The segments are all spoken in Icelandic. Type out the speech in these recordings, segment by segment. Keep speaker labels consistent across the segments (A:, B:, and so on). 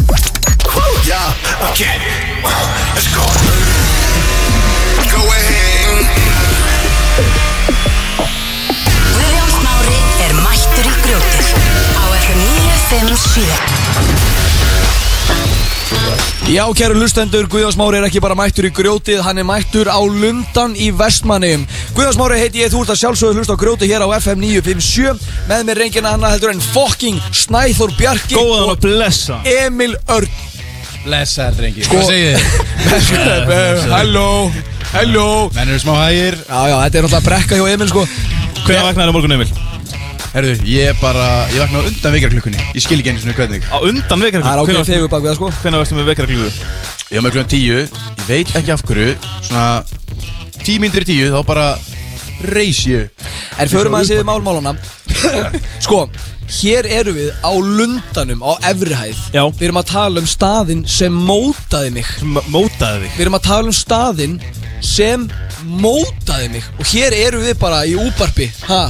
A: Okay, Uh, let's go. Go ahead.
B: Guðjón Smári er mættur í grjótið á FM 957
C: Já, kæru lustendur, Guðjón Smári er ekki bara mættur í grjótið, hann er mættur á Lundan í Vestmannum. Guðjón Smári heiti ég, þú ert að sjálfsögðu hlust á grjótið hér á FM 957. Með mér reyngina hann heldur en fokking Snæþór Bjarki
D: Góðan og blessa
C: og Emil Örn.
E: Blessaður, drengi
C: Sko-
E: Hvað segið þið?
C: Halló, halló.
E: Menn eru smá hægir
C: Já, já, þetta er náttúrulega brekka hjá Emil, sko.
D: Hvernig vaknaður á morgun Emil?
E: Herðu, ég bara, ég vakna á undan vekjarklukkunni Ég skil ekki einu svona hvernig
D: Á undan
C: Það er
D: vekjarklífu
C: ákveðin fegur bak við það, sko.
D: Hvernig varstu með vekjarklífu?
E: Ég var með klukkan tíu Ég veit ekki af hverju Svona Tímindri tíu Þá bara Reis ég upp.
C: En förum aðeins yfir málmálana Sko, hér eru við á lundanum á efrihæð
D: Já.
C: Við erum að tala um staðinn sem mótaði mig
D: Sem mótaði þig
C: Við erum að tala um staðinn sem mótaði mig Og hér eru við bara í úbarpi Ha,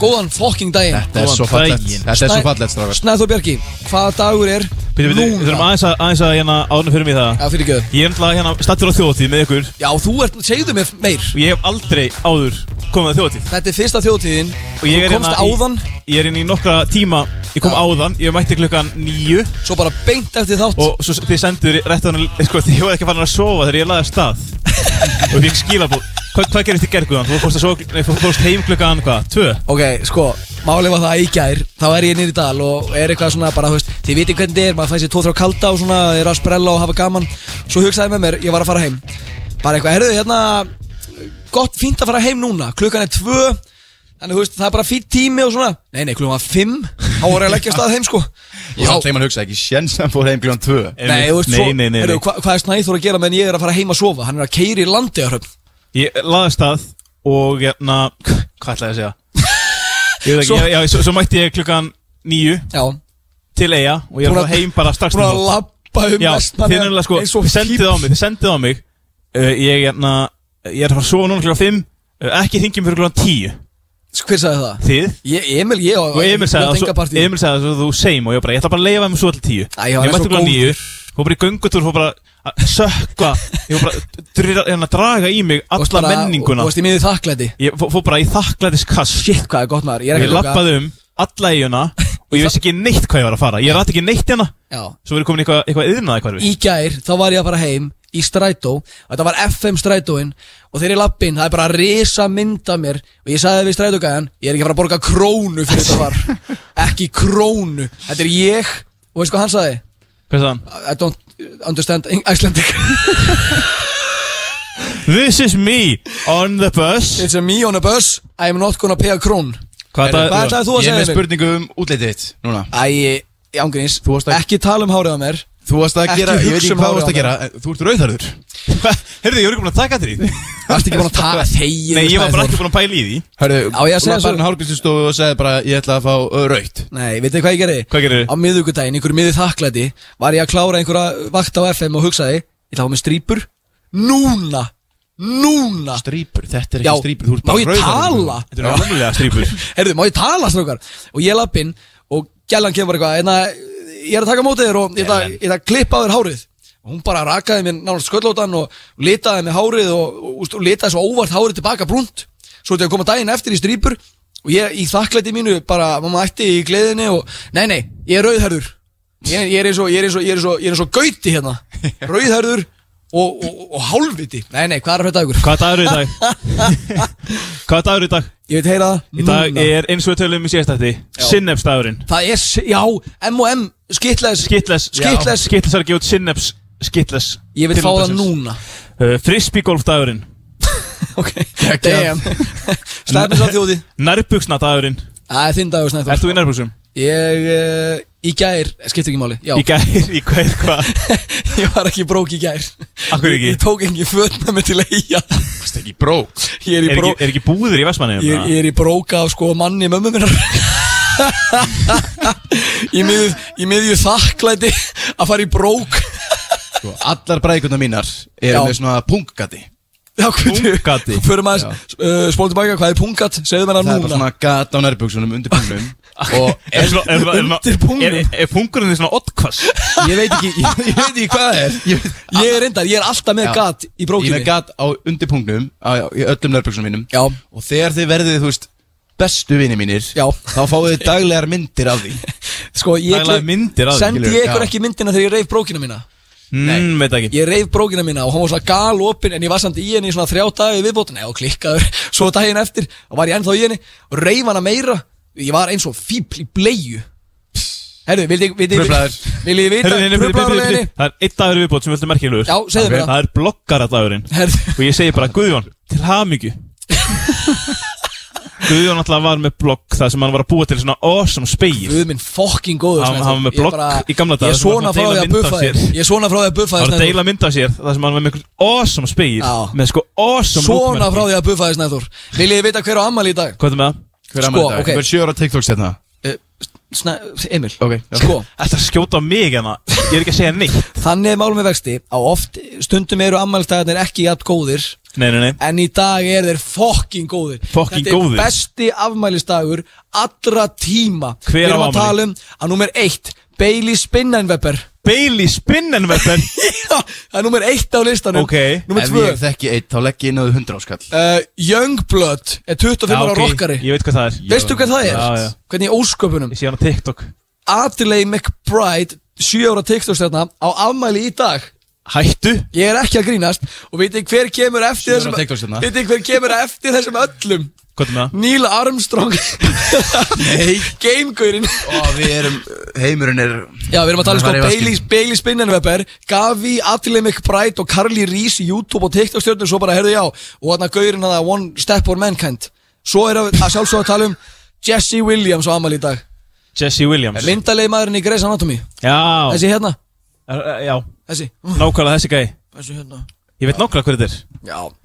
C: góðan fokking daginn
E: Þetta er
D: Góðan
E: svo fallegt
D: daginn.
E: Þetta er svo fallegt strákar
C: Snæþór Bjarki, hvaða dagur er
D: Býtum við, við þurfum
C: núna?
D: aðeins að, aðeins að hérna ánum fyrir mig það
C: Já, fyrir ekki
D: Ég er náttúrulega hérna stattur á þjóðatíð með ykkur
C: Já, þú ert, segðu mér meir
D: Og ég hef aldrei áður komið á þjóðatíð
C: Þetta er fyrsta þjóðtíðin
D: Og ég
C: Þú
D: er hérna
C: komst
D: í-
C: áðan,
D: Ég er inn í nokkra tíma Ég kom
C: Já.
D: áðan, ég mætti klukkan nýju
C: svo bara beint eftir þátt
D: Og svo þið sendur réttan Sko, því ég var ekki farin að sofa þegar ég laði að stað Og ég fikk skilabóð Hva, Hvað gerist þið gerguðan? Þú fórst, að sofa, nei, þú fórst heim klukkan, hvað, tvö?
C: Ok, sko, málið var það að í gær Þá er ég nýri dal og er eitthvað svona bara, þú veist Þið viti hvernig þið er, maður fæði sér tóð þrjá kalda og svona Er að sprella og hafa gaman Svo hugsaði með mér, ég var að fara heim Bara eitthvað, herruðu, hérna Gott, fínt að fara heim núna, klukkan er tvö Þannig, þú veist, það er bara fínt tími og svona Nei, nei, klukkan var fimm Þá voru ég að leggja af stað heim, sko
E: Ég var alltaf að hugsa ekki Sjens að hann fór heim klukkan tvö
C: Nei, þú veist,
D: nei,
C: svo,
D: nei, nei, nei.
C: heyrðu, hva, hvað er Snæþór að gera meðan ég er að fara heim að sofa? Hann er að keyra í Landeyjahöfn.
D: Ég laði af stað og hérna Hvað ætlaði ég að segja? Ég veit ekki,
C: Svo-
D: já, já, svo, svo mætti ég klukkan nýju
C: Já,
D: til eiga Og ég er að
C: Búin að-
D: fara heim bara strax til
C: búin að
D: nótt.
C: labba um
D: Já, þið
C: Vestmannaeyjar
D: nefnilega sko,
C: eins og
D: þið sendið á
C: fífl.
D: mig Þið sendið á mig uh, Ég hérna, ég er að fara að sofa núna klukkan fimm uh, Ekki þingjum fyrir klukkan tíu
C: Hver sagði það?
D: Þið
C: Ég, Emil, ég
D: Og Emil sagði
C: Ég átti
D: það,
C: enga
D: svo-
C: partí.
D: Emil sagði það, svo þú seim og ég bara, ég ætla bara að leifa þeim svo til tíu
C: Æ, já, hann er
D: Ég mætti
C: svo
D: klukkan
C: góður.
D: nýju, fór bara í göngutúr, fór bara að sökka Ég fór bara dríra- hérna, að draga í mig
C: Varst
D: alla
C: bara-
D: menninguna
C: Þú varst í miðið þakklæti
D: Ég fó- fór bara í þakklæðiskast
C: Shit, hvað er gott maður Ég er
D: Ég
C: ekki að ljóka.
D: lappaði um alla eiguna og ég vissi ekki neitt hvað ég var að fara Ég rætti ekki neitt hérna,
C: Já
D: svo verið komin í eitthvað, eitthvað yðnað eitthvað
C: Í gær, þá var ég að fara heim Í strætó Þetta var FM strætóin Og þegar ég lapp inn, það er bara að risa mynda mér Og ég sagði við strætógæðan Ég er ekki að fara að borga krónu fyrir þetta var Ekki krónu Þetta er ég Og veist hvað hann sagði?
D: Hvað sagði hann?
C: I don't understand Icelandic
D: This is me on the bus
C: It's a me on a bus I am not gonna pay a krón
D: Hvað
E: Heyrðu,
C: Hvað
D: það,
C: ætlaði þú
E: Ég er
C: að segja
E: með
C: mér?
E: spurningu um útlitið þitt Núna
C: Æ, í ángurins
E: Þú varst að-
C: Ekki tala um hárið á mér
E: Þú varst að
C: Ekki
E: gera Ég veit
C: hugsa
E: ekki
C: um
E: hvað þú
C: hárið
E: varst
C: á
E: að gera en Þú ert rauðarður
D: heyrðu, ég var ekki búin að taka þetta í því
C: Varst ekki búin að tala þegið
D: Nei, ég var bara ekki búin að pæla í því
E: Hörðu
C: Á, ég að segja
E: Þú
C: svo-
E: var bara hálfgristustofu og segði bara Ég ætla að fá ö, rautt
C: Nei, veitu hvað ég gerði?
D: Hvað gerirðu?
C: Á miðugudaginn, einhverju miðið þakklæti Var ég að klára einhverja vakt á FM og hugsaði Ég ætla að fá mér strýpur Núna Núna
E: Strípur, þetta er
C: Já,
E: ekki strípur Þú ert
C: má
E: bara
C: ég
E: rauðarður.
C: tala?
D: Þetta er náttúrulega strípur
C: Herðu, má ég tala strókar? Og ég lapp inn og gælan kemur bara eitthvað Einna, ég er að taka á móti þér og ég ætla ég ætla að klippa á þér hárið og hún bara rakaði mér nánast sköllótan og litaði mér hárið og, og, og, og litaði svo óvart hárið tilbaka brúnt svo þetta koma daginn eftir í strýpur og ég í þakklæti mínu bara mamma ætti í gleðinni og nei nei, ég er rauðherður ég, ég er eins og, ég er eins og, ég er eins og, ég er eins og gauti hérna rauðherður og, og, og hálfviti nei nei, hvað er að frétta af ykkur?
D: Hvað dagur er í dag? Hvað dagur er í dag?
C: Ég veit heyra það
D: Í dag
C: núna.
D: er eins og við tölum í síðastætti Synneps-dagurinn
C: Það er, s- já, M&M, skitlaðis
D: Skittles
C: Skittles.
D: Skittles er að gefa út Synneps Skittles
C: Ég vil
D: til
C: fá það
D: notensins.
C: núna
D: uh, Frisbeegolf-dagurinn
C: Ok, damn Stæðum svo þjóði
D: Nærbuksna-dagurinn
C: Það er þinn dagur snæður
D: Ert þú í nærbuksum?
C: Ég, uh, í gær, skiptir ekki máli Já,
D: Í gær, í gær, hvað?
C: ég var ekki brók í gær
D: Af hverju ekki?
C: Ég tók ekki fötna mig til að eiga
E: Þú varst ekki brók
C: Ég er í,
D: Er
C: bró,
D: ekki, er ekki búðir í Vestmanni?
C: ég, ég er í bróka á sko manni mömmu minnar Ég miðju, ég miðju þakklæti að fara í brók
E: Sko, allar bræðikunar mínar eru
C: Já.
E: með svona punggati
C: Já, hvernig-
D: Pungati.
C: Förum aðeins, uh, spólum tilbaka, hvað er pungat? Segðu
E: Það
C: mér það
E: er
C: núna
E: bara svona gat á nærbuksunum undir pungnum Og
D: Er svona- er svona- er svona-
C: Undir pungnum?
D: er- Er pungurinn því svona oddkvass?
E: ég veit ekki, ég, ég veit ekki hvað það er Ég, veit-
C: Ég er reyndar, ég er alltaf með
E: Já.
C: gat í
E: ég er
C: brókinni
E: með gat á undir pungnum á, Í öllum nærbuksunum mínum
C: Já.
E: Og þegar þið verðið, þú veist, bestu vinni mínir
C: Já.
E: Þá fáið þið daglegar myndir af því
C: Sko, ég
D: Það er lagði myndir af því,
C: Sendi
E: skilurðu.
C: ég ykkur
E: Já.
C: ekki myndina þegar ég reif brókina mína
D: Mm, veit ekki
C: Ég reif brókina mína og hún var svona galopin En ég var samt í henni í svona þrjá dagi viðbót Nei, og klikkaður Svo daginn eftir, þá var ég ennþá í henni Og reif hana meira Ég var eins og fíbl í bleju Herru, vildi ég vita
E: Truflaður.
C: Vildi ég vita
D: Herðu, nei, nei, byrju, byrju,
C: Trublaður á
D: byrju.
C: leiðinni
D: Það er einn dagur viðbót sem við höldum merkilegur
C: Já, segðu mér það.
D: Það er bloggaradagurinn
C: Herðu.
D: Og ég segi bara Guðjón, til hamingju Guðjón alltaf var með blogg Það sem hann var að búa til svona awesome speil
C: Guð minn fokking góður
D: Hann-
C: Snæþór.
D: hann var með
C: Ég
D: blogg
C: bara-
D: í gamla daga
C: Ég er
D: sem hann
C: svona
D: var að deila
C: frá því að
D: mynd af
C: buffa þér
D: sér.
C: Ég er svona frá því að buffa
D: Það
C: þér
D: var að
C: Snæþór.
D: deila mynd af sér Það sem hann var með einhvern awesome speil
C: Já.
D: Með sko awesome
C: Svona
D: lúkmerki.
C: frá því að buffa þér Snæður Viljið þið vita hver á ammali í dag?
D: Hvað er það með það?
E: Hver
C: Sko,
E: sko, dag,
C: ok.
E: okay. hver sjöra TikToks hérna
C: Snæ, Eh, Emil
E: Ok, já.
C: Sko,
D: Þetta er að skjóta á mig en Ég er ekki að segja neitt
C: þannig er málum með vexti að oft stundum eru ammælstæðarnir ekki jafn góðir
D: Nei, nei, nei
C: en í dag er þeir fokking góðir
D: Fucking
C: Þetta er
D: góðir.
C: besti afmælistagur allra tíma
D: Hver
C: Við erum
D: á
C: að
D: afmæli?
C: tala um að nummer eitt Bailey Spinnenweber
D: Bailey Spinnenweppen
C: Já, það er nummer eitt á listanum
D: Ok.
C: Nummer
E: Ef
C: tvö
E: ég þekki eitt, þá legg ég inn á þau 100 áskall
C: uh, Youngblood er 25 ára rockari
D: Ég veit hvað það er
C: Veistu hvað það er?
D: Já, já.
C: Hvernig í ósköpunum
D: Ég sé hann á TikTok
C: Adelaide McBride 7 ára tiktokstjarna á afmæli í dag
D: Hættu
C: Ég er ekki að grínast og veit ég hver kemur eftir
E: Sjö ára TikToks
C: þessum
E: hérna.
C: Veit ég hver kemur eftir þessum öllum
D: Hvað er með það?
C: Neil Armstrong Nei Gamegaurinn
E: Og við erum, heimurinn er
C: Já, við erum að tala um sko
E: Það var í vaskinum.
C: Bailey, Bailey Spinnenweber Gavi, Adelaide McBride og Carly Reese í YouTube og TikTok stjórnum Svo bara, herðu já, og þarna gaurinn að það One Step for Mankind Svo er að, að sjálfsög að tala um Jesse Williams á amal í dag
D: Jesse Williams
C: Myndalegi maðurinn í Grey's Anatomy
D: Já
C: Þessi hérna,
D: Er- Já
C: þessi
D: Nákvæmlega þessi gæi
C: Þessi hérna
D: Ég veit nákvæmlega hver þetta er
C: Já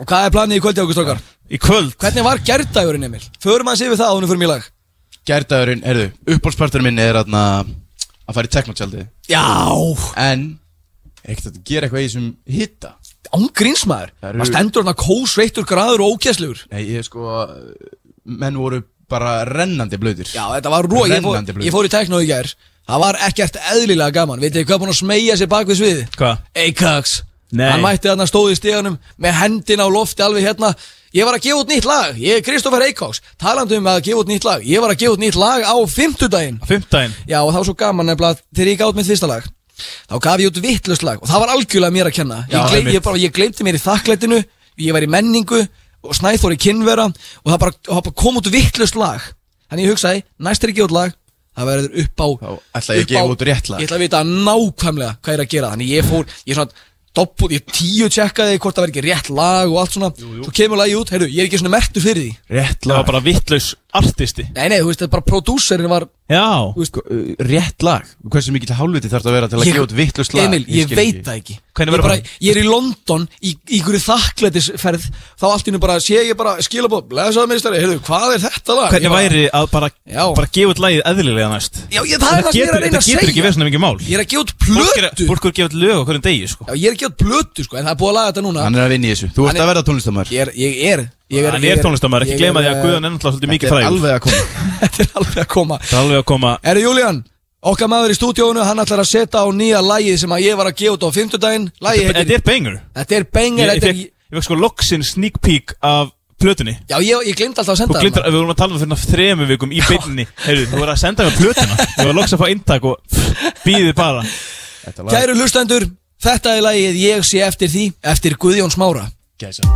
C: Og hvað er planið í kvöldi okkur stokkar?
D: Í kvöld
C: Hvernig var gerðdagurinn Emil? Förum aðeins yfir það ánum fyrir mig í lag
E: Gærdagurinn, heyrðu, uppbólsparturinn minn er aðna að fara í teknotjaldið
C: Já
E: En, ekkert að gera eitthvað í þessum hitta
C: Ángrínsmaður
E: Það eru-
C: Það stendur hann að kósveittur graður og ógæslegur
E: Nei, ég sko, menn voru bara rennandi blöðir
C: Já, þetta var rúa ég, fór-
E: Rennandi blöð.
C: ég fór í tekno í gær Það var ekkert eðlilega gaman Vitið þið hvað er búin að smeyja sér bak við sviði?
D: Hvað?
C: Eikax
D: Nei.
C: Hann mætti þarna stóð í steganum Með hendina á lofti alveg hérna Ég var að gefa út nýtt lag Ég er Kristoffer Eikax Talandi um að gefa út nýtt lag Ég var að gefa út nýtt lag á fimmtudaginn
D: Fymtdæin
C: Já og það var svo gaman nefnilega að þegar ég gátt mitt fyrsta lag Þá gaf ég út vittlust lag og það var algjörlega mér að kenna Ég,
D: Já,
C: gleym,
D: einmitt.
C: ég, bara, ég gleymdi mér í þakklætinu Ég var í menningu og snæþóri kynvera Og það bara, og það bara kom út vittlust lag Þannig ég hugsaði, næst er ég að gefa út lag Það verður upp á
E: Þá ætla ég að
C: upp á-
E: gefa út rétt lag.
C: Ég ætla að vita nákvæmlega hvað ég er að gera Þannig ég fór, ég svona dopput, ég tíu tjekkaði hvort það verður ekki rétt lag og allt svona Svo kemur lagi út, heyrðu, ég er ekki svona mertur fyrir því
E: Rétt
D: Það var
E: lag
D: bara vittlaus artisti
C: Nei, nei, þú veist, þetta er bara prodúserinn var
D: Já
E: sko, uh, Rétt lag Hversu mikill hálfviti þarf það að vera til að
C: Ég-
E: gefa út vittlust lag
C: Emil, ég,
E: skil
C: veit það ekki
D: Hvernig
C: ég,
D: verður
C: bara,
D: það?
C: ég er í London í í einhverju þakklætisferð þá allt í nú bara sé ég bara skilabóð Blesaðu meistari, heyrðu, hvað er þetta lag?
D: Hvernig
C: Ég bara,
D: væri að bara
C: Já.
D: Bara gefa út lagið eðlilega næst
C: Já, ég, það er það sem ég er
D: getur,
C: að reyna
D: þetta
C: að
D: getur ekki
C: segja
D: verið svona mikið mál
C: Ég er að gefa út
D: Fólk er
C: plötu
D: fólk er að gefa út lög á hverjum degi sko
C: Já, ég er að gefa út plötu, sko, en það er búið að laga þetta núna
E: Hann er að vinna í þessu Þú ert
C: Hann er-
E: að verða tónlistamæður
C: Ég er, ég er ég
D: Hann er tónlistamæður Ekki
C: ég
D: gleyma því að
C: eh,
D: Guðan er náttúrulega svolítið mikið
E: Þetta er
D: frægur
E: alveg að koma
C: Þetta er alveg að koma
D: Það er alveg að koma
C: Erðu Júlían, okkar maður í stúdíónu hann ætlar að setja á nýja lagið sem að ég var að gefa út á fimmtudaginn Lagið
D: Þetta
C: heitir-
D: er banger
C: Þetta er
D: Ég
C: bengar
D: ég
C: þetta
D: fekk
C: er-
D: ég fékk sko loksin sneak peek af plötunni
C: Já, ég, ég glemd alltaf
D: Þú
C: að senda
D: glindir að við vorum að tala um fyrir þremu vikum í byrjunni Heyrðu, þú voru að senda mér plötuna Ég var loks að fá inntak og býði bara
E: Þetta lag
C: Kæru hlustendur, þetta er lagið Ég sé eftir því, eftir Guðjón Smára
E: Gæsa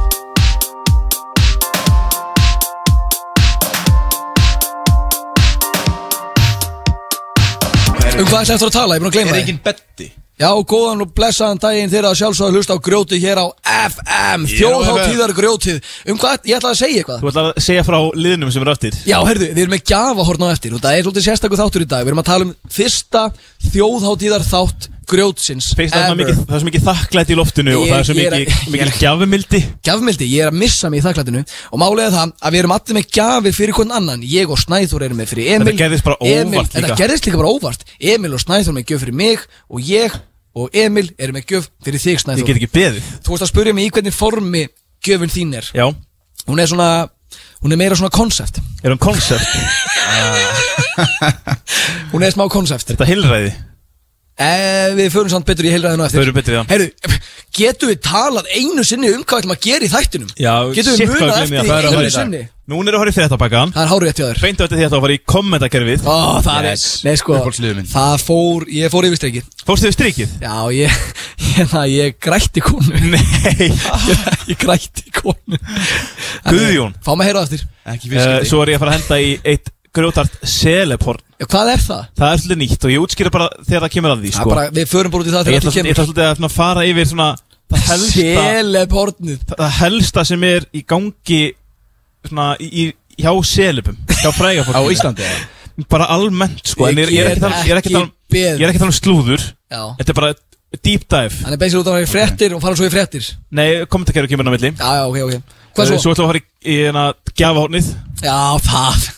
C: Um hvað ætlaði eftir að tala, ég er búin að gleyma
E: Er
C: það
E: engin betti?
C: Já, góðan og blessaðan daginn þeirra að sjálfsögðu hlusta á grjótið hér á FM
E: Ég er á
C: Þjóðháttíðar grjótið Um hvað, ég ætlaði að segja eitthvað
D: Þú ætlar að segja frá liðnum sem eru eftir
C: Já, heyrðu, við erum með gjafahorn á eftir og það er svolítið sérstakur þáttur í dag Við erum að tala um fyrsta þjóðháttíðar þátt grjótsins
D: Fyrst það er svo
C: ever.
D: mikið, það er svo mikið þakklætt í loftinu og
C: Ég-
D: það er svo
C: ég er að-
D: mikið,
C: ég er
D: mikið
C: að-
D: gjafumildi
C: Gjafmildi, ég er að missa mig í þakklætinu og málega það að við erum allir með gjafi fyrir hvern annan ég og Snæþór erum með fyrir Emil
D: Þetta gerðist bara óvart
C: Emil,
D: líka.
C: Þetta gerðist líka bara óvart Emil og Snæþór með gjöf fyrir mig og ég og Emil er með gjöf fyrir þig
D: Ég
C: Snæþór
D: get ekki beðið
C: Þú veist að spurja mig í hvernig formi gjöfin þín er
D: Já,
C: Hún er svona, hún er meira svona konsept
D: er hann koncept?
C: Hún er smá konsept
D: Þetta hilræði
C: Eh, við förum samt betur í heilræðinu á eftir
D: Förum betur í það.
C: Heyrðu, getum við talað einu sinni um hvað við ætlum að gera í þættinum? Getum við munað eftir
E: það er að
C: því
E: fara í
C: einu
E: dag.
C: sinni?
D: Nún er að horfa í fréttabakkan
C: Það er hárið eftir þér
D: Beint á eftir því að það var í kommentakerfið
C: Ó, það
E: Yes.
C: er, nei sko,
E: Uppáhaldsliðið mitt.
C: það fór, ég fór yfir streki
D: Fórstu við strikið?
C: Já, ég, ég, ég grætti konu
D: Nei
C: ég, ég grætti konu
D: Guðjón.
C: Fá mig að heyra á eftir
E: Ekki
D: Eh,
E: fyrir
D: Svo er ég að fara að henda í eitt grjótart seleporn
C: Já, Hvað er það?
D: Það er svolítið nýtt og ég útskýra bara þegar það kemur að því
C: það
D: sko.
C: er bara, við förum bara út í það
D: Ég ætla
C: þegar
D: ég
C: allir
D: ætla
C: kemur
D: svolítið að svona fara yfir svona það helsta,
C: Teleportnið
D: það helsta sem er í gangi svona í, í, hjá selipum hjá fræga
E: Á
D: fólk
E: Íslandi eða?
D: bara almennt sko en ég, ég, er ekki að tala- ég er ekki að tala um-
C: beð
D: ég er ekki að tala um slúður
C: Já,
D: þetta er bara deep dive
C: hann er beinsir út af hann í fréttir og fara svo í fréttir
D: nei kommentakerfi kemur inn á milli
C: Já, já, ok, ok
D: Eh,
C: Hvað svo?
D: svo ætlum við að fara í, í hérna gjafahornið
C: Já, það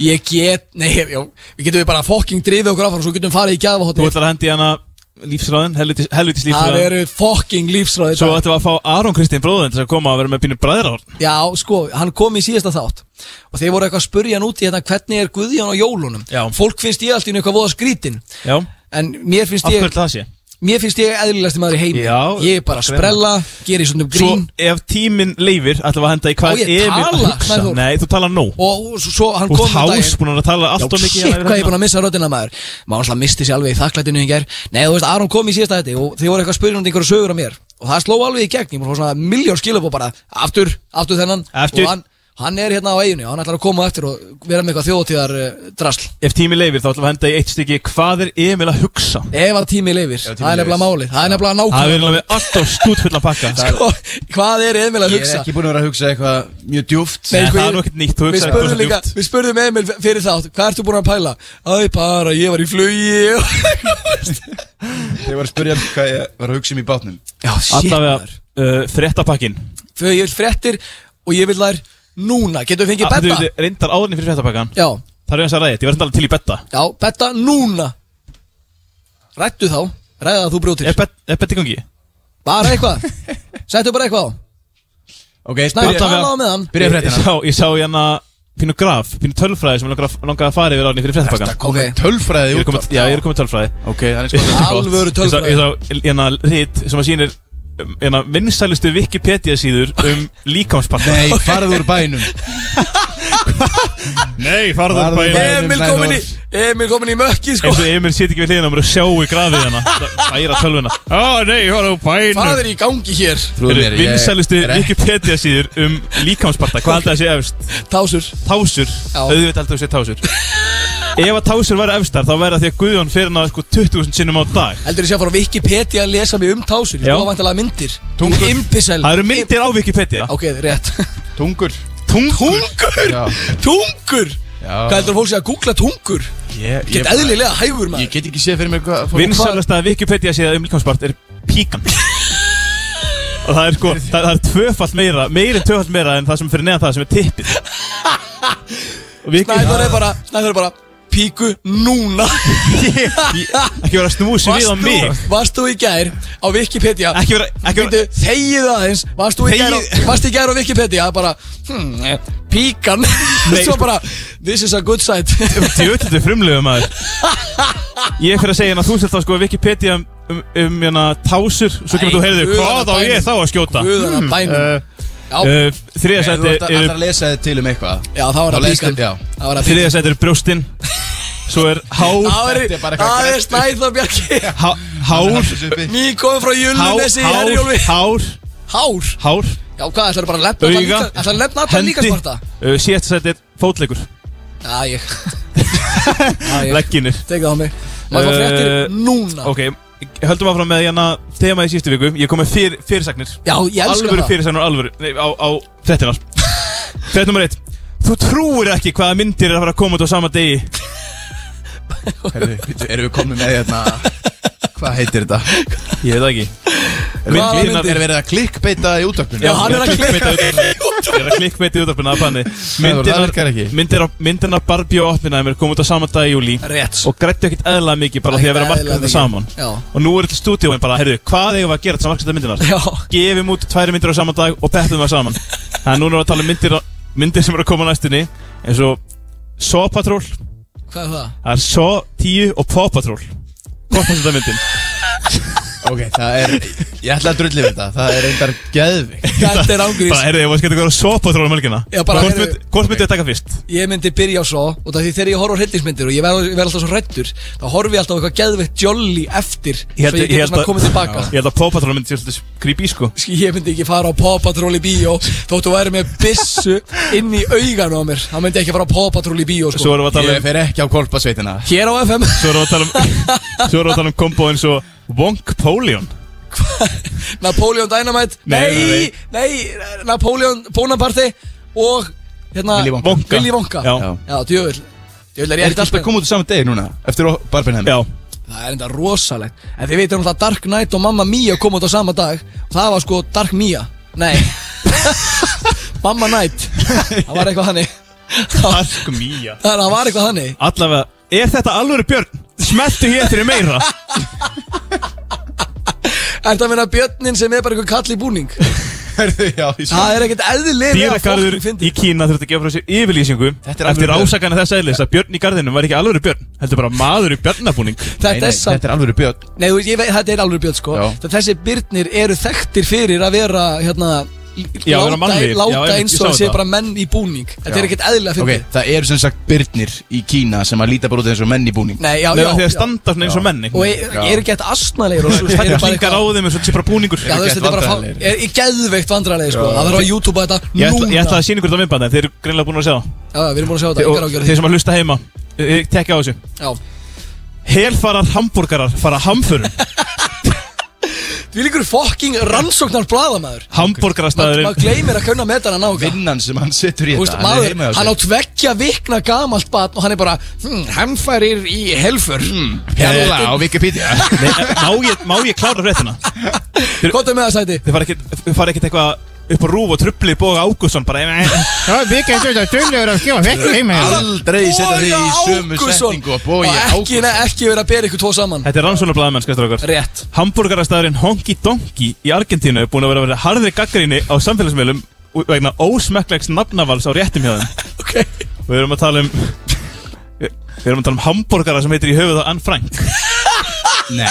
C: Ég get, nei, já, við getum við bara fokking drifið okkur áfram Svo getum við farið í
D: þú
C: gjafahotni
D: ætlar að hendi hérna lífsræðin helvitis, helvitis
C: Það
D: lífsræðin
C: eru fokking lífsráði
D: svo ætlum við að fá Aron Kristinn bróðin til að koma að vera með pínu bræðrahorn
C: Já, sko, hann kom í síðasta þátt Og þeir voru eitthvað að spurja hann út í hérna Hvernig er Guðjón á jólunum?
D: Já.
C: Fólk finnst ég allt í einu eitthvað voða skrítin
D: já
C: En mér finnst
D: af
C: ég,
D: hverju það sé
C: mér finnst ég eðlilegasti maður í heimi
D: Já,
C: Ég er bara að
D: greinilega.
C: sprella, gera í svona
D: Svo
C: grín
D: ef tíminn leifir ætlum við að henda í
C: Á,
D: hvað
C: ég
D: Emil að
C: tala,
D: hugsa
C: Snæþór.
D: Nei, þú tala nú
C: Og svo, svo hann
D: Þú
C: kom
D: ert
C: um daginn-
D: hás búin að tala allt og mikið um hérna
C: Shit, hvað ég er búin að missa röddina maður Maður alltaf misti sér alveg í þakklætinu í ger Nei, þú veist, Aron kom í síðasta þetta og þið voru eitthvað að spyrja um einhverju sögur af mér og það sló alveg í gegn, ég múið svona miljón skilabó bara aftur, aftur þennan
D: Aftur.
C: og hann, hann er hérna á eiginu, hann ætlar að koma á eftir og vera með eitthvað þjóðtíðar uh, drasl
D: Ef tíminn leifir þá ætlum við að henda í eitt stykki Hvað er Emil að hugsa?
C: Ef að tími leifir,
E: Ef tími
C: það er nefnilega
E: leyfir.
C: málið, það er nefnilega
D: Það er
C: nákvæm
D: verið með alltaf stútfulla pakka Það-
C: sko, Hvað er Emil
E: Ég
C: að
E: er
C: hugsa?
E: ekki búin að vera að hugsa eitthvað mjög djúft
C: Nei,
D: Nei,
C: sko,
D: það
C: ég-
D: er nú ekkert nýtt, þú
C: Við
D: hugsaði
C: spurðum
D: bara
C: líka,
D: djúpt.
C: við spurðum Emil fyrir þátt, hvað ertu búin að pæla? Æ, bara, ég var í flugi
E: Þegar var að spyrja hann hvað ég var að hugsa um í bátnum
C: Já, shit,
D: Allavega
C: maður.
D: uh, fréttapakkin
C: Þegar ég vil fréttir og ég vil þær núna Getum við fengið
D: Ah, Þú
C: betta?
D: veit, reyndar áðurinn fyrir fréttapakkan
C: Já,
D: Það er eins að ræðið, ég var reyndar alveg til í betta
C: já, betta núna Rættu þá, ræða að þú brjótir
D: Er bet- er betta í gangi?
C: Bara eitthvað, settu bara eitthvað á
E: Ok,
C: Snæður,
D: Alla vega-
C: tala á með hann
E: Byrja
D: Ég-
E: fréttina.
D: Ég sá, ég sá hérna pínu graf, pínu tölfræði sem langaði langa að fara yfir áðurinn fyrir fréttapakkan
C: Ok,
E: Tölfræði
D: Ég er
E: út
D: komið, já, ég er komið tölfræði
E: Ok, það er eins og það er gott
C: alvöru
D: Ég
C: tölfræði
D: sá, ég sá hérna rít sem að sýnir um, hérna vinsælustu Wikipedia síður um líkamsparta
E: Nei, farðu úr bænum
D: Nei, farðu um
E: Farðu
D: bæinn.
E: bara inn.
C: Emil komin í, Emil komin í mökki sko
D: Eins og Emil sýtt ekki við hliðina á mér og sjáu grafið hérna Það er að tölvuna Ó nei, farðu úr bænum
C: Hvað er í gangi hér?
E: Trúðu mér, ég
D: Vinsælustu
E: er ekki-
D: Wikipedia síður um líkamsparta Hvað held að það sé efst?
C: Tásur
D: Tásur
C: Já.
D: Auðvitað held að það sé tásur Ef að tásur væri efstar þá væri það því að Guðjón fyrir náðu sko 20.000 sinnum á dag
C: Heldur ég sé að fara á Wikipedia að lesa mig um tásur Ég
D: Já.
C: skoða vantilega myndir
E: Tungur.
C: Impisel
D: Það eru myndir á Wikipedia
C: Ok, rétt
E: Tungur
D: Tungur
C: Tungur
E: Já.
C: Tungur
E: Já.
C: Hvað heldur fólk sé að googla tungur?
E: Ég- ég-
C: Get eðlilega hægur
E: Ég
C: maður
E: get ekki séð fyrir mér hvað fólk-
D: Vinsælasta Wikipedia síða um líkamspart er píkan Og það er sko, það, það er tvöfalt meira, meiri tvöfalt meira en það sem er fyrir neðan það sem er tippið Og Wiki-
C: Snæður er bara, Snæður er bara Píku núna
D: Ekki vera að snúsi við á
C: Varst þú,
D: mig
C: varst þú í gær á Wikipedia
D: Ekki vera, ekki vera
C: Býtu, þegið aðeins Varst þú í gær á,
D: Þegið-
C: varst í gær á Wikipedia Bara, hmm, eh, píkan Svo bara, this is a good site
D: Djöðlítið frumlegum maður Ég fyrir að segja hérna Þú sér þá sko Wikipedia um, um, um hérna, tásur Svo kemur
C: Æ,
D: þú heyrðu Hvað á
C: guðanna
D: ég
C: bænum.
D: þá að skjóta
C: Guðana bænum Já,
D: uh, Þriðja
E: Ef Þú ert
D: sæti
E: að- ætlar
D: eru
E: að lesa þið til um eitthvað
C: já, það var
E: þá
C: að
E: leist-
C: píkan
E: já.
C: Það var að píkan
D: Þriðja sæti eru brjóstin Svo er hár
C: Það
E: Þetta er bara
C: er-
E: eitthvað
C: það er
E: grænt.
C: Snæður Bjarki
D: há- Hár
C: Ný komið frá
D: Hár
C: Jölunesi í
D: Hár
C: Herjólfi
D: Hár
C: Hár
D: Hár
C: Já, hvað, ætlarðu bara að lefna
D: Auga
C: alla líka- ætlarðu að lefna alla líka
D: Hendi
C: sparta?
D: uh, Síðasta sæti er fótleikur
C: Já, ég Já, ég
D: Legginir
C: Tekið það á mig Maður fá
D: Eh,
C: fréttir núna
D: Ok Höldum áfram með hérna Þema í síðustu viku Ég kom með fyr, fyrirsagnir
C: Já, ég elska
D: alvöru
C: það
D: fyrirsagnar alvöru Nei, á, á frettinar Frett nummer eitt Þú trúir ekki hvaða myndir er að fara að koma út á sama degi
E: Herðu, bíddu, Erum við komin með hérna Hvað heitir þetta?
D: Ég veit það ekki
E: Erum við-
C: Hvaða
E: erum við-
C: myndir?
E: Er verið að klikk klikkbeita í útökkunni
C: Já, hann er að klikka
D: Ég er að klikkbeita í útarpina að banni
E: það virkar ekki.
D: Myndirnar myndirnar Barbie og Oppenheimer kom út á saman dag í júli
C: Rétt
D: Og grættu ekkert eðla mikið bara því að vera að marka
C: Eðlilega
D: þetta
C: mikið.
D: saman
C: Já.
D: Og nú er til stúdíóin bara, heyrðu, hvað eigum við að gera til að marka þetta
C: Já.
D: myndirnar? Gefum út tværi myndir á saman dag og peppum það saman Þannig að núna erum við að tala um myndir, myndir sem eru að koma á næstunni eins og Saw Patrol,
C: Hvað er það?
D: það er Saw 10 og Paw Patrol Hvort fannst þetta myndin?
E: Ok, það er, ég ætla að drulli við þetta Það er reyndar geðvikt
C: Þetta er ángurís
D: Bara, heyrðu, ég var skemmt að góða Saw Patrol um helgina
C: Já, bara,
D: Hvort
C: heyrðu-
D: mynd- hvort myndið að taka fyrst?
C: Ég myndi byrja á svo Og það því þegar ég horf á hryllingsmyndir Og ég verð, ég verð alltaf svo hrættur Þá horfi ég alltaf á eitthvað geðveikt jolly eftir
D: Ég held-
C: Svo ég
D: ég
C: geti
D: held
C: svona
D: að-
C: komið tilbaka
D: Ég held að Paw Patrol myndi svolítið creepy sko
C: Ski- Ég myndi ekki fara á Paw Patrol í bíó Þóttu væri með byssu inn í augan á mér Það myndi ég ekki fara á Paw Patrol í bíó
D: Svo
C: sko.
D: erum við að tala
E: Ég
D: um
E: fer ekki á kolpasveitina
C: Hér á FM
D: Svo erum við að tala um Svo erum við að tala um kombo eins og Wonk Polion
C: Napoleon Dynamite
D: Nei,
C: Nei, nei, Napoleon Bonaparte Og hérna
E: Willy Wonka.
C: Willy Wonka
D: Já,
E: Já.
C: Já djöfull Djöfull er
E: Er
C: ég
E: þetta alltaf
C: ekki
E: að koma út á saman degi núna? Eftir barbenheim?
D: já
C: Það er enda rosalegt En þið veitum alltaf Dark Knight og Mamma Mia kom út á sama dag Og það var sko Dark Mia Nei Mamma Knight Það var eitthvað hannig Það
D: Alk mía
C: það var eitthvað hannig
D: Allavega Er þetta alvöru björn? Smeltu hér fyrir meira
C: Er það að minna björnin sem er bara eitthvað kall í búning
E: Herðu, já, ég svo
C: Það er ekkert eðlilega
D: Dýragarður í Kína þurfti að gefa frá sér yfirlýsingu
E: Þetta er alvöru
D: Eftir
E: björn.
D: ásakana þess eðlis að björn í garðinum var ekki alvöru björn Heldur bara maður í björnabúning
E: Nei,
C: Þetta
E: nei,
C: er samt
E: Þetta er alveg björn
C: Nei, þú veist, ég veit, þetta er alveg björn sko
E: Já.
C: Það þessi byrnir eru þekktir fyrir að vera hérna l-
D: Já, vera
C: láta,
D: mannlegir. Já,
C: láta
D: einmitt,
C: eins
D: ég
C: og
D: sá
C: það sé
D: þetta.
C: bara menn í búning Þetta er ekkert eðlilega
E: Ok,
C: fyrir
E: það eru sem sagt byrnir í Kína sem að líta bara út eins og menn í búning
C: Nei, já,
D: Nei,
C: já,
D: þegar
C: já.
D: þeir standa svona eins og menni
C: Og er, er ekki þetta astnalegir og svo eru
D: Þetta
C: bara
D: klingar á
C: eitthvað-
D: þeim eins og þetta sé bara búningur
C: Já, þú veist,
E: Ekkert
C: þetta er bara fá-
E: vandræðalegir.
C: er í geðveikt vandralegir sko Það verður á YouTube að þetta
D: Ég ætla,
C: núna
D: ég ætla að sína ykkur þetta minnbandi Þeir eru greinlega búin að sjá það.
C: Já, já, við erum búin að sjá þetta,
D: Og
C: yngar ágjörði
D: Þeir sem að hlusta heima eh, Tekja á þessu
C: Já,
D: Helfarar hambúrgarar fara hamförum
C: við líkur fokking rannsóknar bladamæður
D: Hambúrgarastæðurinn
C: Maður gleymir að kunna með þarna náka
E: Vinnan sem hann setur í
C: Þú veist,
E: þetta
C: maður,
E: heima hjá sér.
C: hann á tveggja vikna gamalt batn og hann er bara hm, Hemfærir í helfur hm,
D: Hmm.
E: Hérna á Wikipedia
D: Nei, má, ég, má ég klára fréttina?
C: Kottu með það sæti
D: Þið fara ekkert- þið fara ekkert eitthvað upp á rúf og trubli Bóga Ágússon bara eh,
F: Það er mikið eins og þetta dölur að skjóða vekk heima hjá þér.
E: Aldrei setja þig í sömu setningu og
C: Og
E: bói
C: ekki,
E: Ágússon
C: ne, ekki vera að bera ykkur tvo saman
D: Þetta er rannsónarblæðamenn, skastur okkar
C: Rétt
D: Hamburgarastæðurinn Honky Donkey í Argentínu er búin að vera að vera harðri gaggrinni á samfélagsmiðlum vegna ósmekklegs nafnavals á réttum hjá þeim
C: Ok
D: og við erum að tala um við erum að tala um hambúrgara sem heitir í höfuð á Anne Frank
E: Nei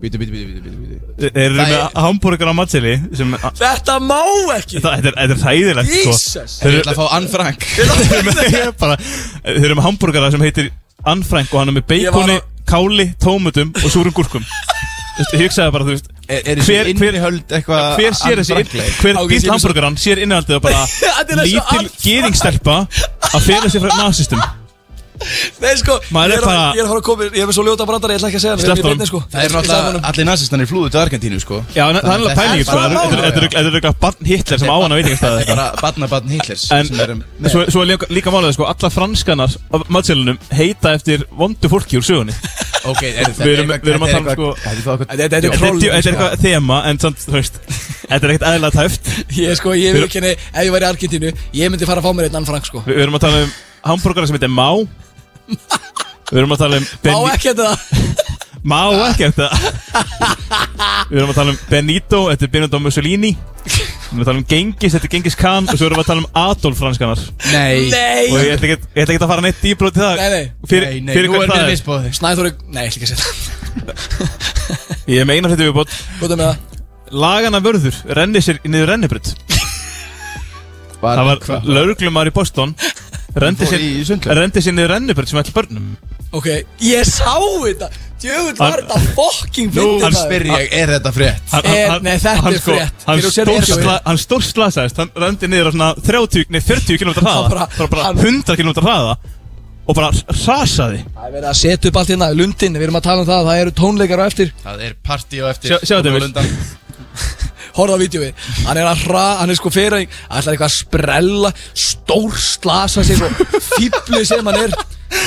E: Bítu, bítu, bítu, bítu, bítu
D: Þeir eru
E: Það
D: með
E: er-
D: hambúrgara á matseli sem
C: Þetta má ekki
D: Þetta þetta er, þetta er hræðilegt sko.
C: Jesus.
D: Þeir
E: Ég
D: eru-
E: ætla að fá Anne Frank
D: Þeir eru með- ég er bara- þeir eru með hambúrgara sem heitir Anne Frank og hann er með
C: Ég var
D: beikoni,
C: að-
D: káli, tómutum og súrum gúrkum Þú veist, ég hugsaði bara, þú veist
E: Er, er
D: Hver-
E: þessi
D: hver-
E: innihöld eitthvað
D: Hver sér
E: Anne
D: þessi,
E: Frank-leik?
D: hver
C: Ok,
D: býst
C: ég-
D: hambúrgaran sér innaldið og bara
C: Þetta er eins og
D: lítil
C: Anne Frank.
D: gýringstelpa að fela sér frá nazistum
C: Nei sko
D: Maður
C: ég
D: er
C: að-
D: bara-
C: Ég er að fara að koma Ég er með svo ljóta brandar Ég ætla ekki að segja hann,
D: Sleppt
C: ég- ég
D: honum.
C: veit sko.
E: Það er
C: Sleppt honum.
E: náttúrulega allir nazistan í flúðu til Argentínu sko
D: Já, en það er alveg pælingið, sko
C: Það er
D: Þetta er- þetta
C: bara
D: er þetta er eitthvað barn Hitler sem á hann að veitingastæða
E: Bara barna barn Hitlers
D: En
E: sem er um-
D: svo, svo er líka, líka málið, sko, alla franskanar af matselunum heita eftir vondu fólki úr sögunni
E: Ok, er þetta
D: Við erum- við erum að tala um, sko-
E: Þetta
C: Þetta þetta er
D: Þetta er
C: troll
D: djú- þetta er eitthvað þema, en samt, þú veist Þetta er ekkert eðla tæft
C: Ég sko, ég vil ekki Ef ég væri í Argentínu Ég myndi fara að fá mér einn annan frank sko
D: Við við erum að tala um hambúrgara sem heitir Má Við erum að tala um
C: Má
D: Beni-
C: ekki þetta
D: Má ekki eftir það Við erum að tala um Benito, þetta er Benito Mussolini Við erum að tala um Gengis, þetta er Gengis Khan Og svo erum við að tala um Adolf franskanar
E: Nei
D: Og ég
C: Nei
D: ætla ekkert- ég ætla ekki að fara neitt dýbrót til það
C: Nei, nei.
D: Fyrir,
E: Nei, nei,
D: fyrir
E: nú
D: hvað
E: er
D: það
E: mér
D: er
E: misbóði
C: Snæþóri Nei, ég ætla ekki að segja það
D: Ég meina þetta við bótt
C: Kottu með það
D: Lagana vörður renni sér niður rennibrut Það var lauruglumar í Boston Rendi
E: Fór
D: sér,
E: í sundlaug.
D: rendi sér niður rennibrut sem ætla börnum
C: Ok, ég sá þetta Djöfull var
D: Hann-
C: þetta fucking
E: Nú
C: fyndið
E: hann
C: maður.
E: spyr ég, er þetta frétt?
D: Hann-
C: Er-
D: hann-
C: Eh, nei, þetta
D: hann
C: er
D: sko-
C: frétt.
D: Hann
C: Þeir eru sér
D: stórsla-
C: ekki
D: hann stórslasaðist, hann röndi niður á svona 30, nei 40 km hraða
C: bara-
D: bara, bara
C: hann-
D: 100 km hraða og bara hrasaði
C: Það er verið að setja upp allt hérna, lundin, við erum að tala um það, það eru tónleikar á eftir,
E: Það er partí og eftir
D: Sjá- sjáðu þetta,
E: Komum
D: Emil.
E: undan.
C: horfa á vídjói, hann er að hra, hann er sko fyrring, hann ætlar eitthvað að sprella, stór slasa sig og fýbli sem hann er,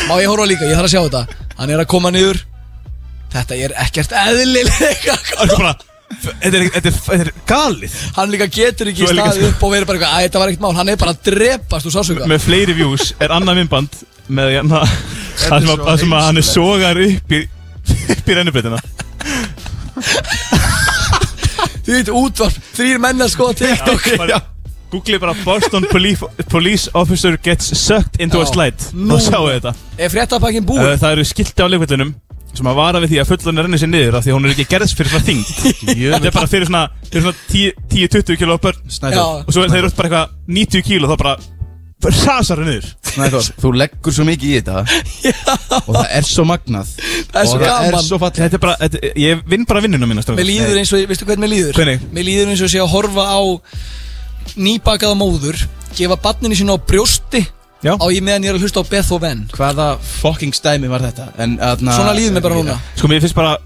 C: má ég horfa líka, ég þarf að sjá þetta, hann er að koma niður, þetta er ekkert eðlilega,
D: Hann sko bara Þetta er, þetta er, þetta er galið
C: Hann líka getur ekki
D: Svo er líka
C: staðið
D: sko-
C: upp og verið bara eitthvað Æ, þetta var ekkert mál, hann er bara að drepast úr sásuga
D: Með fleiri views er annað minnband Með hérna Það sem, að- það sem að hann er sogar upp í Upp í rennubreytina
C: Þú veit, útvarp, þrýr menn að skoða TikTok
D: bara, Google bara Boston police, police officer gets sucked into a
C: Já.
D: slide
C: Nú.
D: Þá sjáu þetta
C: Er fréttapakkin búið?
D: Uh, Það eru skilti á leikvillunum sem að vara við því að fullun rennir sér niður af því að hún er ekki gerðs fyrir svona þingd Þetta er bara fyrir svona, fyrir svona 10 10-20 kíló börn
E: Snæþór,
C: Já.
D: og svo er þeir eru bara eitthvað 90 kíló þá bara rasar henni niður
E: Snæþór, þú leggur svo mikið í þetta og það er svo magnað
C: Það er svo
E: og það er
C: gaman.
E: svo fallið
D: Þetta er bara, þetta, ég vinn bara vinnuna mína
C: Ah,
D: strákar.
C: Mér líður eins og, veistu hvernig mér líður?
D: Hvernig?
C: Mér líður eins og sé að horfa á nýbakaða móður gefa barninu sínu á brjósti
D: Já.
C: á ég meðan ég er að hlusta á Bethhoven
E: Hvaða fucking stæmi var þetta? En,
D: Ah,
E: atna,
C: Svona líður mér bara núna
D: Sko mér finnst bara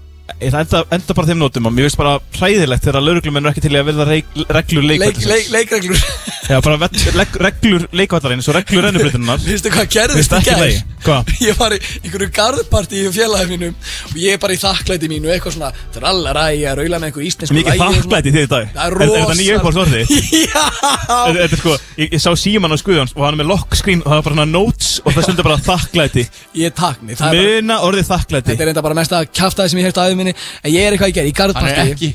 D: Ég ætla enda, enda bara þeim nótum að mér finnst bara hræðilegt þegar leiruglumenn eru ekki til í að verða reik, reglur
C: Leik,
D: leikvallarins
C: leik, Leikreglur
D: Já, bara vet, leg, reglur leikvallarins og reglur rennubritunar
C: Vistu hvað gerðist
D: Finnst
C: í
D: ekki
C: gær?
D: leið Hvað?
C: Ég var í einhverju garðparti í félagið mínum og ég er bara í þakklæti mínu eitthvað svona trallaræ að raula með einhverju íslensku
D: Mikið
C: lagi,
D: þakklæti þér í dag
C: Það er
D: Er- Er þetta
C: rosa-
D: nýja uppáhaldsorði?
C: svona-
D: Þetta þetta er sko, ég, ég sá síman á skuðans og hann er með lock screen og það er bara svona notes og það stendur bara þakklæti
C: Já, ég takni Það er bara
D: Muna orðið þakklæti
C: Þetta er enda bara mesta kjaftaði sem ég hérta aðeins minni En ég er eitthvað í gær, í garðparti
E: Hann er ekki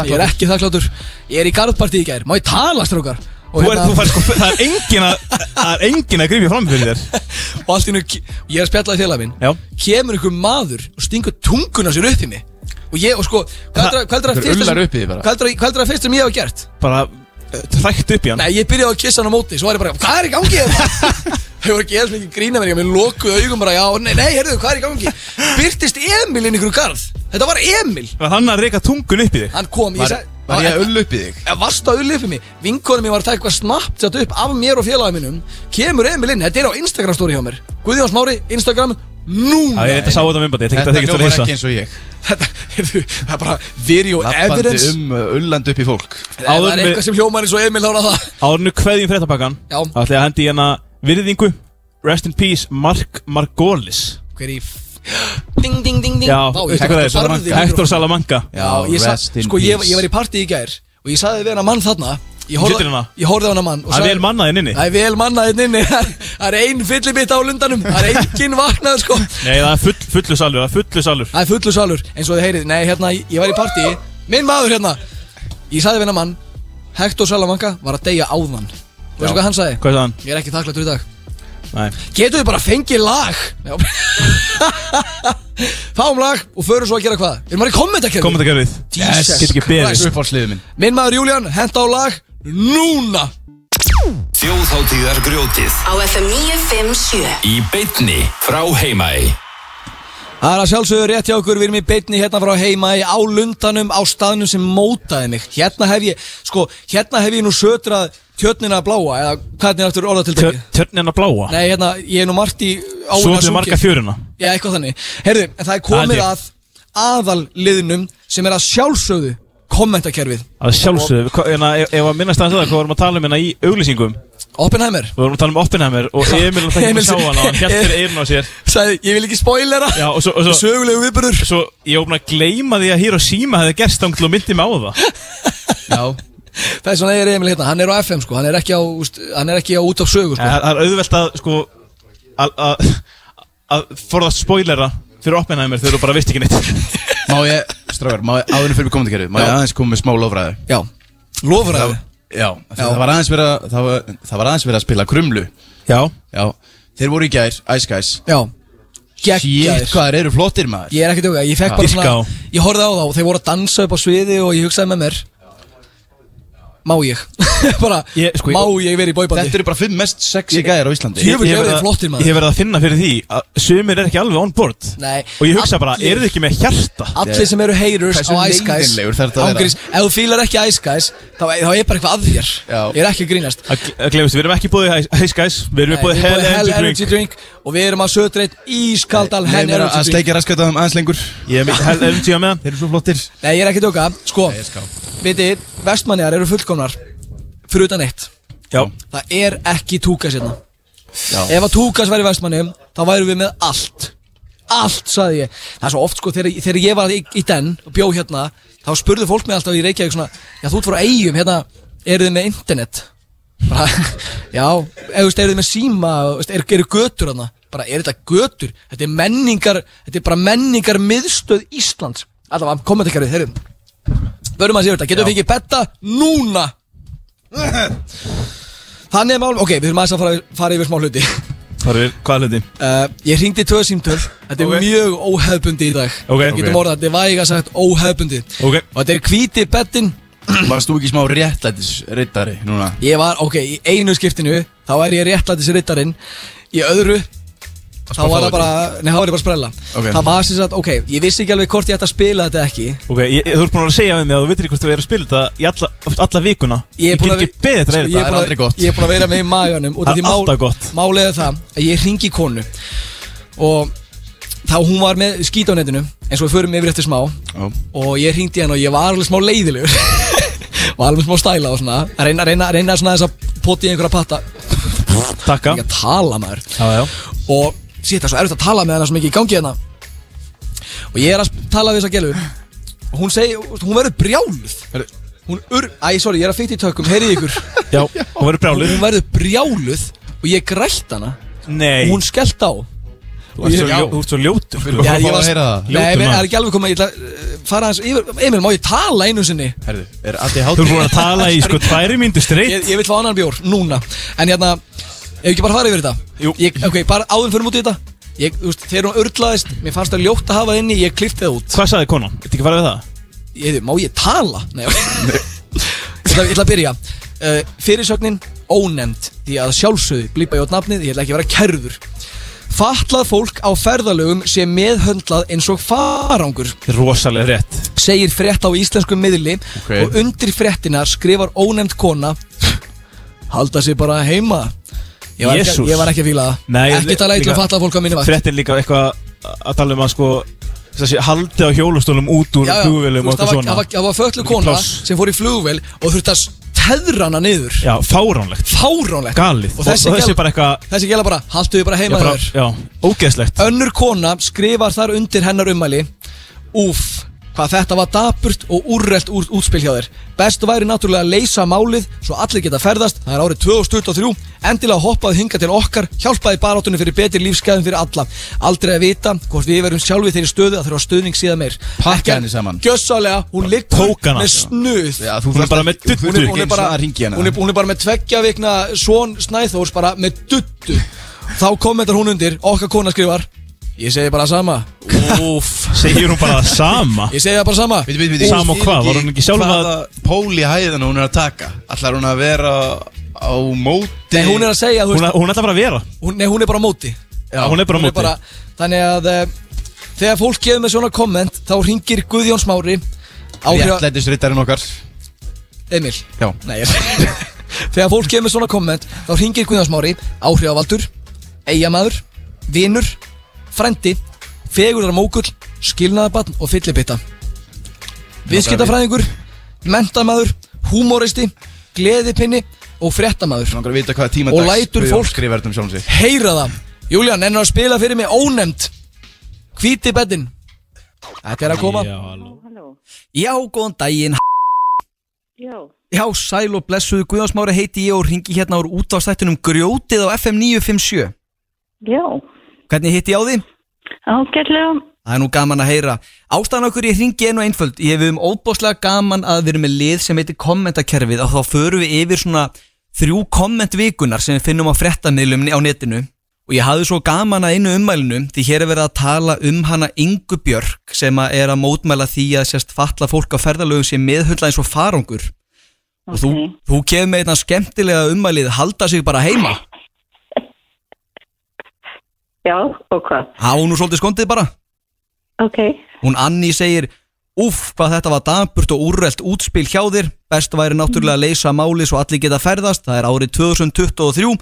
C: Ég er ekki þakkláttur Ég er í garðparti í gær, má ég tala strókar Og,
D: Þú er,
C: hérna-
D: þú fær sko, það er engin að, það er engin að grifja fram fyrir þér
E: sko-
C: og allt í nú Ég er að spjalla í félag minn
D: Já.
C: Kemur einhver maður og stingur tunguna sér upp í mig Og ég, og sko, hvað er það- hvað er það
E: Þú
C: fyrsta sem-
E: rullar upp í því bara.
C: hvað er það- hvað er það fyrst sem ég hef gert?
D: Bara eh, trækt upp í hann
C: Nei, ég byrjaði að kissa hann á móti, svo var ég bara, hvað er í gangi þetta? Þau voru ekki eða sem ekki grína mér, ég með lokuð augum bara, já, nei, nei, herðu, hvað er í gangi? Byrtist Emil inn í einhverju garð, þetta var Emil,
D: Var hann að reyka tungun upp í þig?
C: hann kom, ég
E: Var,
C: sagði,
E: var ég að ull upp í þig?
C: Ég varst að ullið fyrir mig, vinkonum ég var að taka eitthvað snabbt þetta upp af mér og félagum minnum, kemur Emil inn, þetta er á Instagram story hjá mér, Guðjón Smári, Instagram,
D: Já,
C: núna,
D: ég reynda að sá þetta með bara, ég tekst
E: Þetta
D: að þykist að
E: hljómar
D: reysa
E: ekki eins og ég
C: þetta, heyrðu, það er bara video
E: Lappandi
C: evidence,
E: um uh, ullandi upp í fólk
C: Ef það
D: áður
C: er
D: með-
C: eitthvað sem hljómar eins og Emil þá er það,
D: Árnu kveðjum fréttapakkan
C: Já.
D: Ætli að hendi í hana virðingu Rest in peace, Mark Margolis
C: hver í, f- ding, ding, ding, ding,
D: Já,
C: Vá, ég
D: veistu
C: tók
D: hvað
C: eftir
D: það
C: barðið í
D: er? Hector Salamanca
E: Já,
C: Já, ég sa,
E: rest in
C: sko, ég,
E: peace.
C: ég var í partí í gær og ég sagði við hennar mann þarna Ég horfði
D: Sittir hana?
C: ég horfði á hennar mann og
D: Það er
C: sagði-
D: vel mannaðinn inni
C: Það er vel mannaðinn inni Það er ein fyllibitt á lundanum Það er engin vaknað sko
D: Nei, það er full, fullu salur, það er fullu salur
C: Það er fullu salur eins og þið heyrið Nei, hérna, ég var í partí Minn maður hérna Ég sagði við hennar mann Hector Salamanca var að deyja áðan Og veistu hvað hann sagði?
D: Hvað er það hann?
C: Ég er ekki þakklættur í dag
D: Nei
C: Getur þið bara að fengi lag? Já. Fáum lag og förum svo að gera hvað? Erum maður í kommentakerfi?
D: Komum þetta gerðið
C: Jesus
D: Get ekki beðist
E: Upp á sliðu minn
C: Minn maður Júlían, henda á lag Núna
A: Þjóðháttíðar grjótið
B: Á FM 957
A: Í beitni frá heimæ
C: Það er að sjálfsögur rétt hjá okkur, við erum í beitni hérna frá heima í á lundanum, á staðnum sem mótaði mig. Hérna hef ég, sko, hérna hef ég nú sötrað tjörnina bláa, eða hvernig er aftur orðatiltækið?
D: Tjörnina bláa
C: Nei, hérna, ég er nú margt í áin
D: Svo til marga fjöruna
C: Já, eitthvað þannig. Herðu, en það er komið
D: Það er
C: að aðal liðnum sem er að sjálfsögðu kommentakerfið.
D: Að sjálfsögðu, hva- hérna, ef ef að minnast aðeins það, hvað vorum að tala um hérna í auglýsingum Við
C: Oppenheimer,
D: vorum að tala um Oppenheimer og Emil alltaf ekki
C: Emil-
D: að sjá hann og hann hélt fyrir eyrun á sér
C: sagði, ég vil ekki spoilera,
D: Já, og svo, og svo,
C: sögulegu viðbörður.
D: svo ég ofna að gleyma því að Hiroshima hefði gerst þangt og myndi mig á það
E: Já
C: Það er svona eigir Emil hérna, hann er á FM sko, hann er ekki á, úst, hann er ekki á út af
D: En
C: sögu sko.
D: Það það er auðvelt að, sko, að- að að forðast spoilera fyrir Oppenheimer þegar þú bara veist ekki neitt
E: Má ég, strákar, má ég áðurinn fyrir komandakerfið Má ég
C: Já.
E: aðeins koma með smá lofræðu
C: Já, lofraði.
E: Já, af því það var aðeins verið að það var- það var aðeins verið að spila krumlu
D: Já
E: Já, þeir voru í gær, Ice Guys
C: Já,
E: Shit,
C: geggjaður.
E: hvað þeir eru flottir maður
C: Ég er ekki djóka, ég fekk
E: Ha,
C: bara
D: dýrka á.
C: svona Ég horfði á þá, þeir voru að dansa upp á sviði og ég hugsaði með mér Má ég? bara,
D: Ég- sko, ég-
C: má ég verið í bóibandi?
E: Þetta eru bara fimm mest sexy gæjar á Íslandi
C: Djöfull
D: Ég hef
C: eru
D: verið
C: þeir
D: að-
C: flottir, maður.
D: Ég hef verið að finna fyrir því að sumir er ekki alveg on board
C: Nei.
D: Og ég hugsa bara,
C: Allir-
D: eru þið ekki með hjarta?
C: Allir sem eru haters
E: Hversu
C: á Ice Guys
E: leiðinlegur þarf þetta að vera?
C: ángriðs- Ef þú fílar ekki Ice Guys þá, þá er bara eitthvað að þér
E: Já.
C: Ég er ekki að grínast
D: Að að gleymast, við erum ekki búið í Ice Guys Við erum
C: Nei,
D: búið
C: við
D: í
C: erum
D: Hell
C: boðið
D: Energy Drink
C: Drink Og við erum að sötra eitt ískaldal
E: Nei,
C: Hell
E: meira að
C: Energy Drink
E: sleikja raskata þeim aðeins lengur
D: Ég hef mikið Hell Energy á meðan
E: Þeir eru svo flottir
C: Nei, ég er ekki að djóka, sko Viti, vestmanniðar eru fullkomnar Fyrir utan eitt
D: Já
C: Það er ekki túkas hérna
E: Já.
C: Ef að túkas væri vestmanni Þá værum við með allt allt, sagði ég Það er svo oft sko, þegar, þegar ég var í, í den og bjó hérna Þá spurði fólk mig alltaf í Reykjavík svona Já, þú ert frá eigum, hérna, eru þið með internet? Bara, já, eða, veist, eru þið með síma, og, veist, eru, eru götur hérna? Bara, eru þetta götur? Þetta er menningar, þetta er bara menningar miðstöð Íslands Alltaf, kommentakarið, þeirri Börum að séu þetta, getum við fengið betta núna Þannig er mál, ok, við þurfum aðeins að fara, fara yfir smá hluti
D: Hvað er, hvað er hluti?
C: uh, Ég hringdi í tvö símtöl Þetta er
D: Ok.
C: mjög óhefbundi í dag
D: Ok.
C: Getum orðað, þetta er væga sagt óhefbundi
D: Ok.
C: Og þetta er hvíti bettin
E: Varst þú ekki smá réttlætisrittari núna?
C: Ég var, ok, í einu skiptinu Þá er ég réttlætis rittarinn Í öðru Þá var það bara, nei, þá var ég bara að sprella
E: Ok.
C: Það var sem sagt, ok, ég vissi ekki alveg hvort ég ætti að spila þetta eða ekki
D: Ok, ég, þú ert búin að segja við mig að þú veitir hvort þú er að spila þetta í alla, alla vikuna
C: Ég er búin
D: get
C: að
D: ekki beðið þetta
C: Sko,
D: reyðið
E: það
C: ég er
E: er
C: búin að-
E: aldrei gott.
C: Ég er búin að vera með í maganum út af
D: Það er
C: því mál-
D: alltaf gott.
C: Málið er það að ég hringi í konu Og þá hún var með skít á netinu En svo við förum yfir eftir smá
E: Já.
C: Og ég hringdi í hann og ég var alveg smá leiðilegur Og alveg smá stæla og svona Að reyna, reyna, reyna svona þess að poti í einhverja patta
D: Takka
C: Ekki að tala maður
D: Já, já
C: og síðan svo erfitt að tala með hana sem ekki í gangi hérna og ég er að sp- tala við þessa gælu og hún segi, hún verður brjáluð hún ur, æ, sorry, ég er að fytti í tökum, heyrið ykkur
D: Já, hún verður brjálur
C: hún verður brjáluð og ég grætt hana
D: Nei
C: og hún skellt á
D: Þú ert svo ljó- þú ert svo ljótur
E: Fyrir- Já,
D: Þú
E: ég var- heyra það.
C: Nei,
D: Ljótur
C: ég
D: maður.
C: er ekki alveg komið, ég ætla að uh, fara hans yfir Emil, má ég tala einu sinni?
E: Herðu, er allir hátt?
D: ert búin að tala í sko tværi myndu
C: Ég,
D: streitt
C: ég vil fá annan bjór, núna En hérna, ef ekki bara fara yfir þetta
D: Jú.
C: ég, Ok, bara áðum fyrir mútið þetta Ég, þú veist, þegar hún örlaðist, mér fannst það ljótt að hafa það inni, ég klippti það út
D: Hvað sagði konan? Þetta ekki farið við það?
C: ég, má ég tala? Nei, ég ætla, ég ætla að byrja uh, Fyrirsögnin ónefnd Því að sjálfsögðu blípa ég át nafnið Ég ætla ekki að vera kerður Fatlað fólk á ferðalögum sé meðhöndlað eins og farangur
D: Þetta er rosalega rétt
C: segir frétt á íslenskum miðli
E: Ok.
C: og undir fréttina skrifar ónefnd kona halda sér bara heima ég var, ekki,
D: Jesús.
C: ég var ekki að fíla það
D: Nei,
C: ekki tala eitthvað fatlað fólk á minni vakt
D: Frettin líka eitthvað að tala um að sko Þessi haldi á hjólastólum út úr
C: Já, já,
D: flugvélum og
C: þú veist,
D: eitthvað
C: það var- það
D: svona
C: var- það var fötlu kona
D: Pláss.
C: sem fór í flugvél og þurfti að teðra hana niður
D: Já, fáránlegt
C: fáránlegt
D: Galið
C: og þessi,
D: Og þessi
C: gæla,
D: bara eitthvað
C: þessi gæla bara haltu þið bara
D: Já,
C: heima
D: bara,
C: þér
D: já, ógeðslegt
C: önnur kona skrifar þar undir hennar ummæli úf hvað þetta var dapurt og úrrelt úr, útspil hjá þér best væri náttúrulega að leysa málið svo allir geta ferðast, það er árið 2023 endilega hoppaði hinga til okkar hjálpaði barátunni fyrir betri lífskeiðum fyrir alla aldrei að vita hvort við verum sjálfi þeirri stöðu að þurfa stuðning síðan meir
E: Pakka
C: Ekki-
E: henni saman.
C: gjössalega, hún liggur
D: tók hana.
C: með snuð
E: Já, þú
D: Hún er
E: þarft
D: bara
E: ekki-
D: með duttu.
E: þú
C: hún er,
E: þurftir ekki
C: hún,
E: einu
C: er
E: sinni
C: bara,
E: að hérna. ringja hana.
C: hún, er, hún er bara með tveggja vikna Svon Snæþórs bara með duttu Þá kommentar hún undir Okkar kona skrifar Ég segi bara sama
D: Úff Segir hún bara það sama
C: Ég segi það bara sama
E: Bíddu, bíddu, bíddu, ég
D: Sama og
E: skil
D: hvað, var hún ekki sjálf að-
E: hvaða Pól í hæðina hún er að taka Ætlar hún að vera á móti
C: Nei, hún er að segja þú
D: Hún,
C: veist,
D: hún ætla bara að vera
C: hún, Nei, hún er bara á móti
D: Já, hún er bara á móti
C: Þannig að eh, Þegar fólk gefur með svona komment Þá ringir Guðjón Smári Áhrif
E: Réttlætisrittarinn okkar
C: Emil
E: Já.
C: Nei, ég Þegar fólk gefur með svona komment Þá ringir Guðjón Smári Áhrifavaldur Eyjamaður Vinur Frendi Fegurðarmókull Skilnaðabatn og fyllibitta Viðskiptafræðingur Mentamaður Húmóristi Gleðipinni Og fréttamaður
E: Hún er að vita hvaða tíma
C: Og lætur fólk-
E: skrifa þetta um sjálfum sig
C: Heyra það Júlían, ennur að spila fyrir mig ónefnd Hvíti beddin Þetta er að koma
D: Já, alveg.
G: Halló,
C: Já, góðan daginn
G: já,
C: Já, sæl og blessuð Guðjónsmári heiti ég og ringi hérna úr útvarstættunum Grjótið á FM 957
G: já,
C: Hvernig hitti ég á því?
G: ágætlega,
C: Það er nú gaman að heyra Ástæðan okkur ég ringi einu einföld Ég hef um óbáslega gaman að við erum með lið sem heitir kommentakerfið og þá förum við yfir svona þrjú kommentvikunar sem við finnum á frettamiðlumni á netinu og ég hafði svo gaman að einu ummælinu því hér er verið að tala um hana Ingu Björk sem að er að mótmæla því að sérst falla fólk á ferðalögum sem meðhulla eins og farangur og þú,
G: Ok.
C: þú kemur með einna skemmtilega ummælið halda sig bara heima
G: já, og hvað?
C: Há nú svolítið skondið bara
G: Ok,
C: Hún Anni segir Úff, hvað þetta var dapurt og úrrelt útspil hjá þér Best væri náttúrulega að leysa máli svo allir geta ferðast Það er árið 2023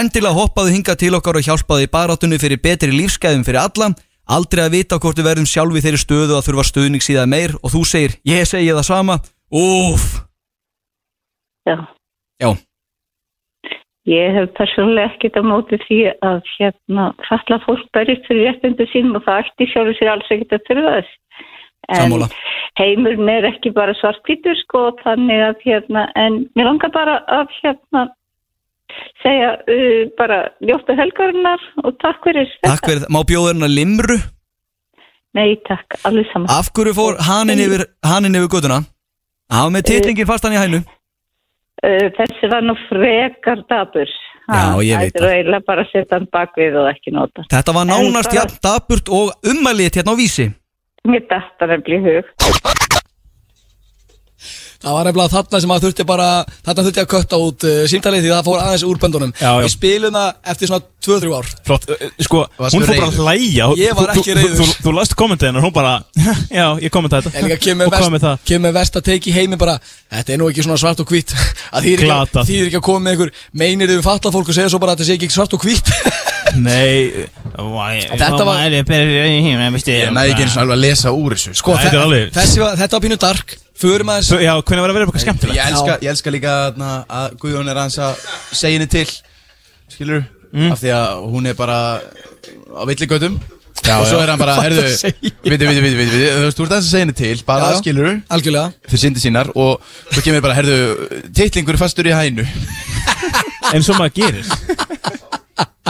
C: Endilega hoppaðu hinga til okkar og hjálpaðu í baráttunni fyrir betri lífsgæðum fyrir alla Aldrei að vita hvort við verðum sjálfi þeirri stöðu að þurfa stuðning síðan meir Og þú segir, ég segi það sama Úff
G: já.
C: Já.
G: Ég hef persónulega ekkert á móti því að hérna falla fólk berjist fyrir réttundu sínum og það ætti sjálfur sér alls ekkert að þurfa þess. En
C: Sammála.
G: heimurinn er ekki bara svartkvítur sko þannig að hérna en mér langar bara að hérna segja uh, bara ljóta helgarinnar og takk fyrir þetta.
H: Takk fyrir það. Má bjóða hérna limru?
G: Nei takk, alveg saman.
H: Af hverju fór haninn yfir, hanin yfir göduna? Há með titlingin fastan í hænu.
G: Uh, þessi var nú frekar dabur.
H: Já, ég veit
G: það. Það er eiginlega bara að setja hann bakvið og ekki nota.
H: Þetta var nánast
G: En bara-
H: jafn daburt og ummælið hérna á vísi.
G: Mér dættar nefnilega í hug.
C: Það var nefnilega þarna sem að þurfti bara þarna þurfti að kötta út uh, símtalið því það fór aðeins úr böndunum
D: Já, já.
C: Við spilum það eftir svona 2-3 ár
D: Flott, eh, sko,
E: Varstu
D: hún fór bara að
E: reiður?
D: hlæja og
C: Ég var
D: þú-
C: ekki
D: þú-
C: reiður.
D: Þú, þú, þú last kommentið hennar, hún bara Já, ég kommenta þetta
C: En líka kemur
D: Og hvað með
C: vest,
D: það?
C: kemur vest að teki heimi bara Þetta er nú ekki svona svart og hvít að því er ekki,
D: Glatað.
C: því er ekki að koma með ykkur meinir þau fatlað fólk og segja svo bara að þetta sé ekki svart og hvít
D: Nei Væ-
C: Þetta var-
D: væri betra í heimi, veistu,
E: Ég næði ekki eins og alveg að lesa úr þessu sko.
C: Sko,
D: Þetta er alveg-
C: þessi var, þetta var pínu dark Förum aðeins
D: Svo, Já, hvernig var að vera eitthvað skemmtilegt?
E: ég, elska, ég elska líka na, að Guðjón er aðeins að segja henni til Skilur
D: Mm.
E: Af því að hún er bara á villigötum Og svo er hann bara, herðu Viti, viti, viti, viti, viti Þú veist, þú ert aðeins að segja henni til Bara
C: Já, já.
E: skilur
C: Algjörlega
E: Fyrir syndi sínar Og svo kemur bara, herðu Titlingur er fastur í hænu
D: En svo maður gerist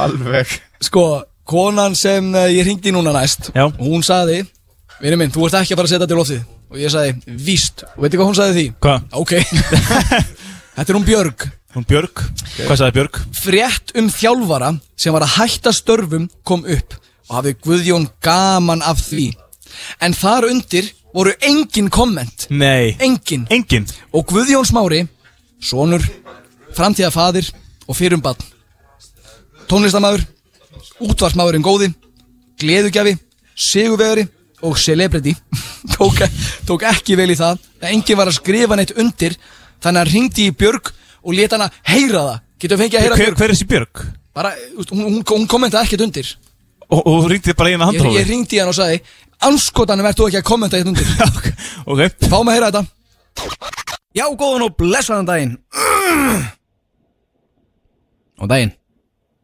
E: Alveg
C: Sko, konan sem eh, ég hringdi í núna næst
D: Já.
C: Hún saði Vinur minn, þú ert ekki að fara að setja þetta í loftið Og ég saði, víst Og veitir hvað hún saði því?
D: Hvað?
C: Ok Þetta er hún Björg
D: Hún Björg Hvað sagði Björg?
C: Frétt um þjálfara sem var að hætta störfum kom upp og hafi Guðjón gaman af því En þar undir voru engin komment
D: Nei
C: Engin
D: Engin
C: Og Guðjón Smári, sonur, framtíðafadir og fyrumbad Tónlistamæður, útvarsmæðurinn góði, gleðugjafi, sigurvegari og celebrity tók, tók ekki vel í það að enginn var að skrifa neitt undir þannig að hringdi í Björg og leta hana heyra það Getur fengið að heyra
D: hver,
C: Björg?
D: hver er þessi Björg?
C: Bara, þú veist, hún, hún, hún kommentaði ekkert undir
D: Og, og þú ringdi bara í eina
C: Ég,
D: handrófi
C: ég hringdi í hann og sagði Anskotanum ert þú ekki að kommenta eitt undir
D: Ok
C: Fáum að heyra þetta
H: Já, góðan og blessaðan daginn. Og daginn.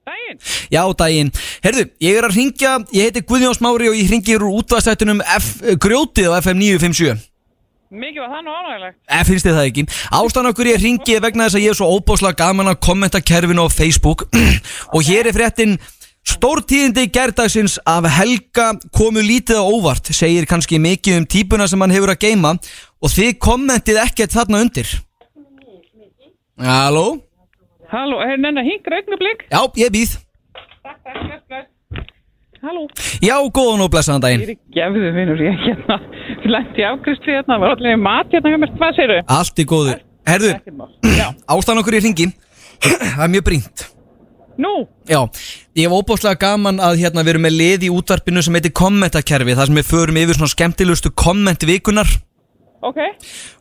I: Daginn,
H: Já, daginn. Herðu, ég er að ringja, ég heiti Guðjón Smári og ég ringi úr útvaðstættunum F, grjótið á FM 957.
I: mikið var það nú ánægilegt.
H: Eh, finnst þið það ekki? Ástæðan okkur ég ringi er vegna þess að ég er svo óbáslega gaman að kommenta kerfinu á Facebook og hér er fréttin Stórtíðindi gerdagsins af Helga komu lítið á óvart segir kannski mikið um típuna sem hann hefur að geima og þið kommentið ekkert þarna undir Halló?
I: Halló, er nenni að hingra augnablík?
H: Já, ég býð
I: Takk, takk, bless, bless. Halló.
H: Já, góðan og blessaðan daginn
I: Ég er ekki gefðu vinnur, ég hérna, lendi afgriðsli hérna, var allir í mat hérna hjá mér, hvað segir þau?
H: Allt í góðu Herðu,
I: Ekkert mál. Já,
H: ástæðan okkur ég ringi Það er mjög brínt
I: nú,
H: Já, ég hef óbáslega gaman að hérna við erum með lið í útvarpinu sem heitir kommentakerfi þar sem við förum yfir svona skemmtilegustu kommentvíkunar
I: ok,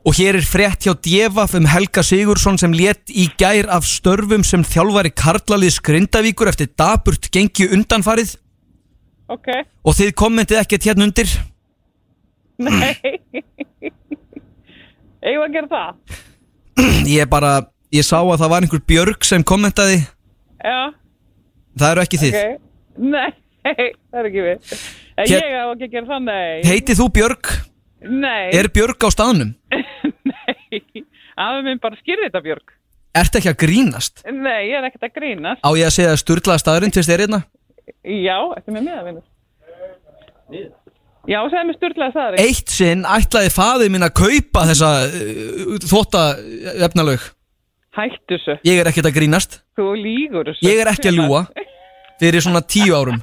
H: og hér er frétt hjá Djefaf um Helga Sigursson sem létt í gær af störfum sem þjálfari karlalið skrindavíkur eftir daburt gengi undanfarið
I: ok,
H: og þið kommentið ekkert hérna undir
I: nei. Eigum við að gera það?
H: Ég bara, ég sá að það var einhver Björg sem kommentaði,
I: Já,
H: það eru ekki þið
I: ok, nei, það er ekki við. En
H: Hér-
I: ég á ekki að gera það, nei.
H: Heitið þú Björg?
I: Nei,
H: Er Björg á staðnum?
I: nei, afi minn bara skýrði þetta, Björg.
H: Ertu ekki að grínast?
I: Nei, ég er ekkert að grínast.
H: Á ég að segja sturlaða staðurinn til þess þér hérna?
I: Já, ertu með meða, vinnur? Já, segðu mér styrlaði það, Rík.
H: eitt sinn ætlaði faðið mín að kaupa þessa uh, þvóta efnalög
I: Hættu þessu.
H: ég er ekkert að grínast,
I: Þú lígur þessu.
H: ég er ekki að ljúa fyrir svona tíu árum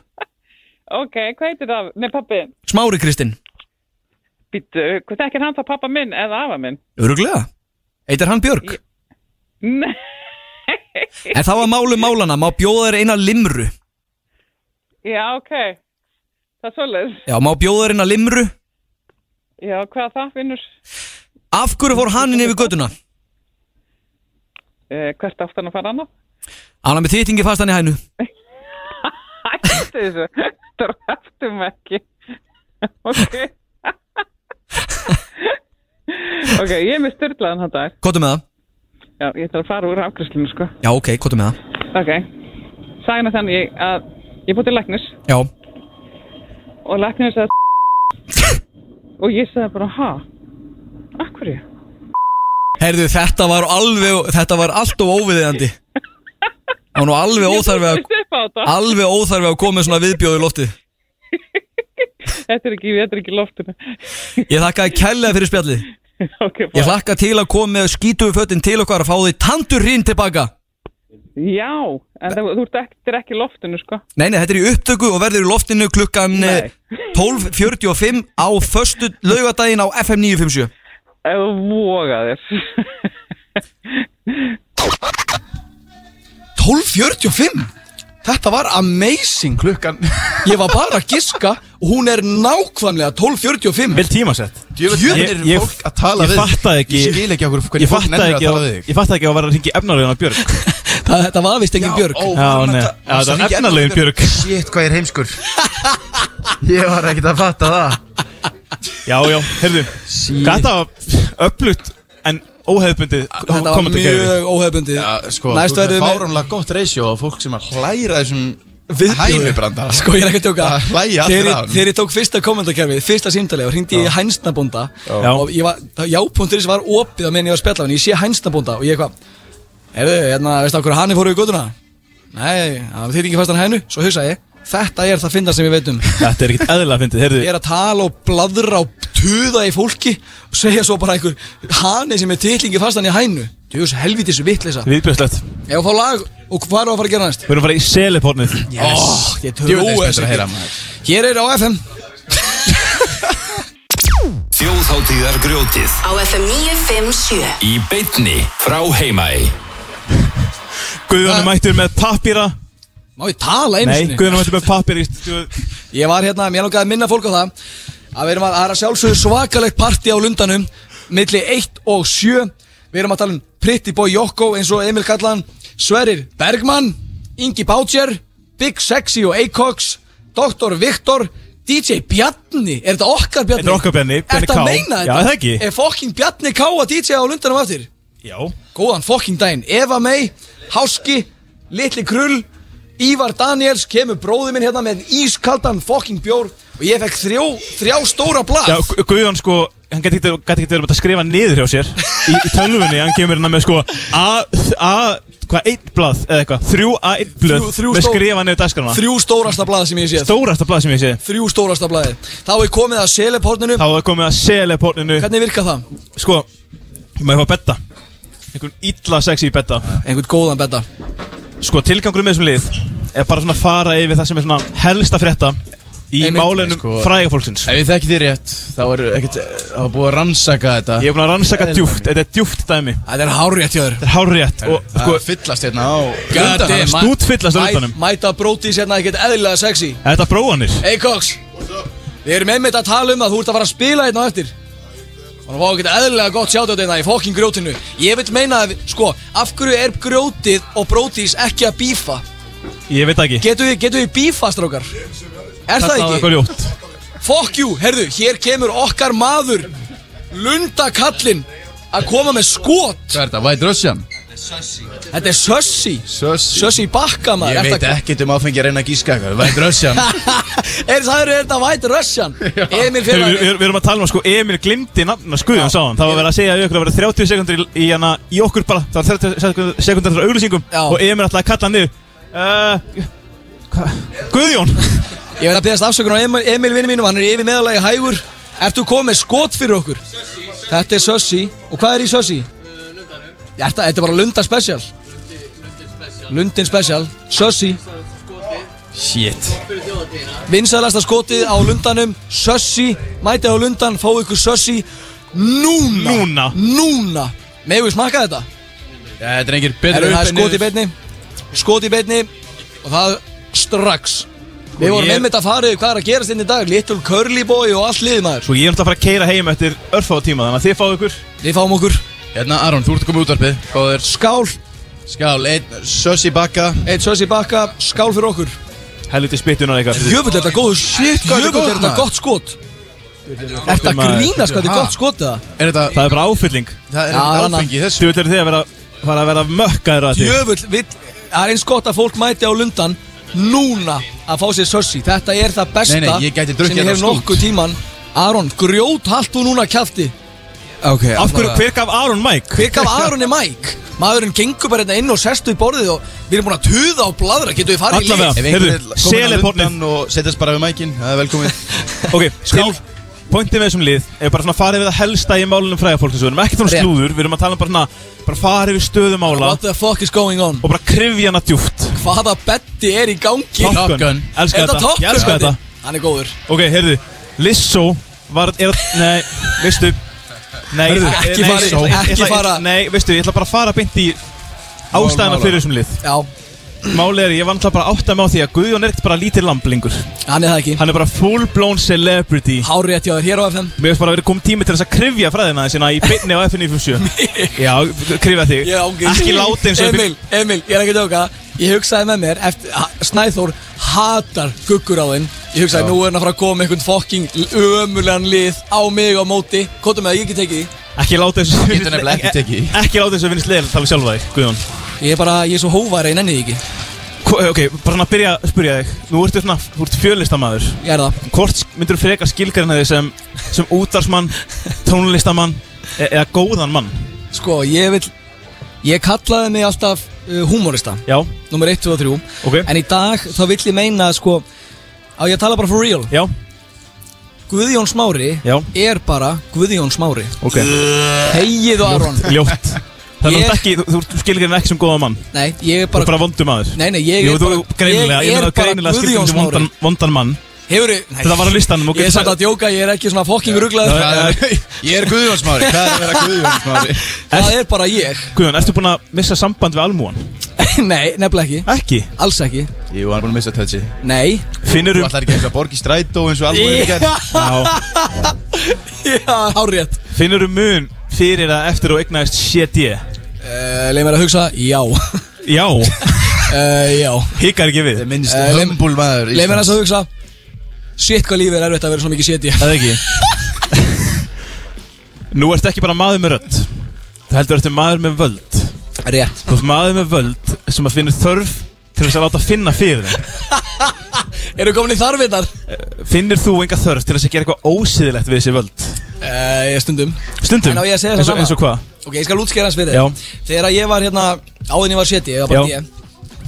I: Ok, hvað heitir það? Nei, pappi,
H: Smári Kristinn,
I: býttu, hvað þekkir hann þá pappa minn eða afa minn?
H: öruglega eitir hann Björg,
I: Nei,
H: en það var málu málana má bjóða þér eina limru
I: já, ok. Það er svolítið.
H: já, má bjóða þér eina limru
I: Já, hvað er það, vinnur?
H: af hverju fór hann inn yfir göduna?
I: Eh, hvert átt hann að fara annað?
H: hann er með þýtingi fastan í hænu
I: Hættu þessu. Þetta er hættum ekki. Ok. ok, ég er með styrlaðan hann dag.
H: kottu með það
I: Já, ég ætla að fara úr afgriðslinu, sko.
H: Já, ok, hvað er með það?
I: Ok. Sæna þannig að ég fór til læknis
H: Já,
I: og læknir sagði og ég sagði bara, ha? Akkurju?
H: heyrðu, þetta var alveg, þetta var alltof óviðiðandi Það var nú alveg óþarfi að, Ah.
I: Þetta upp á þetta.
H: alveg óþarfi að koma með svona viðbjóð í loftið
I: Þetta er ekki, þetta er ekki í loftinu.
H: Ég þakkaði kærlega fyrir spjallið
I: ok,
H: Ég
I: bara.
H: hlakka til að koma með skítuðu fötin til okkar að fá því tandurinn tilbaka
I: Já, en það, þú ert ekki, þetta er ekki í loftinu, sko.
H: Nei, nei, þetta er í upptöku og verður í loftinu klukkan eh, 12.45 á föstu laugadaginn á FM 957
I: Ef þú voga þér.
C: 12.45 Þetta var amazing
E: Klukkan
C: Ég var bara að giska og hún er nákvæmlega 12.45
D: Vel tímasett
E: Djöfnir
D: Ég- ég-
E: er fólk að tala
D: ég
E: við þig.
D: fattaði ekki-
E: Ég skil ekki okkur hvernig
D: Ég
E: fólk
D: fattaði
E: nefnir að
D: ekki
E: tala
D: að-
E: við þig
D: Ég fattaði ekki að var að ringi efnarlegin á Björg
C: Það, þetta var vist engin björg
E: ó,
D: Já,
E: var hann að
D: nei.
E: ta-
D: Já, það var
E: Ég-
D: efnalögin, Björg.
E: Shit, hvað ég er heimskur Ég var ekkert að fatta það
D: Já, já, heyrðu Þetta var upplutt en óhefðbundið
C: Þetta var
D: komandi gerði
C: mjög óhefbundi
E: Já, sko,
C: Næst
E: þú ert með
C: verður með
E: fáránlega gott reysjó á fólk sem að hlæra þessum
C: Viðbjóður.
E: hænubranda
C: Sko ég er ekki að tjóka
E: Það hlæja allir
C: Þegar
E: að
C: ég-
E: honum.
C: Þegar ég tók fyrsta kommentarkerfið Fyrsta símtalið Og hringdi ég í hænsnabónda
D: Já.
C: Og ég var það- Já.is var opið á meðan ég var að spjalla En ég sé hænsnabónda Og ég eitthvað Hefðu, hérna, veistu okkur hann er fóru í göduna? Nei, það þýtti ekki fast hann hænu Svo hugsa ég Þetta er það finna sem ég veit um
D: Þetta er ekkert eðlilega fyndið, heyrðu
C: Ég er að tala og bladra og tuða í fólki Og segja svo bara einhver Hani sem er titlingi fastan í hænu Djús helvítis vitleysa
D: Viðbjörnslegt
C: Ég á að fá lag og hvað er að fara að gera næst?
D: Við erum að fara í selipornið
C: Yes. Oh, ég
E: Djöfull
C: trúi
E: er
C: þessu
E: spenntur að heyra,
C: ekki.
E: maður.
C: Hér er á FM
A: Þjóðháttíðar grjótið
B: Á FM 957
A: Í beitni frá Heimæ
D: Guðjón er mættur með pappýra
C: Má ég tala einu
D: Nei,
C: sinni?
D: Guðjón er mættur með pappýra í stúð
C: Ég var hérna, mér langaði að minna fólk á það að við erum að, það er að sjálfsögðu svakalegt parti á lundanum milli 1 og 7 Við erum að tala um Pretty Boy Jokko eins og Emil Kallan Sverrir Bergmann Ingi Bátjer Big Sexy og Acox Dr. Viktor DJ Bjarni Er þetta okkar Bjarni?
D: Þetta er okkar Bjarni, Bjarni
C: Ertu
D: K.
C: að
D: Já,
C: meina þetta?
D: það ekki.
C: Er fokking Bjarni K að DJ á lundanum aftur?
D: Já
C: Góðan fokking daginn Eva May, Háski, Litli Krull Ívar Daniels kemur bróði minn hérna með ískaldan fokking bjór og ég fekk þrjó, þrjá stóra blað
D: Já, Gu- Guðjón sko, hann gæti ekki gæti ekki verið bara að skrifa niður hjá sér Í, í tölvunni, hann kemur hérna með sko A, a, hvað, eitt blað eða eitthvað Þrjú a, eitt blöð
C: Þrjú- þrjú
D: Með
C: stór-
D: skrifa niður dagskrana
C: Þrjú stórasta blað sem ég sé
D: Stórasta blað sem ég sé
C: Þrjú stórasta blaði Þá er komið að seleporninu
D: Þá er komið að seliporninu
C: Hvernig virka það?
D: Sko, maður fá betta Einhvern illa sexy betta
C: Einhvern góðan betta
D: Sko tilgangur með þessum lið er bara svona að fara yfir það sem er svona helst að frétta í
C: Einmitt.
D: málunum
E: Sko-
D: fræga fólksins
E: Ef ég þekki þér rétt, þá er ekkert, þá er búið að rannsaka þetta
D: Ég er búin að rannsaka djúft, þetta er djúft dæmi
C: Það er hárétt hjá þér
D: Þetta er hárrétt og
E: Það
D: sko,
E: er fyllast hérna á
C: God
E: undan
C: damn,
E: hann.
C: ma-
D: stútfyllast á
C: mæ-
D: lundanum.
C: Mæta brótið sérna ekkert eðlilega sexy
D: þetta er prófanir
C: Hey Cox Við erum einmitt að tala um að þú ert að fara að spila hérna á eftir Og það var ekkert eðlilega gott sjátt hérna í fokkin grjótinu Ég vil meina að, við- sko, af hverju er grjótið og brótis ekki að bífa?
D: Ég veit það ekki,
C: Getum við, getum við bífa, strókar? Er það
D: þetta var
C: ekki?
D: eitthvað ljótt
C: Fuck you, herðu, hér kemur okkar maður Lundakallinn að koma með skot
E: Hvað er þetta, White Russian?
C: Þetta er Sössi
E: Sössi
C: Sössi bakka maður
E: Ég veit ekkert um áfengi að reyna að gíska eitthvað White Russian
C: Er það eru þetta White Russian?
D: Við
C: Emil
D: við-
C: félagi
D: við- við erum að tala um að sko Emil glimti nafna skuðum sá hann Það var verið að segja við ykkur að vera 30 sekundur í, í, hana, í okkur bara Það var 30 sekundur þar auglýsingum
C: Já.
D: Og Emil ætlaði að kalla hann niður uh, hva- Guðjón
C: Ég verð að beðast afsökunar á Emil, Emil vinnu mínum, hann er yfir meðalagi hægur Ertu komið með skot fyrir okkur? Þetta er Sössi Og hvað er í Sössi?
E: Eh,
C: Uh, þetta, þetta er bara Lunda special Lundin special Sössi
E: Shit
C: Vinsælasta skotið á Lundanum Sössi Mætið á Lundan, fá ykkur Sössi Núna
D: Núna.
C: Núna Megum við smakka þetta?
E: Já, Þetta er engir
C: Erum
E: betur
C: það er skot í beinni Skot í beinni Og það strax Við vorum
E: ég-
C: einmitt að fara yfir hvað er að gerast inn í dag Little Curly Boy og allt liðið maður
D: Svo Sko, ég er náttúrulega að fara að keira heim eftir örfáða tíma Þannig að þið fáðu ykkur
C: Við fáum okkur
E: Hérna, Aron, þú ert að koma út arpið Góður
C: skál,
E: Skál, einn Sössi bakka
C: eitt sössi bakka, skál fyrir okkur
D: helviti spytunar eitthvað
C: Jöfull er þetta góð, shit,
E: hvað þetta
C: jöfull
E: gott,
C: er þetta
E: maður.
C: gott skot Er þetta
D: maður.
C: grínast hvað þetta er
E: Ha?
C: gott skot það?
E: Er þetta,
D: Það er bara áfylling
E: það er
C: Já,
E: ekkert
C: annað.
E: áfengi í þessu
D: Þú vil eru þið að vera fara að vera mökkaður að þig
C: Jöfull, vill- það er eins gott að fólk mæti á lundan Núna að fá sér sössi Þetta er það besta
E: Nei, nei, ég gæti drukkið
C: Sem ég
E: þetta
C: hef
E: skút.
C: nokkuð tíman Aron, grjót haldt þú núna kjafti
E: Ok,
D: Af hverju, hver gaf Aron Mike?
C: Hver gaf Aronni Mike? Maðurinn gengur bara hérna inn og sestu í borðið Og við erum búin að tuða og bladra Getum við farið
D: Allavega.
C: í lið?
E: Ef einhver
D: Heyrðu,
E: er komin að
D: selepornið.
E: lundan hérna og setjast bara við mækin, það er velkomið
D: Ok, skál Pointið með þessum lið er bara svona farið við að helsta í málunum fræða fólk Við erum ekkert um
C: Rétt.
D: slúður, við erum að tala um bara svona bara farið við stöðum mála
C: What the fuck is going on?
D: og bara krifja hana djúft
C: Hvaða betti er í gangi?
D: Top
E: Top
D: Gun,
E: Gun.
D: elska
C: Er þetta
D: þetta,
C: Top
D: ég elska
C: Gun?
D: þetta
C: Hann er góður
D: Ok, heyrðu, Lissó var, er, nei, veistu Nei,
C: Heyrðu,
D: eh,
C: ekki
D: nei,
C: fara
D: ég ætla- ég
C: í-
D: ætla-
C: ekki
D: ég ætla-
C: fara-
D: Nei, veistu, ég ætla bara að fara beint í ástæðina
E: mála.
D: fyrir þessum lið
C: Já,
D: Málið er, ég var náttúrulega bara að átta mig á því að Guðjón er ekkert bara lítið lamblingur
C: hann er það ekki
D: Hann er bara full blown celebrity
C: Hárið hjá þér hér á FM
D: Mér finnst bara að vera komið tími til þess að krifja fræðina þessina í beinni á FNF7 Já, krifja þig
C: Ég ángið
D: Ekki láta eins og
C: Emil, Emil, ég er ekki að tjóka Ég hugsaði með mér eftir, ha- Snæþór hatar guggur á þinn Ég hugsaði nú er hann að fara að koma með einhvern fokking ömulegan lið á mig á móti Kóta með að ég ekki tekið því
D: Ekki láta eins og
E: Getur nefnilega ekki tekið í.
D: Ekki láta eins og finnst leil Tala sjálfa þig, Guðjón
C: Ég er bara, ég er svo hóvar ég nenni því ekki
D: Hvo- Ok, bara svona að byrja að spyrja þig Nú ertu svona, þú ert fjölistamaður
C: Ég er það
D: Hvort myndur þú freka skilgarinn þig sem sem útarsmann, tónlistamann e eða góðan mann
C: Sko, ég vil Ég kallaði mig alltaf uh, humorista
D: Já,
C: Númer 1, 2 og 3
D: Ok.
C: En í dag þá vill ég meina sko Á ég að tala bara for real
D: já,
C: Guðjón Smári
D: Já.
C: er bara Guðjón Smári
D: ok
C: Hegið og Aron
D: Ljótt Það
C: Ég-
D: er ekki, þú, þú skilgarinn ekki sem góðan mann
C: Nei, ég er
D: Þú er
C: bara
D: bara vondum aður
C: Nei, nei, ég
D: Jú,
C: er
D: þú
C: bara
D: greinilega,
C: Ég
D: ég
C: er
D: meina
C: bara
D: greinilega skilgarinn
C: Guðjón
D: sem vondan,
C: Smári
D: vondan mann
C: Hefur
D: Þetta var á listanum ok?
C: Ég er samt að djóka, ég er ekki svona fokking rugglaður
E: Það er- Ég er Guðjónsmári, hvað er að vera Guðjónsmári?
C: Það er bara ég
D: Guðjón, ertu búinn að missa samband við almúan?
C: Nei, nefnilega ekki
D: Ekki
C: Alls ekki
E: Jú, hann er búin að missa touchi
C: Nei
D: Finnur
E: Þú
D: um,
E: ætlar ekki eitthvað að borga í strætó eins og alveg er gert
C: Já, hárétt
D: finnur um mun fyrir að eftir og eignaðist CD
C: uh, Leif mér að hugsa, já
D: Já,
C: uh, Já
D: hikar ekki við
E: Það minnst
C: Eh, leim-
E: hömbul maður
C: Leif mér að hugsa Shit, hvað lífið er erfitt að vera svona mikið seti
D: Það ekki Nú ertu ekki bara maður með rödd Það heldur ertu maður með völd
C: Rétt
D: Þú ert maður með völd sem að finnur þörf til þess að láta finna fyrir þeim
C: Eru komin í þarfinnar?
D: Finnur þú enga þörf til þess að gera eitthvað ósýðilegt við þessi völd?
C: Uh, ég stundum
D: Eh, Stundum,
C: En á ég að segja það
D: eins og,
C: sama?
D: eins og hvað?
C: Ok, ég skal útskýra hans fyrir
D: Já.
C: þér Þegar ég var hérna, áðin ég var seti, ég var bara
D: Já.
C: ég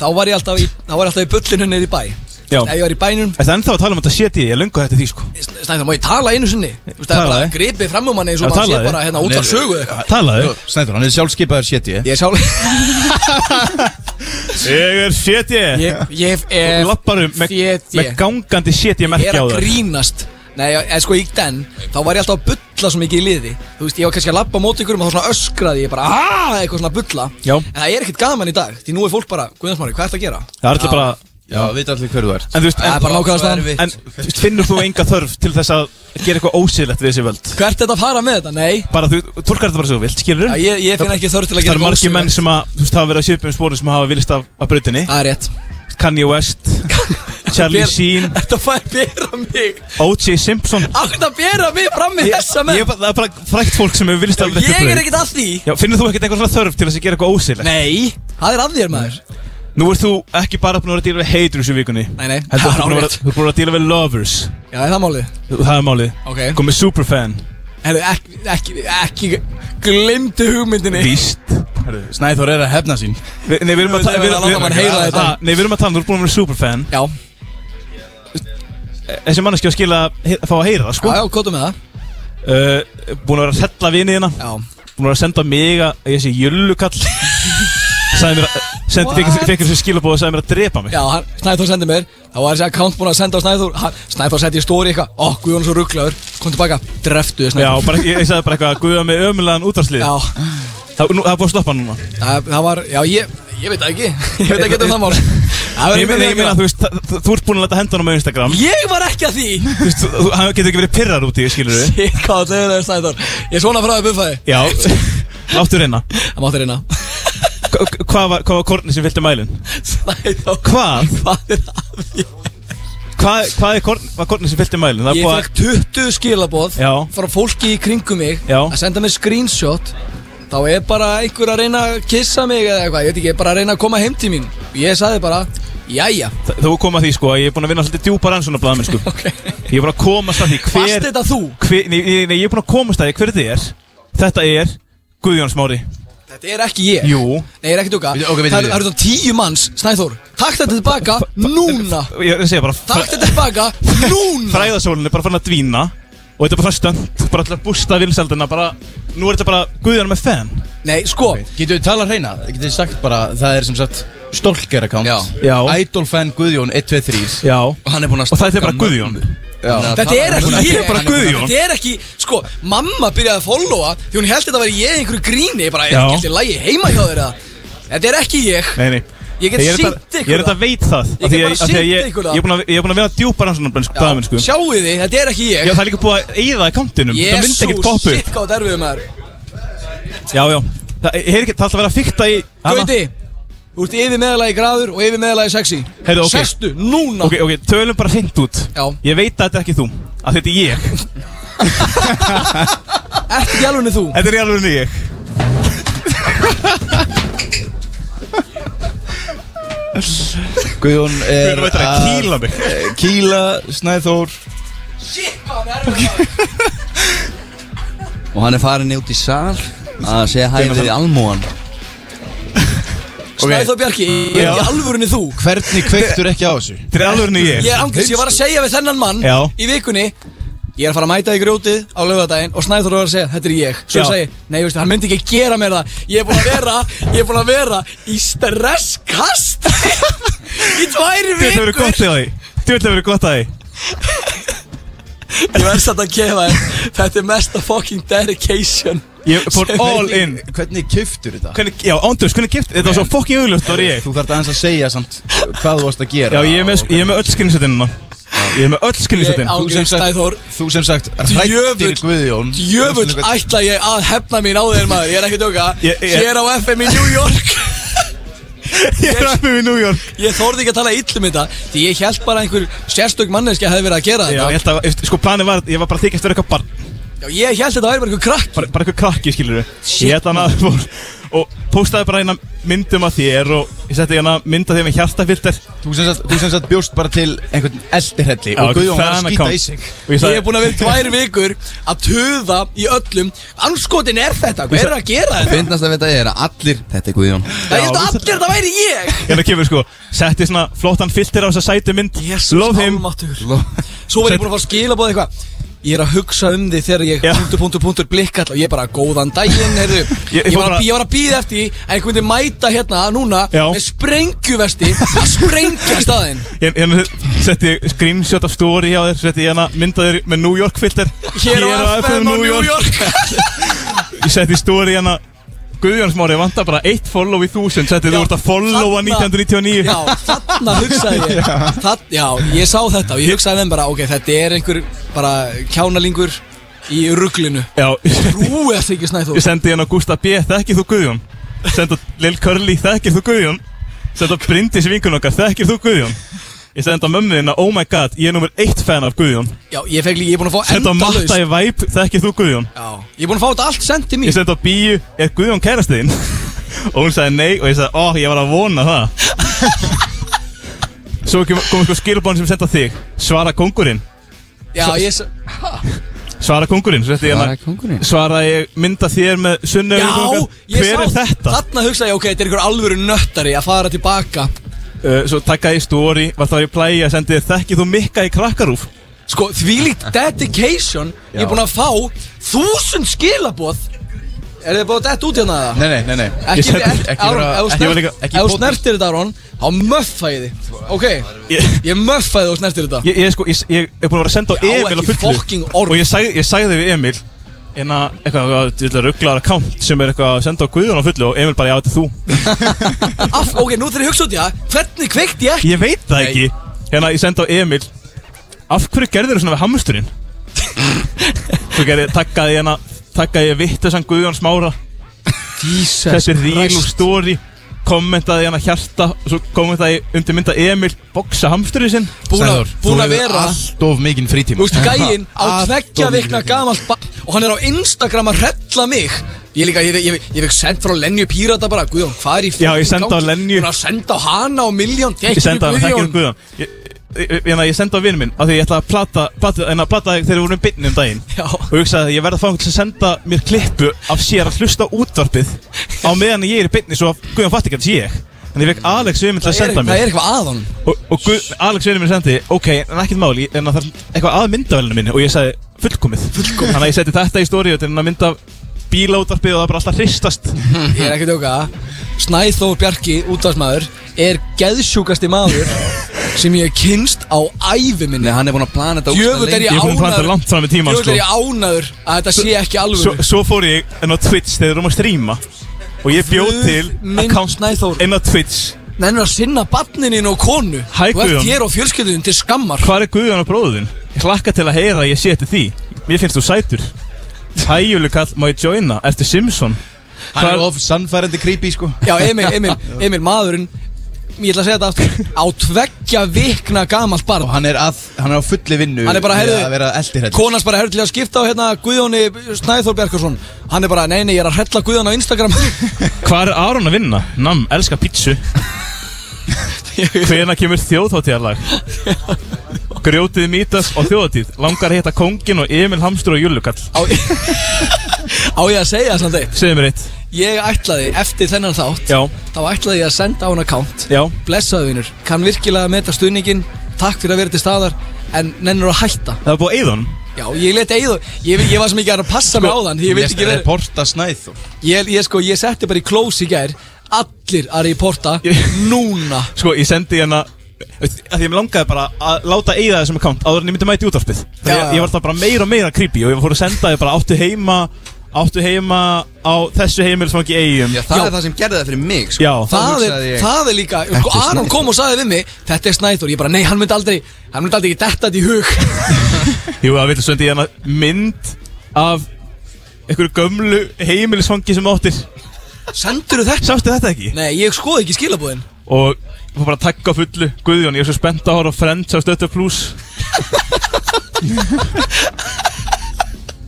C: Þá var ég alltaf í, þá var ég alltaf í bullinu niður í bæ
D: Já.
C: Ef ég var í bænum,
D: Er það ennþá að tala um þetta CD? Ég löngu þetta því sko
C: snæðum, má ég tala einu sinni Þú veist, það er
D: Talaðu.
C: bara gripið fram um manni
D: Já,
C: eins og maður sé
D: talaðu.
C: bara hérna út af sögu eða eitthvað
D: Talaðu
E: Snæður, hann er sjálfskipaður séti
C: Ég er sjálf,
D: Ég er CD
C: ég, ég
D: Þú
C: er
D: lappar um með,
C: Féti.
D: með gangandi shit ég
C: Ég
D: merkja
C: er
D: á
C: að
D: það
C: grínast Nei, en sko í den, þá var ég alltaf að bulla svo mikið í liði Þú veist, ég var kannski að labba á móti ykkur og þá svona öskraði ég bara aaaah, eitthvað svona að bulla
D: Já.
C: En það er ekkert gaman í dag, því nú er fólk bara, Guðnarsmári, hvað ertu að gera?
D: Það er alltaf bara
E: Já, veit allir hverðu ert
D: En þú veist,
C: Það er
D: en,
C: bara nákvæmast
E: það er
C: það
E: við-
D: en þú veist, finnur þú enga þörf til þess að gera eitthvað ósýðlegt við þessi völd
C: Hvert er þetta að fara með þetta? Nei,
D: Bara þú, tólkar þetta bara svo þú vilt, skilur
C: Já, ég, ég finn ekki þörf til að
D: Það
C: gera
D: eru margir menn sem að, þú veist, hafa verið að sjöpa um spórum sem hafa vilist af, af brautinni
C: Það er rétt
D: Kanye West, Charlie Sheen,
C: Þetta fær bera mig
D: O.J. Simpson
C: Átt að bera mig fram með þessa menn
D: Ég, bara- það er bara frækt fólk sem hefur vilist af
C: Ég, er ekkert að því
D: Já, finnur þú ekkert einhver svona þörf til þess að gera eitthvað ósýðlegt?
C: Nei Það er að þér maður
D: Nú ert þú ekki bara búin að vera að díla við heitur þessu vikunni
C: Nei, nei,
D: Heldur
C: það er
D: þú ert búin að vera-
C: árétt.
D: þú ert búin að vera að díla við lovers
C: Já, það er það málið
D: Það er málið
C: Ok.
D: Komið superfan
C: Herru, ekki, ekki, ekki Glemdu hugmyndinni
D: Víst
E: Snæður er að hefna sín
D: Vi, Nei, við erum að
C: Það
D: tala
C: er verið að láta mann heyra þetta.
D: Ah, Nei, við erum að tala, þú ert búin að vera superfan
C: Já,
D: Þessi manneskja á að skila, he, fá að heyra það,
C: Eh. já,
D: sko
C: já, kóta með það
D: uh, Búin að vera að sella vinið hérna
C: Já
D: Búin að vera að senda mig að að ég sé jöllukall Sæði mér að, sendi, fekk, fekk þessu skilabóð og sæði mér að drepa mig
C: Já, hann, Snæþór sendi mér Þá var þessi account búin að senda á Snæþór hann, Snæþór sendi í stóri eitthvað Ó, Guðjón er svo rugglaður Kom tilbaka Dreftu þið
D: Já,
C: Snæþór
D: bara, ég, ég sagði bara eitthvað, guða með ömulegan útvarslið
C: Já,
D: Það nú- það er búið að stoppa núna
C: það, það var Já, ég, ég veit það ekki Ég veit ekki um það mál Það
D: Ég meina,
C: verður mjög
D: ég meina,
C: mikilvægt.
D: þú veist, það- þú- þú ert búin að leta hendan á mig á Instagram
C: Ég var ekki að því
D: Þú veist, þú- þú- Hann getur ekki verið pirrar út í, skilur við
C: Shit, hvað það er það Snæþór Ég er svona frá því buffaði
D: Já, láttu reyna
C: Það mátti reyna
D: Hva- Hvað var, hvað var kornið sem fylgdi mælinn?
C: Snæþór
D: Hvað?
C: Hvað er að því?
D: Hvað, hvað er korn, var kornið sem fylgdi mælinn? Það er
C: Ég
D: búið að
C: fekk 20 skilaboð
D: Já.
C: frá fólki í kringum mig
D: Já.
C: að senda mér screenshot þá er bara einhver að reyna að kissa mig eða eitthvað, ég veit ekki, er bara að reyna að koma heim til mín ég sagði bara, jæja
D: Þa- Þú kom að því sko að ég er búin að vinna svolítið djúpa rannsóknarblaðamenn sko Ég er búin að komast að því
C: Varst
D: hver,
C: þetta þú?
D: hver nei, nei, nei, ég er búin að komast að því hver þið er Þetta er Guðjón Smári
C: Þetta er ekki ég
D: Jú
C: Nei, ég er ekki duga
E: Veitu, ok, veitu,
C: Það eru
E: veitu.
C: það eru þá tíu manns, Snæþór Takk þetta tilbaka, núna
D: Ég er að segja bara
C: Takk þetta tilbaka, núna
D: Fræðasólun er bara fann að dvína Og þetta er bara svona stönd Bara alltaf bústa vilseldina bara Nú er þetta bara Guðjón með fan
C: Nei, sko,
E: Getur við talað hreina? Getur við sagt bara, það er sem sagt Stolker account
D: Já.
E: Idol fan Guðjón 123
D: Já
E: Og hann er búinn að
D: Og það er
E: stokka
D: bara Guðjón
E: Já.
C: þetta
D: um
C: er ekki
E: Þetta
C: ég
E: er bara
D: Guðjón.
C: Þetta er ekki, sko, mamma byrjaði að followa Því hún held þetta væri ég í einhverju gríni Ég bara, er
D: Já.
C: ekki alltaf lægi heima hjá þér eða Þetta er ekki ég
D: Nei, nei
C: Ég get
D: er
C: sýnt
D: þetta- Ég
C: ykkur
D: er
C: það.
D: þetta veit það
C: Ég
D: af því
C: get bara
D: af því
C: sýnt
D: ég-
C: ykkur það.
D: Ég er búin að- ég er búin að vera djúpa rannsóknarblaðamenn sko
C: Sjáu þið, þetta er ekki
D: Já,
C: ég
D: það er líka búið að eyða akkantinum Það myndi ekkert
C: Jesús,
D: poppu
C: shit, hvað derfið maður
D: Já, já Það er ekki, það er alltaf að vera að fykta í hana.
C: Gauti, þú ert yfir meðalagi gráður og yfir meðalagi sexy
D: Heyrðu, ok.
C: Sestu, núna
D: Ok, ok, tölum bara hreint út
C: Já.
D: Ég veit að þetta er ekki þú Að þetta er ég
C: Ertu ekki alveg þú
D: Þetta er í alveg ég
E: Guðjón
D: Þú
E: er
D: erum að kýla mig
E: eh, Kýla, Snæþór
C: Shit, hvað er það
E: Og hann er farin út í sal Að segja hæði við almúan
C: Snæþór Bjarki, ég er
D: Já.
C: ekki alvörinni þú
E: Hvernig kveiktur ekki á þessu?
D: Þetta er í alveg ég
C: Ég er angriðs, ég var að segja við þennan mann
D: Já.
C: Í vikunni Ég er að fara að mæta í grjótið á laugardaginn Og Snæþór var að segja, þetta er ég Svo
D: Já.
C: ég segi, nei, veistu, hann myndi ekki gera mér það Ég er búin að vera, ég er búin að vera Í stresskast Í tværi
D: Þetta verður
C: vikur
D: gott að því Þetta verður gott að því
C: Ég verðs þetta að kefa þér Þetta er mesta fucking dedication
D: Ég fór
C: Sem
D: all
C: ég-
D: in
E: Hvernig kiftur þetta?
D: Hvernig, já, ándurs, hvernig gift Þetta var svo fokkin augljótt, það var ég
E: Þú þarft aðeins að segja samt hvað þú varst að
D: Já,
E: gera
D: ég er með, ég er með öll skinnisettinna Ég er með öll
C: Ég
D: skinnisettin
E: sem
C: ángriðs,
E: sagt-
C: Snæþór
E: Þú sem sagt hrættir
C: Djöfull-
E: Guðjón
C: Jöfull ætla ég að hefna mín á þeir maður Ég er ekki að djóka
D: Ég- ég-
C: Hér á FM í New York
D: Ég er að við New York
C: Ég þorði ekki að tala illum þetta Því ég held bara að einhver sérstök manneskja hefði verið að gera
D: Já,
C: þetta
D: ég held að, sko, planið var Ég var bara að þykjast vera eitthvað barn
C: Já, ég held þetta væri bara einhver krakk
D: bara, bara eitthvað krakki skilur við Ég hætti hana fór, og postaði bara eina myndum af þér og ég setti hana mynd af þér með hjartafilter
E: Þú sem sagt, þú sem sagt bjóst bara til einhvern eldirhelli
D: Já,
E: Og Guðjón var að
D: fan
E: skýta
D: account.
E: í sig
D: Og ég
C: Ég er
D: sagði,
C: búin að vera tvær vikur að tuða í öllum Anskotin er þetta, hver er að gera þetta?
E: Fyndnast að þetta er að allir Þetta er Guðjón
C: Það ég held
D: Já,
C: að
D: við-
C: allir þetta væri ég
D: hérna kemur sko Setti svona flottan filter á þessa sætu mynd Love him
C: almáttugur. Svo var ég búin að fá skilabóð eitthvað Ég er að hugsa um þig þegar ég
D: Já.
C: punktur, punktur, punktur blikkall og ég bara góðan daginn, heyrðu
D: Ég-
C: ég,
D: ég fór bara-
C: var að, bí- ég var að býða eftir því að einhvern veginn mæta hérna núna
D: Já.
C: með sprengjuvesti að sprengja staðinn
D: Hér- Hérna setti ég screenshot af story á þér Setti ég hana mynd af þér með New York filter
C: Hér á FM á New York
D: Ég setti story hérna. hana Guðjón Smári vantar bara eitt follow í þúsund Setti þú ert að followa
C: Þarna-
D: 1999
C: Já, þarna hugsaði ég það, Já, ég sá þetta og ég hugsaði þeim bara ok, þetta er einhver bara kjánalingur í ruglinu
D: Já, ég setti-
C: Rúið þetta ekki snæð
D: Ég sendi hérna Gústa B, þekkir þú Guðjón? Senda Lil Curly, þekkir þú Guðjón? Senda Bryndis vinkun okkar, þekkir þú Guðjón? Ég senda mömmu þína, oh my god, ég er nummer eitt fan af Guðjón
C: Já, ég fekk líka, ég er búin að fá
D: Senda Matta
C: endalaust
D: í Væp, þekkir þú Guðjón?
C: Já, ég er búin að fá þetta allt sendt til mín
D: Ég senda Bíu, er Guðjón kærastiðinn? og hún sagði nei og ég sagði, oh, ég var að vona það Svo kem- kom sko skilbón sem senda þig, svara kongurinn
C: Já, ég s-
D: Svara kongurinn, svo setti ég
E: Svara
D: hérna
E: kongurinn.
D: Svara ég mynda þér með sunnu
C: Já, ég
D: Hver
C: sá
D: er þetta?
C: Þarna hugsaði ég, ok, þetta er einhver alvöru nöttari að fara tilbaka
D: uh, Svo takkaði ég stóri Var þá í plægi að sendi þér Þekkið þú mikka í krakkarúf
C: Sko, þvílíkt dedication Ég er búin að fá þúsund skilaboð Er þið búin að detta út hérna það?
E: Nei, nei, nei, nei
C: Ekki,
D: sendi-
C: ekki,
E: ekki
C: Aron,
E: vera-
C: ef þú
E: ekki-
C: snert-
D: líka-
E: ekki
C: ef þú
E: bótið.
C: snertir þetta, Aron Þá möffa ég þið Ok,
D: Ég,
C: ég möffa þið og snertir þetta
D: ég, ég, sko, ég, ég er búin að vera að senda á
C: Ég á
D: Emil á
C: ekki
D: fullu
C: fucking orð.
D: Og ég sagði, ég sagði við Emil En að eitthvað, eitthvað rugglaðar account Sem er eitthvað að senda á Guðjón á fullu Og Emil bara, já þetta er þú
C: Af, Ok, nú þegar ég hugsa út í það Hvernig kveikt ég ekki?
D: Ég veit það ekki Hérna ég sendi á Emil Af hverju gerðir þú svona við hamsturinn? Svo gerði, takkaði ég hérna Takkaði ég vittusan Guðjón smára
C: Jesus
D: Þessi ríl og
C: Christ.
D: stóri Kommentaði hérna hjarta Svo kommentaði ég undir mynda Emil Boksa hamsturinn sinn
C: Búin að-
E: Sæður,
C: búin
E: þú
C: að
E: hefur
C: vera
E: Allt of mikinn
C: Þú
E: frítíma
C: veist, gæinn á
E: Allt of
C: tveggja
E: mikinn
C: vikna
E: frítíma.
C: gamalt barn og hann er á Instagram að hrella mig Ég líka, ég, ég, ég fekk sendt frá Lenju Pírata bara Guðjón, hvað er í
D: Já, ég sendi á
C: gangi?
D: Lenju.
C: Hún er að senda á hana og Miljón
D: Ég sendi á hann, þekkir um Guðjón Ég- ég- hérna, Ég ég sendi á vinnu minn af Því ég ætlaði að plata, plata, en að plata þegar við vorum í byrni um daginn
C: Já.
D: Og ég hugsaði að ég verði að fá einhvern til að senda mér klippu Af sér að hlusta á útvarpið Á meðan ég er í byrni Svo að Guðjón fatt ekki að þetta sé ég En ég fekk Alex vinnu minn til að
C: Það er,
D: senda
C: það er
D: mér
C: eitthvað að honum
D: Og, og Guð, Alex vinnu minn sendi Ok, en ekkert máli En það er eitthvað að myndavælinu minni Og ég sagði fullkomið Fullkomið Þannig að ég setti þetta í stóri Þetta er að mynda bílaútvarpið Og það bara alltaf hristast
C: Ég er ekki að tjóka Snæþór Bjarki, útvarsmaður Er geðsjúkasti maður Sem ég hef kynst á ævi minni
E: Nei, hann er búin að plana þetta ógeðslega
C: Jöfull er
D: Ég
C: ég
D: er búinn að plana þetta
C: ánaður
D: langt fram í tímann,
C: Jöfull
D: sko.
C: er ég ánaður Að þetta sé ekki
D: svo,
C: alveg
D: svo fór ég inn á Twitch þegar við erum að stríma Og ég bjóð
C: Guð
D: til
C: minn Snæþór.
D: account inn á Twitch
C: Nennir að sinna barnininn og konu
D: Hæ,
C: Þú ert
D: Guðjón.
C: þér og fjölskylduðin til skammar
D: Hvar er Guðjón og bróðin? Ég hlakka til að heyra að ég sé eftir því Mér finnst þú sætur Hæjúlu kall, má ég joina? Ertu Simpson?
E: Hann
D: Hvar-
E: er of sannfærandi creepy sko
C: Já, Emil, Emil, Emil, maðurinn Ég ætla að segja þetta aftur Á tveggja vikna gamalt barn
E: Og hann er að, hann er á fulli vinnu
C: Hann er bara,
E: við
C: heyrðu-
E: Að vera eldirhætt
C: Konans bara herður til að skipta á hérna Guðjóni Snæþór Bjarkarsson Hann er bara, nei, nei, ég er að hrella Guðjón á Instagram
D: Hvar er Aron að vinna? Nam, elska pítsu Hvena kemur þjóðháttíðarlag? Grjótið mítast og þjóðháttíð Langar að hitta kóngin og Emil Hamstur og Júlukall
C: Á, á ég að segja það samt eitt
D: Segðu mér eitt
C: Ég ætlaði, eftir þennan þátt
D: Já,
C: Þá ætlaði ég að senda á hann account
D: já
C: Blessaðu vinur, kann virkilega að meta stuðningin Takk fyrir að vera til staðar En nennur að hætta
D: Það er búið að eyða honum
C: Já, ég leti eigið ég, ég var sem ekki að passa mig á þann Því ég
E: Sko,
C: vildi ekki vera
E: Reporta Snæþór
C: ég, ég, sko, ég setti bara í close í gær Allir að reporta
D: Ég-
C: Núna
D: Sko, ég sendi hérna að því ég langaði bara að láta eigða þessum account áður en ég myndi mæti útvarpið
C: Já,
D: Þegar
C: já.
D: ég, ég var það bara meira og meira creepy og ég fór að senda þið bara áttu heima áttu heima á þessu heimilsfangi eigum
E: Já, það er það sem gerði það fyrir mig sko.
D: Já,
C: það er,
E: hugsaði ég.
C: það er líka sko,
E: Þetta er
C: Aron kom og sagði við mig Þetta er Snæþór, ég bara nei, hann myndi aldrei Hann myndi aldrei ekki detta þetta í hug
D: Jú, það vilja sendi ég hérna mynd af einhverju gömlu heimilsfangi sem þú áttir
C: Sendur þetta?
D: Sástu þetta ekki?
C: Nei, ég skoði ekki skilabúðin
D: Og ég fór bara að takka á fullu Guðjón, ég er svo spennt að horfa á Friends á Stöttu Plus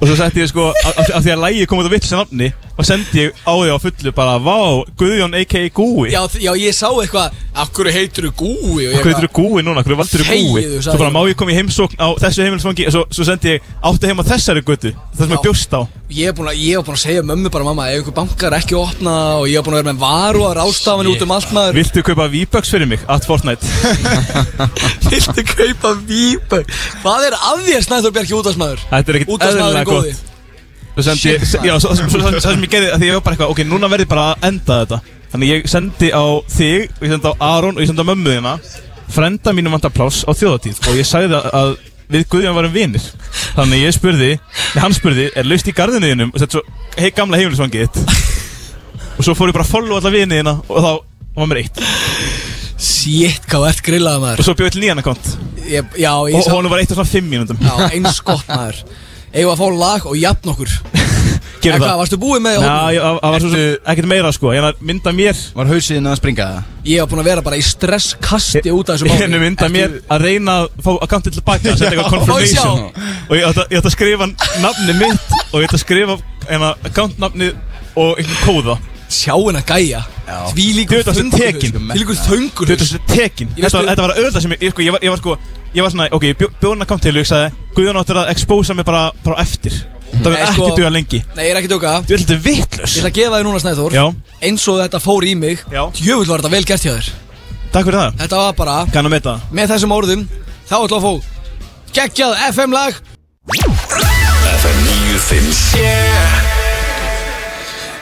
D: Og svo setti ég sko Af af- af því að lægi kom út á vitlis nafni Og sendi ég á því á fullu bara Vá, Guðjón a.k.a. Gúi
C: já, þ- já, ég sá eitthvað Akkur heitur þú gúi Og ég
D: Hvað
C: bara-
D: heitir þú Gúi núna? Hvað valdur þú Gúi?
C: Þegiðu, sagði
D: Svo bara
C: ég.
D: má ég koma í heimsókn á þessu heimilsfangi Og svo, svo sendi ég áttu heima á þessari götu Það sem
C: Já.
D: ég bjóst á
C: Ég er búin að, ég er búin að segja mömmu bara mamma Ef einhver bankar ekki að opna Og ég er búin að vera með varu að rástafinu út um allt maður
D: Viltu kaupa V-Bucks fyrir mig? At Fortnite
C: Viltu kaupa vípa Hvað er að þér Snæþór Bjarki útastmaður?
D: Þetta er ekkit eðlilega
C: Útastmaðurinn góði
D: gott Svo sendi ég, já, svo, svo, svo, svo, svo sem ég gerði að því ég var bara eitthvað, ok, núna verði bara að enda þetta Þannig ég sendi á þig, og ég sendi á Aron og ég sendi á mömmu þína Frenda mínum vantar pláss á þjóðatíð og ég sagði að, að við Guðjón varum vinir Þannig ég spurði, nei, hann spurði, er laust í garðinu þínum og setti svo, hei gamla heimilisvangið þitt Og svo fór ég bara að follow alla vini þína og þá var mér eitt
C: Sjétt, hvað ert grillaða maður
D: Og svo bjóði til nýjan akkont
C: ég, Já, ég
D: og honum var eitt á svona fimm mínúndum
C: Já, eins gott maður Eigum við að fá lag og jafn okkur En
D: Gerum
C: hvað,
D: það
C: varstu búinn með
D: Já,
C: hópnum?
D: ég- það það var svo sem ekkert meira sko, ég er að mynda mér
E: Var hausinn að springa það
C: Ég var búinn að vera bara í stresskasti út af þessu
D: Ég henni
C: máli
D: mynda mér að reyna að fá akkantið tilbaka Sett eitthvað confirmation Og ég ætti að- ég ætti að skrifa nafni mitt Og ég ætti að skrifa hérna, accountnafni Og einhvern kóða
C: Sjá hennar gæja sko. Því líkur
D: Djöfull, þessi tekin.
C: Því líkur þöngur
D: Þú veit þessi tekin
C: Ég
D: Þetta
C: veist
D: var,
C: við-
D: þetta var auðvitað sem ég, ég, sko, ég, var, ég var sko Ég var svona, ok, ég bjóðan account til og ég sagði Guðjón áttur að expósa mig bara, bara á eftir Það
C: Nei,
D: verður
C: sko-
D: ekki duga lengi
C: Nei, ég er ekki að tjóka
D: Þú veit þetta er
C: Ég
D: vitlaus
C: ætla að gefa þér núna Snæþór
D: Já,
C: Eins og þetta fór í mig
D: Já.
C: Djöfull var þetta vel gert hjá þér
D: takk fyrir það
C: Þetta var bara
D: Kann að meta
C: Með þessum orðum Þá ætla að fá Geggjað FM lag
A: FM 957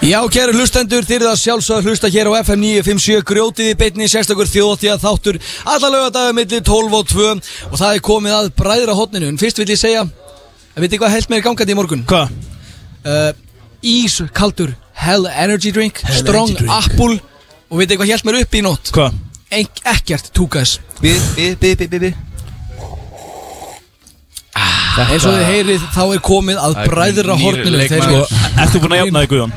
C: Já, kæru hlustendur, þið eru það sjálfsögð hlusta hér á FM 957 grjótið í beinni sérstakur þjóðtíða þáttur alla lögadagum millir 12 og 2 og það er komið að bræðra hotninu en fyrst vil ég segja, að veit hvað held mér gangandi í morgun?
D: Hvað?
C: Uh, ískaldur Hell Energy Drink, Strong Apple og veit hvað held mér upp í nótt?
D: Hvað?
C: Enk, ekkert túkas
E: Bi, bi, bi, bi, bi, bi
C: eins og þið heyrið þá er komið að
E: Það er
C: bræðra
E: nýr
C: hotninu þeir
E: leikmaður.
C: sko
D: Ertu búin að jafna þig Guðjón?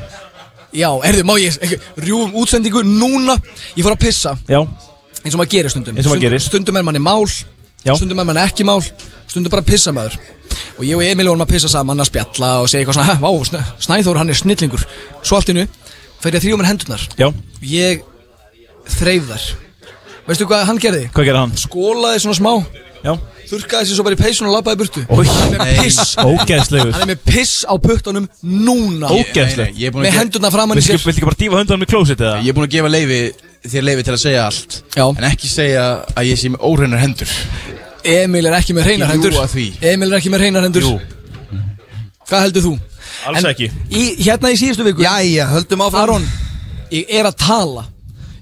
C: Já, heyrðu, má ég ekki, rjúum útsendingu núna, ég fór að pissa
D: Já
C: eins og maður gerir stundum
D: Eins og maður
C: Stund-
D: gerir.
C: stundum er manni mál
D: Já.
C: stundum er mann ekki mál stundum bara pissa maður og ég og Emil vorum að pissa saman að spjalla og segja eitthvað svona, "Ha, vá, Snæ- Snæþór hann er snillingur svo allt innu, fer ég að þrjú mér hendurnar
D: Já,
C: ég þreif þar veistu hvað hann gerði?
D: hvað gerði hann?
C: skólaði svona smá,
D: Já
C: þurrkaði sér svo bara í peysun og labbaði í burtu
D: Ói,
C: hann er með piss
D: ógeðslegur
C: hann er með piss á puttunum núna
D: Ógeðslegur
E: Ég er búin
C: með
E: að, ge
C: hendurna framan í
D: Viltu
C: sér
D: ekki- viltu ekki bara dífa hundanum í klósit eða?
E: ég er búin að gefa leifi, þér leifi til að segja allt
C: Já.
E: En ekki segja að ég sé með óreinar hendur
C: Emil er ekki með hreinar
E: Ekki
C: hendur
E: ljúga því.
C: Emil er ekki með hreinar hendur
D: Jú.
C: Hvað heldur þú?
D: Alls
C: En
D: ekki
C: í, Hérna í síðustu viku
J: Jæja, höldum áfram
C: Aron, ég er að tala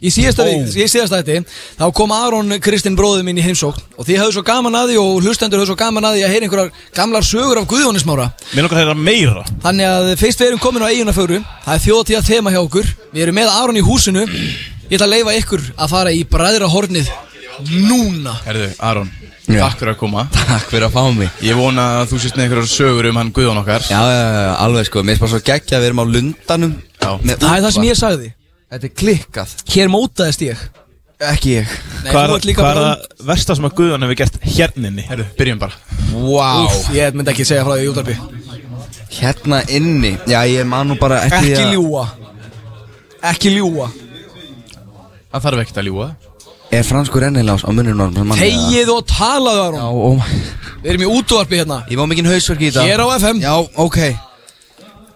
C: Í síðasta, oh. í síðasta þetta, þá kom Aron Kristinn bróðið minn í heimsókn og þið höfðu svo gaman að því og hlustendur höfðu svo gaman að því að heyra einhverjar gamlar sögur af Guðjónismára.
D: Mér langar þeirra meira
C: Þannig að fyrst við erum komin á eigunaföru, það er þjóðtíða þema hjá okkur, við erum með Aron í húsinu, ég ætla að leifa ykkur að fara í bræðra hornið núna.
E: Herðu, Aron, takk fyrir að koma
J: Takk fyrir að fá mig
E: Ég vona að þú sést með einhverjar sögur um hann Guðjón okkar
J: Já, já, já, já, alveg sko, mér er bara svo geggja að við erum á lundanum
E: Já.
J: Með
C: Það er það sem
J: útvarp.
C: ég sagði,
J: Þetta er klikkað,
C: hér mótaðist ég.
J: ekki ég
C: Nei,
D: Hvað
C: þú
D: er
C: ert líka
D: hvað er
C: bara
D: það versta sem að Guðan hefur gert hérninni?
E: Herðu, byrjum bara
J: Vá
C: Úff, Ég myndi ekki segja frá því í útarpi
J: Hérna inni, já, ég man nú bara eftir
C: Ekki
J: að-
C: ljúa Ekki ljúa
E: Það þarf ekkert að ljúa
J: Er franskur ennilás á munnunum sem mann
C: Þegið og talaðu
J: Já,
C: Aron
J: ó,
C: Við erum í útvarpi hérna
J: ég má mikinn hausverk í þetta
C: Hér á FM
J: Já, ok,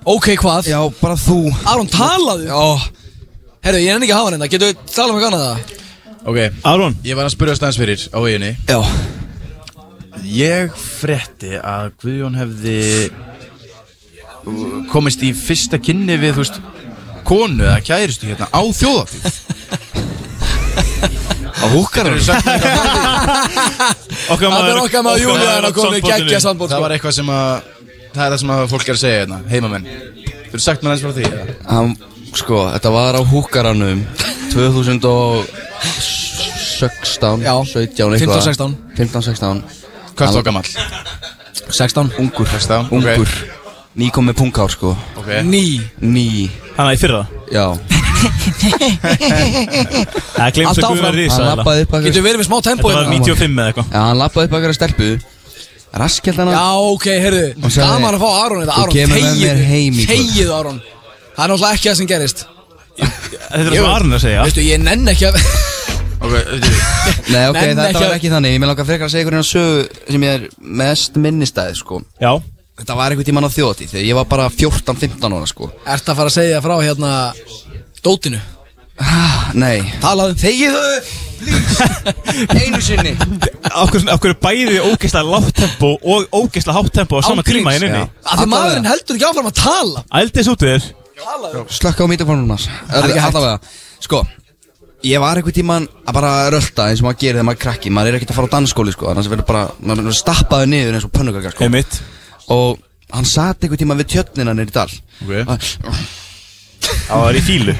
C: Ok, hvað?
J: já, bara þú
C: Aron, talaðu
J: Já,
C: Herru, ég nenni ekki að hafa hann hérna Getur við talað um eitthvað annað það?
E: Ok,
D: Aron,
E: ég var að spyrja stans fyrir á veginni
J: já,
E: Ég frétti að Guðjón hefði komist í fyrsta kynni við, þú veist, konu eða kæristu hérna á þjóðatíð Á húkarum
D: okkar
C: Það er okkar maður Júlía
D: maður
C: hérna komið
D: soundboardinu.
C: geggja sambóð
E: Það var eitthvað sem að, það er það sem að fólk er að segja hérna, heimamenn Þú eru sagt mér eins frá því eða?
J: hann, sko, þetta var á húkaranum 2016,
C: Já.
J: 17 eitthvað
C: 15, 16.
J: 15, 16
E: Hvað er þá gamall?
C: 16
J: Ungur
E: 16, ok.
J: Ungur Ný kom með punghár sko
E: Ok
C: Ný
J: Ný
D: Hanna, í fyrra
J: Já
D: Það glemt
C: Allt
D: að Guðan
C: áfram.
D: er
J: Hann
D: risa
J: lappaði upp að
C: Getur við verið með smá tempo
D: Þetta var
C: hérna?
D: 95 eða eitthvað
J: Já, hann lappaði upp að hverja stelpu Raskelt hana
C: Já, ok, herru
J: Og sagði-
C: Gaman að fá Aron þetta
J: Þú
C: Aron,
J: kemur með mér heim
C: þegið
J: í kvöld.
C: Þegið Aron Það er náttúrulega ekki það sem gerist
D: Þetta er það sem Aron er að segja
C: Veistu, ég nenn ekki að
E: Ok, auðvitað.
J: Nei, ok,
C: Nenni
J: þetta
C: ekki
J: var
C: að-
J: ekki þannig Ég með langar frekar að segja einhverjum sögu sem ég er mest minnistæði sko
D: Já,
J: Þetta var einhvern tímann á þjóti þegar ég var bara 14-15 ára sko
C: Ert að fara að segja frá hérna Dótinu
J: Ah, Nei
C: Talaðu Þegið þau
J: Einu sinni
D: af hverju af hverju er bæði ógeðslega lágt tempo og ógeðslega hátt tempo á sama
C: Án gríns,
D: tíma inn inni
J: já.
C: Af því maðurinn heldur ekki áfram að tala
D: Ældis út við þér
J: Slökka á mítaformum hans
C: er ekki hægt.
J: Allavega Sko Ég var einhvern tíman að bara rölda eins og maður gerir þegar maður er krakki Maður er ekkert að fara á dansskóli sko Þannig að verður bara Maður verður stappaður niður eins og pönnugakar sko
D: Einmitt
J: og hann satt einhvern tíma við tjötnina nýri dal
E: Ok.
J: hann
D: Það var í fílu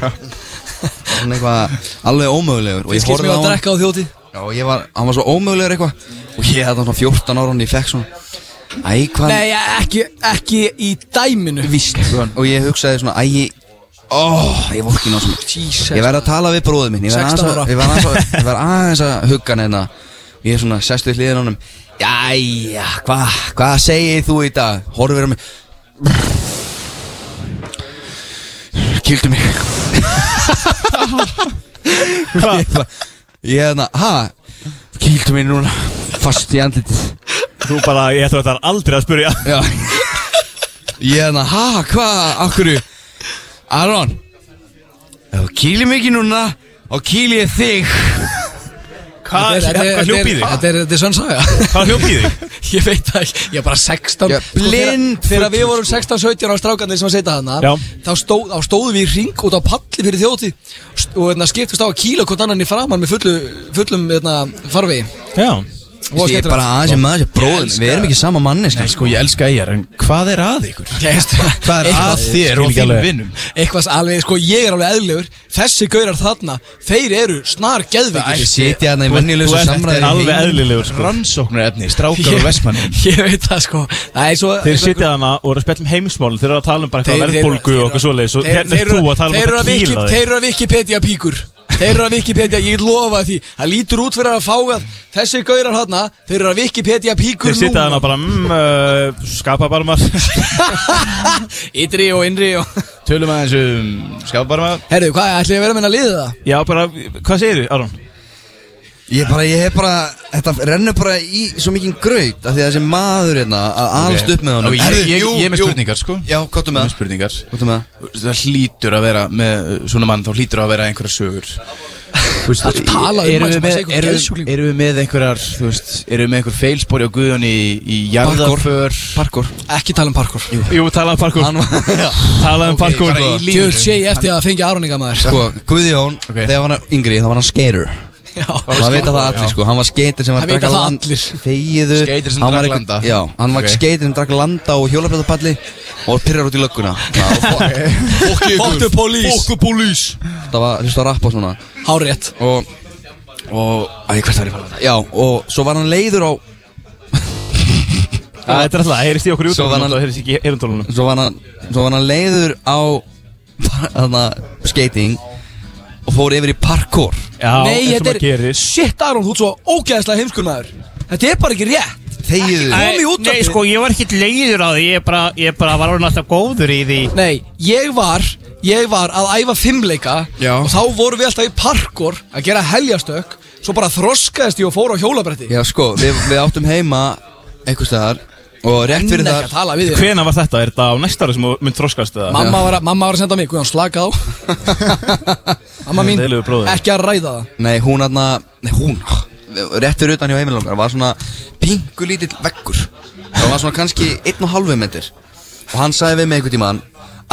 J: eitthvað alveg ómögulegur og ég
C: Fiskis
J: horfði
C: mig
J: á
C: að
J: hann
C: drekka á þjóti
J: Já, og ég var, hann var svo ómögulegur eitthvað og ég hefði svona 14 ára og ég fekk svona æ hvað
C: Nei, ekki, ekki í dæminu
J: víst og ég hugsaði svona æ ég ó ég vor ekki ná svona
C: Jesus.
J: ég verði að tala við bróðum minn ég verði
C: 16
J: aðeins
C: ára.
J: að- ég verð aðeins að- ég verð aðeins að hugga hann hérna og ég svona sest við hliðin á hann jæja hvað hvað segir þú í dag horfir á mig kildu mig ég bara- ég hérna ha kildu mig núna fast í andlitið
D: Þú bara, ég ætla að þetta er aldrei að spurja
J: Já Ég hérna, ha, hvað, akkur Aron Ef þú kýlir mig ekki núna Og kýlir ég þig
D: Hvað hvað hljóp í þig?
C: Þetta er, þetta er sann saga
D: Hvað hljóp í þig?
C: Ég veit það ekki, ég er bara 16
J: Já,
C: Sko, þegar-
J: blind
C: Þegar við
J: fullur, sko.
C: vorum 16-17 á strákandi sem að setja hana
D: Já.
C: þá, stóð, þá stóðum við í ring út á palli fyrir þjóti og hérna, skiptist á að kýla hvort annan í framann með fullu, fullum hérna, farvegi
D: Já
C: Voða
J: Ég er
C: skemmtilegt.
J: bara aðeins sem maður sem bróðin Við erum ekki sama manni
E: Nei, sko, ég elska eigjar, en hvað er að ykkur? Hvað er
C: Eitthvað-
E: að þér og þínum vinnum?
C: Eitthvað alveg, sko, ég er alveg eðlugur Þessi gaurar þarna, þeir eru snar geðveikir
J: Ég sitja hérna í
D: Þú
J: vennilösu
D: ert þetta er
J: samræði
D: alveg eðlilegur sko
E: Rannsóknar efni, strákar og vestmann
C: Ég veit það sko Það er svo
D: Þeir sitja þarna og eru að spjalla um heimsmálin Þeir eru að tala um bara eitthvað
C: Þeir- þeir-
D: verðbólgu
C: þeir-
D: og eitthvað svoleiðis Og
C: þeir-
D: hérna
C: þeir
D: er
C: eru-
D: þú að tala um
C: þeir eru
D: að
C: Wiki-
D: kýla þig
C: Þeir eru að Wikipedia píkur Þeir eru að Wikipedia, ég lofa því Það lítur út fyrir að fá að þessi gaurar hana Þeir eru að Wikipedia píkur
D: Þeir sitja þarna bara, mm, uh, skapa bara maður
C: Ytri og innri og
E: Tölum aðeins um skapa bara maður
C: Herru, hvað, ætlum ég að vera með að liða það?
D: Já, bara, hvað segir þú, Aron?
J: Ég bara, ég hef bara, þetta rennur bara í svo mikinn gröyt Af því að þessi maður hérna, að alast upp með honum
E: Ég, ég, ég, ég er með spurningar sko
J: Já,
E: Ég er
J: kottu með
E: með
J: það
E: spurningar
J: Kottu með það
E: Það hlýtur að vera með uh, svona mann Þá hlýtur að vera einhverja sögur Þú veist,
C: Það tala um
E: erum
C: mann
E: við
C: sem að
E: með,
C: segja eitthvað
E: erum,
C: geðsjúkling.
E: erum við með einhverjar Þú veist, erum við með einhver feilspori á guðan í, í jarðarför
J: Parkour
C: Ekki tala um parkour
D: Jú, talaðu um parkour
J: Hann var, já
D: Talaðu um parkour
E: bara í línu.
C: Tjöld sé ég eftir að fengja áreininga maður
J: Sko, Guðjón,
E: Ok.
J: þegar hann var yngri, þá var hann skater
C: Já,
J: Og það veit að það allir sko, hann var skater sem var
C: Það vita það allir.
J: Þegiðu
E: Skater sem
J: Hann var
E: drakk
J: einhver-
E: landa.
J: Já, hann var
E: Ok.
J: skater sem drakk landa og hjólaprættapalli Og pyrrar út í lögguna
C: Foktu polís
J: Fokku polís Það var, þú veist, að rappa og svona
C: Hárétt
J: og og æ, hvert var ég fann þetta já og svo var hann leiður á
D: Það er alltaf, það heyrist í okkur í
J: Svo
D: útdólunum
J: var hann-
D: Það heyrist ekki í heyrundólunum
J: svo var hann svo var hann leiður á þarna skating og fór yfir í parkour
D: Já,
C: Nei,
D: eins og
C: þetta
D: maður
C: er
D: gerir
C: Shit, Aron, þú ert svo ógeðslega heimskur maður Þetta er bara ekki rétt
J: þegiðu
C: Kom í útvarpið.
K: Nei, sko, ég var ekkert leiður á því Ég bara, ég bara var orðin alltaf góður í því
C: Nei, ég var Ég var að æfa fimmleika
J: Já.
C: Og þá vorum við alltaf í parkour Að gera heljastök Svo bara þroskaðist ég og fór á hjólabretti
J: já sko við, við áttum heima einhvers staðar og rétt fyrir
C: Nenni ekki að
J: það
C: tala við þér
D: Hvena var þetta? Er þetta á næsta ári sem þú mynd þroskast eða?
C: Mamma var, að, mamma var að senda mig, Guðan, slaka á Mamma mín,
D: Deiluðu bróður.
C: ekki að ræða það
J: nei hún aðna nei hún rétt fyrir utan hjá heimilungar var svona pingu lítill veggur það var svona kannski einn og halvu myndir og hann sagði við mig einhvern tíma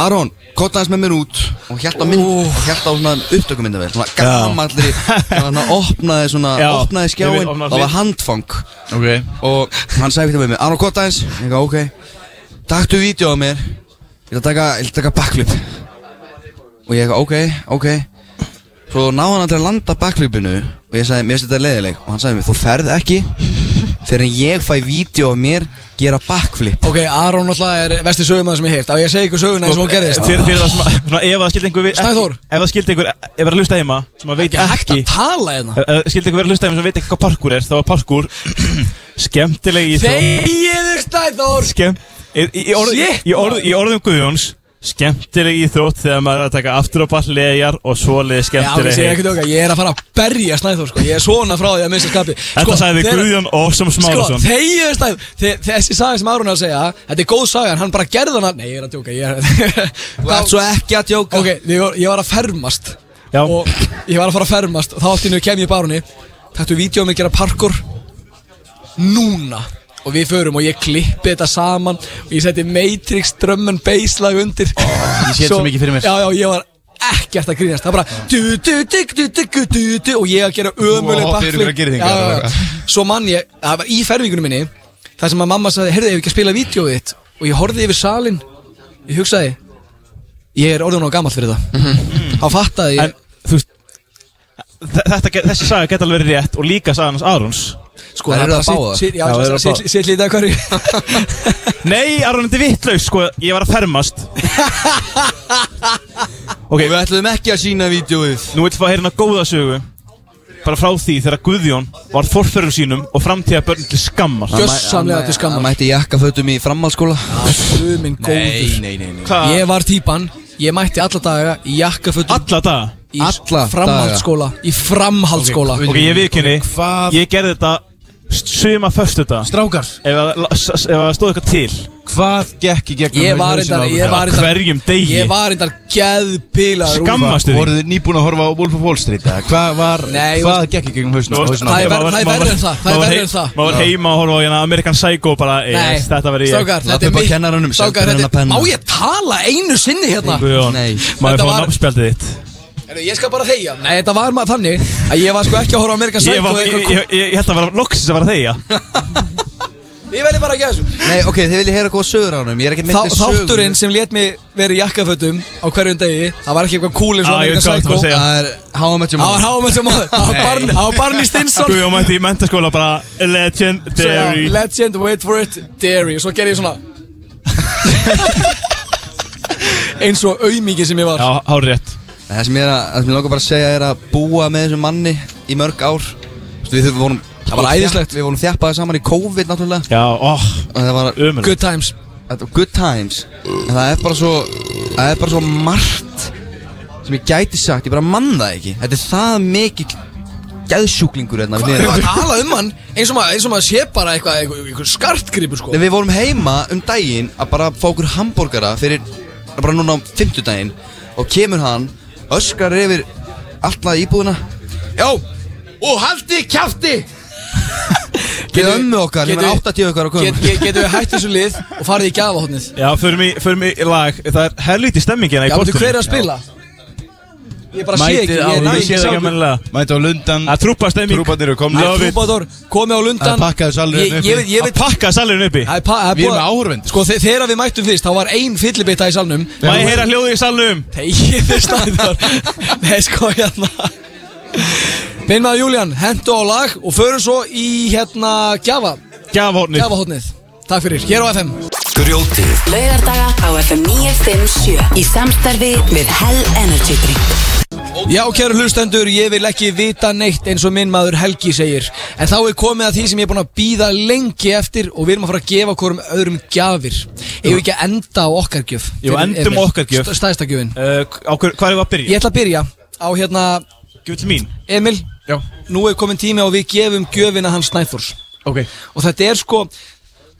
J: Aron, kotta hans með mér út og hjælt á mynd, og hjælt á svona upptökumyndavél svona gammallri, svona opnaði svona,
D: Já.
J: opnaði
D: Ég
J: skjáin
D: veit, opnaði
J: það var
D: hlið.
J: handfang
E: Ok
J: og hann sagði eitthvað við mig Aron, kotta hans, ég gaf ok taktu vídeo á mér ég ætla að taka, ég ætla að taka backflip og ég gaf ok, ok svo ná hann aldrei að landa backflipinu og ég sagði, mér finnst þetta leðileg og hann sagði mér, þú ferð ekki þegar ég fæ vídeo á mér gera backflip
C: Ok, Aron náttúrulega er vesti sögumæður sem ég heilt Á ég að segja ykkur söguna eins og hún gerðist
D: Fyrir, fyrir það sem að, svona, ef það skildi einhver við
C: Snæþór.
D: Ef það skildi einhver, ef það er að hlusta heima Sem að veit
C: Hægt
D: ekki
C: að tala hérna
D: Ef ef skildi einhver vera að hlusta heima sem veit ekki hvað parkour er Þá var parkour skemmtileg í
C: Þegiðu Snæþór
D: Skemm Í, í, í, orð,
C: Shit,
D: í, orð, í orðum Guðjóns Skemmtileg íþrótt þegar maður er að taka aftur á ball legar og svoleiði
C: Já, ég
D: skemmtileg
C: segi
D: heim
C: ekki okkar, ég er að fara að berja Snæþór sko. Ég er svona frá því að minnsta skapi Sko,
D: Þetta sagði
C: þegar-
D: Guðjón Ósum
C: Sko,
D: Smárasson
C: þegiðu Snæþór Þe- Þessi saga sem Aron er að segja, þetta er góð saga en Hann bara gerði hana, nei ég er að djóka Ég er
J: Þú ert svo ekki að djóka
C: Ok, ég var, ég var að fermast
D: Já.
C: Og ég var að fara að fermast Og þá allt í hennu kem ég barunni Tættu vídeo um að gera parkour Núna Og við förum og ég klippi þetta saman Og ég seti Matrix drömmen basslag undir Ég
E: sé þetta svo mikið fyrir mér.
C: Já, já, ég var ekkert að grínast Það bara du, du, du, du, du, du, du, du, Og ég að gera ömuleg
E: Ó, fyrir ykkur að gera þingar, það var
C: já. Svo mann ég, það var í fermingunum minni Það sem að mamma sagði, heyrðu, ég hef ekki að spila vídeoið þitt Og ég horfði yfir salin Ég hugsaði, ég er orðin á gamall fyrir það
E: Mhm.
C: Þá fattaði ég
D: En þú veist þe- þetta, get- Þessi saga geta alveg verið rétt Og líka sagan hans Arons
C: Sko,
J: Þær eru að
C: bara
J: báðar.
C: sitt- sitt- já,
D: Já, þær eru
C: Já,
D: að
C: sitt-
D: báðar.
C: sitt lítið að hverju
D: Nei, Aron, þetta er vittlaus, sko, ég var að fermast Ok,
J: Við ætlum ekki að sína vídjóið
D: nú vil fá að heyra hérna góða sögu Bara frá því þegar Guðjón var forferður sínum og framtíða börn til skammar
C: Sko, Gjössamlega til
J: Hann
C: skammar
J: mætti jakkafötum í framhaldsskóla
C: Guð minn góður
E: Nei, nei, nei
D: Hvað?
C: Ég var típan, ég mætti alla daga í jakkafötum
D: Alla daga
C: Í
J: alla
C: framhaldsskóla Í framhaldsskóla
D: Ok, ég viðkynni,
E: Hvað-
D: ég gerði þetta suma föstu þetta
E: Strákar
D: Ef að- s- s- ef það stóð eitthvað til
E: Hvað gekk í gegnum
C: Ég var
E: hausinn á
C: reyndar,
E: ykkur?
C: ég var
D: Á
C: reyndar
D: hverjum degi.
C: Ég var reyndar geðpilaður úr-
D: Skammastu því
E: Voruð þið nýbúin að horfa á Wolf of Wall Street eða? Hvað var
C: Nei, ég
E: Hvað gekk í gegnum hausnum
D: Þú veist,
E: hausnum
C: Það
D: maður-
C: er verra- það er
D: maður-
C: verra en það, það er
D: maður-
C: verra en það.
D: Maður var heima og horfa á hérna Amerikan Psycho bara
C: Nei,
D: yes, Þetta verði ég
C: strákar, þetta
J: Lappa
C: er
J: upp á
C: mitt
J: kennaranum,
C: Strákar,
J: sendir henni
C: þetta er,
J: penna.
C: má ég tala einu sinni hérna
D: Guðjón,
J: Nei.
D: maður
C: Þetta
D: fá
C: var-
D: námspjaldið þitt
C: Heyrðu, Ég skal bara þegja Nei, þetta var maður þannig að ég var sko ekki að horfa á Amerikan
D: Ég,
C: Psycho
D: var,
C: eða
D: ég,
C: eitthvað-
D: ég, ég, ég held að vera loksins að vera þeia
C: Ég verði bara að gera þessu
J: Nei, ok, þið viljið heyra góða sögur á hann Ég er ekki
C: Þá-
J: myndið sögur
C: Þátturinn sem let mig vera í jakkafötum á hverjum degi Það var ekki eitthvað cool eins og
D: Ah, ég veit hvað þú
C: Amerikan
D: ert að segja.
C: Psycho
J: Það er How I Met Your
C: Það var
J: Mother
C: háum sem maður Það var Barney- það var Barney Stinson
D: Guðjón mætti í mentaskóla bara
C: Svo, já,
D: Legendary
C: Legend, wait for it, dairy Svo gerði ég svona Eins og auðmikið sem ég var
D: Já, hár rétt
J: Það sem ég, er að, það sem ég langar bara að segja er að búa með þessum manni í mörg ár Þú veist, við þurfum- vorum
C: Það var æðislegt.
J: Við vorum þjappaði saman í COVID náttúrulega
D: Já, óh
J: Það var
D: Ömurlegt.
C: Good times
J: Þetta var good times En það er bara svo Það er bara svo margt Sem ég gæti sagt, ég bara mann það ekki Þetta er það mikið Gæðsjúklingur hérna við
C: Við erum
J: hliðina á
C: að
J: okkur.
C: tala um hann eins og maður, eins og maður sé bara eitthvað, eitthvað, eitthvað skartgripu sko
J: Nei, við vorum heima um daginn að bara fá okkur hambúrgara fyrir bara núna á fimmtudaginn og kemur hann, öskar yfir alltaf íbúðina Já, og haldið kjátti Við ömmu okkar, ég meina 80 okkar og komum
C: get, get, Getum við hætt þessu lið og farið í gafahotnið
D: Já, förum í, förum í lag Það er helviti stemmingina í
C: Já, veitu
D: kortunum
C: hver er að spila? Ég bara sé ekki, ég
D: Ég sé það ekki að mennilega
E: Mæti á lundan
D: Að trúpa stemming
E: Trúparnir eru komnir.
D: Love it.
C: Trúbador, komi á lundan
E: Að pakkaðu salurinn
C: Ég-
E: uppi.
C: ég veit- ég veit-
D: Að pakka salurinn uppi
C: Það er pa- það er
E: Við erum
C: búið-
E: með áhorfendur.
C: Sko, þe- þegar við mættum fyrst, þá var ein fyllibita í salnum
D: Má ég heyra hljóðið í salnum? um?
C: Þegið þið stæðar Nei, sko, hérna Minn maður Júlían, hendu á lag og förum svo í, hérna, gjafa
D: Gjafahotnið
C: Gjafahotnið Takk fyrir, hér á FM
A: Grjótið
B: Laugardaga á FM 957 Í samstarfi við Hell Energy Drink
C: Já, kæru hlustendur, ég vil ekki vita neitt eins og minn maður Helgi segir En þá er komið að því sem ég er búin að býða lengi eftir Og við erum að fara að gefa okkur um öðrum gjafir Ég vil ekki að enda á okkar gjöf
D: Jú,
C: Fyrir
D: endum
C: Emil.
D: okkar gjöf.
C: St- Stærsta gjöfin
D: Uh, á hver- Hvað er við að
C: Ég
D: byrja?
C: ætla að byrja á hérna,
D: Gjöld mín
C: Emil Já Nú er komin tími og við gefum gjöfina hans Snæþórs
D: Ok
C: Og þetta er sko,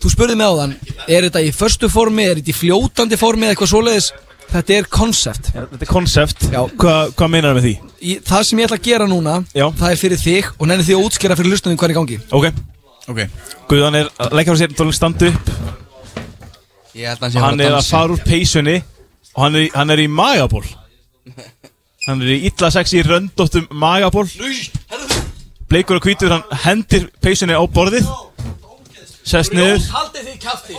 C: þú spurði mig á þann Er þetta í förstu formi, er þetta í fljótandi formi eða eitthvað svoleiðis Þetta er konsept
D: Þetta er konsept
C: Já.
D: Hvað hva meinar með því?
C: Í- Það sem ég ætla að gera núna
D: Já.
C: Það er fyrir þig og nenni því að útskýra fyrir hlustendum hvað er í gangi
D: Ok
E: Ok
D: Guðan er að leggja frá sér tónlist standu upp
J: Ég held að hann sé að
D: Hann
J: fara
D: er
J: að
D: að
J: dansa
D: fara úr peysunni Og hann er, í- hann er í magaból Hann er í illa sexi röndóttum magaból Bleikur og hvítur Hann hendir peysunni á borðið Sest niður
C: Haldið þið kæfti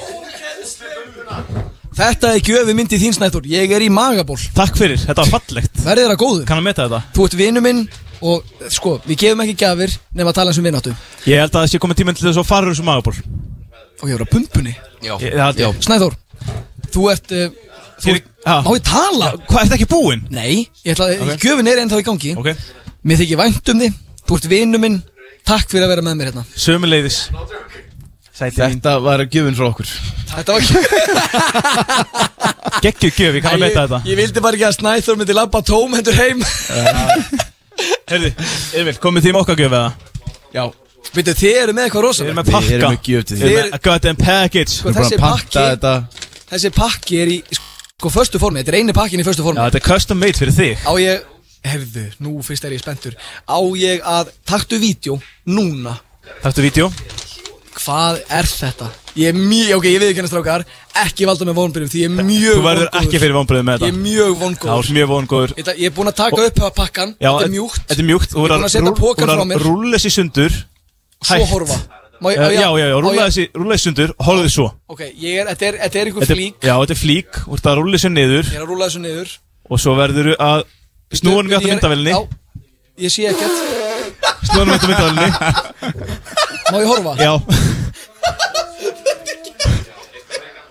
C: Þetta er gjöfi myndi þín snættur Ég er í magaból
D: Takk fyrir, þetta var fallegt
C: Verðið þeirra góður
D: Kann að meta þetta?
C: Þú ert vinnu minn og eh, sko, við gefum ekki gjafir nema að tala eins um vináttu Og
D: Ég held að það sé komið tíminn til þess að fara úr þessu magaból
C: ég er á pumpunni
D: Ég- það held ég.
C: Snæþór, þú ert uh, þú,
D: Ég- ha?
C: Má ég tala?
D: Hvað, er þetta ekki búinn?
C: Nei, ég ætla að gjöfin er ennþá í gangi
D: Ok
C: Mér þykir vænt um þig, þú ert vinnu minn Takk fyrir að vera með mér hérna
D: Sömuleiðis Sæti mín
E: Þetta var gjöfin frá okkur
C: Þetta var ekki
D: Gekkið gjöf, ég kann að meta þetta
C: Ég vildi bara ekki að Snæþór myndi labba tómendur heim
D: Herði, Emil, komið tíma okkar gjöf eða?
E: Já
C: Veitu, þið eru með
D: Við
C: eitthvað
D: erum
C: rosalega
D: með pakka
E: Við erum með gjöf til þín.
D: Við erum með goddamn package Já,
C: Sko,
E: Bara
C: þessi
E: panta
C: pakki
E: þetta
C: Þessi pakki er í sko förstu formi, þetta er eini pakkin í förstu formi
D: þetta er custom made fyrir þig
C: Á ég, herðu, nú fyrst er ég spenntur Á ég að, taktu vídeo, núna
D: Þarftu vídeo?
C: Hvað er þetta? Ég er mjög, ok, ég við ekki hennar strákar Ekki valda með vonbyrjum því ég er mjög
D: Þú verður
C: vongóður.
D: ekki fyrir vonbröðum með
C: Ég er
D: þetta
C: mjög
D: Það
C: vongóður
D: er mjög vongóður
C: Ég ætla- Ég er búinn að taka upp að pakkan,
D: Já,
C: þetta er mjúkt
D: Þetta er mjúkt Þú
C: Ég er
D: er
C: búinn að setja pokann frá mér.
D: Rúlla þessi sundur
C: Svo
D: hægt.
C: horfa Má
D: Eh,
C: ég- á ég-
D: Já, já, já,
C: á
D: rúlla
C: ég-
D: þessi rúlla þessi sundur Horfðu svo
C: Ok, ég er, þetta er, þetta er einhver
D: Þetta er-
C: flík
D: Já, þetta er flík Þú ert að rúlla þessu niður
C: Ég er að rúla þessu niður
D: Og svo verður að Snúanum við átt
C: Ég er-
D: myndavelni
C: Já, ég sé ekkert
D: Snúanum við átt myndavelni
C: Má ég horfa?
D: Já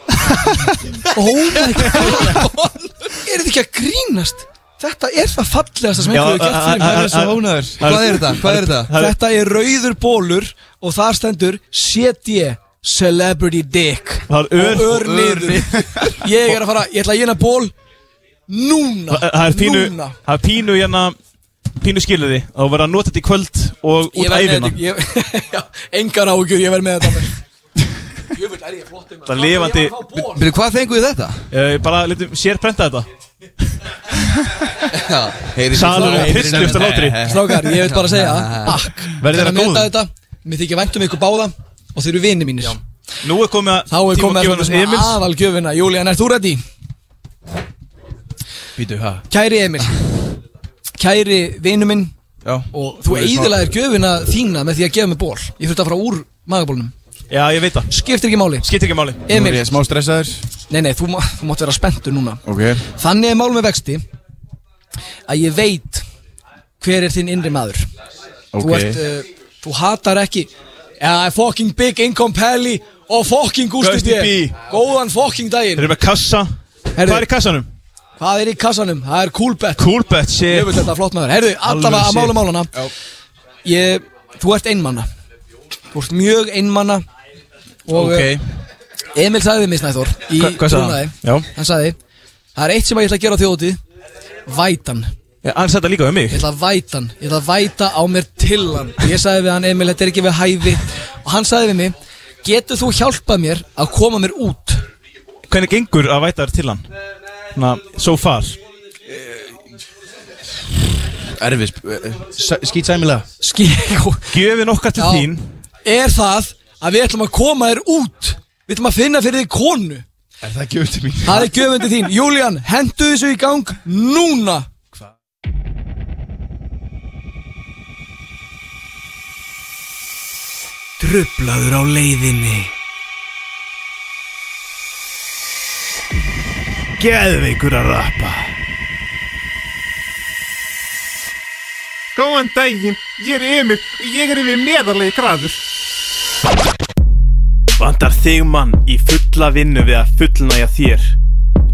C: Oh my god Er þetta ekki að grínast? Þetta er það fallegasta sem
D: Já,
C: einhverju gert fyrir
D: a- a-
C: mig
D: a- a-
E: Ónaður
J: Hvað er þetta? Hvað er þetta?
D: Það er-
C: Þetta er rauður bólur og þar stendur CD Celebrity Dick
D: Það er ör-
C: og ör niður Ég er að fara, ég ætla að gina ból Núna
D: Það það er pínu
C: Núna
D: Það er pínu hérna Pínu skilur því Það verður að nota þetta í kvöld Og
C: Ég
D: út
C: verð með
D: æfina
C: þetta- ég- Já, Engar áhugjur, ég verð með þetta Jöfull er ég flott um
D: Það er lifandi-
J: Byrju, hvað fengu við þetta?
D: Eh, Bara letum sérprenta þetta
J: Já, heyri
D: Salur og
E: Nei, nei,
D: hristljúft að
E: nei,
D: látri
E: nei.
C: Snákar, ég vil bara segja Akk,
D: Verðið
C: þegar
D: þeirra
C: að mynda
D: góðum?
C: þetta Mér þykir væntum ykkur báða og þeir eru vini mínir
D: Nú er komið að
C: Þá er
D: tíma að
C: komið að
D: gefa
C: svona
D: hans
C: sem
D: Emils
C: aðalgjöfina Júlían, er þú ready?
E: Býtu, ha
C: Kæri Emil Kæri vinu minn
E: Já
C: Og þú eiðilaðir gjöfina þína með því að gefa mig ból Ég þurfti að fara úr magabólnum
D: Já, ég veit það
C: Skiptir ekki máli
D: Skipt ekki máli
E: Nú er
C: Emil,
E: ég smá stressaður
C: nei nei, þú, má- þú mátt vera spenntur núna
E: Ok
C: Þannig er mál með vexti Að ég veit hver er þinn innri maður Þú ert, uh, þú hatar ekki Já, fucking Big Income Pally Og fucking Gusti
D: Gústi
C: B
D: B.
C: Góðan fucking daginn
D: Þeir eru með kassa Hvað
C: Herðu.
D: er í kassanum?
C: Hvað er í kassanum? Það er Coolbet
D: Coolbet, shit
C: Ég veit þetta flott maður Herðu, allavega að mála málana ég, Þú ert einmanna Þú ert mjög einmanna Og
D: Ok.
C: eh, Emil sagði mér snæður Í
D: Hva- hvað sagði hann? Já.
C: trúnaði Hann sagði Það er eitt sem ég ætla að gera á þjóðutíð Vætan
D: Já, hann sagði þetta líka um mig
C: Ég ætla að væta hann, ég ætla að væta á mér til hann Ég sagði við hann, Emil, þetta er ekki við hæfi Og hann sagði við mig, getur þú hjálpað mér að koma mér út?
D: Hvernig gengur að væta þér til hann? Na, so far
E: Erfis eh, Skýt sæmilega
D: Gjöfin okkar til
C: Já.
D: þín
C: Er það að við ætlum að koma þér út? Við ætlum að finna fyrir þig konu
E: Er það ekki auðvitað mín?
C: Það er gjöfundi þín, Julian, hendu þessu í gang núna
B: Trublaður á leiðinni
K: Geðveikur að rappa Góðan daginn, ég er Emil og ég er yfir meðarlegi græður Vandar þig mann í fulla vinnu við að fullnæja þér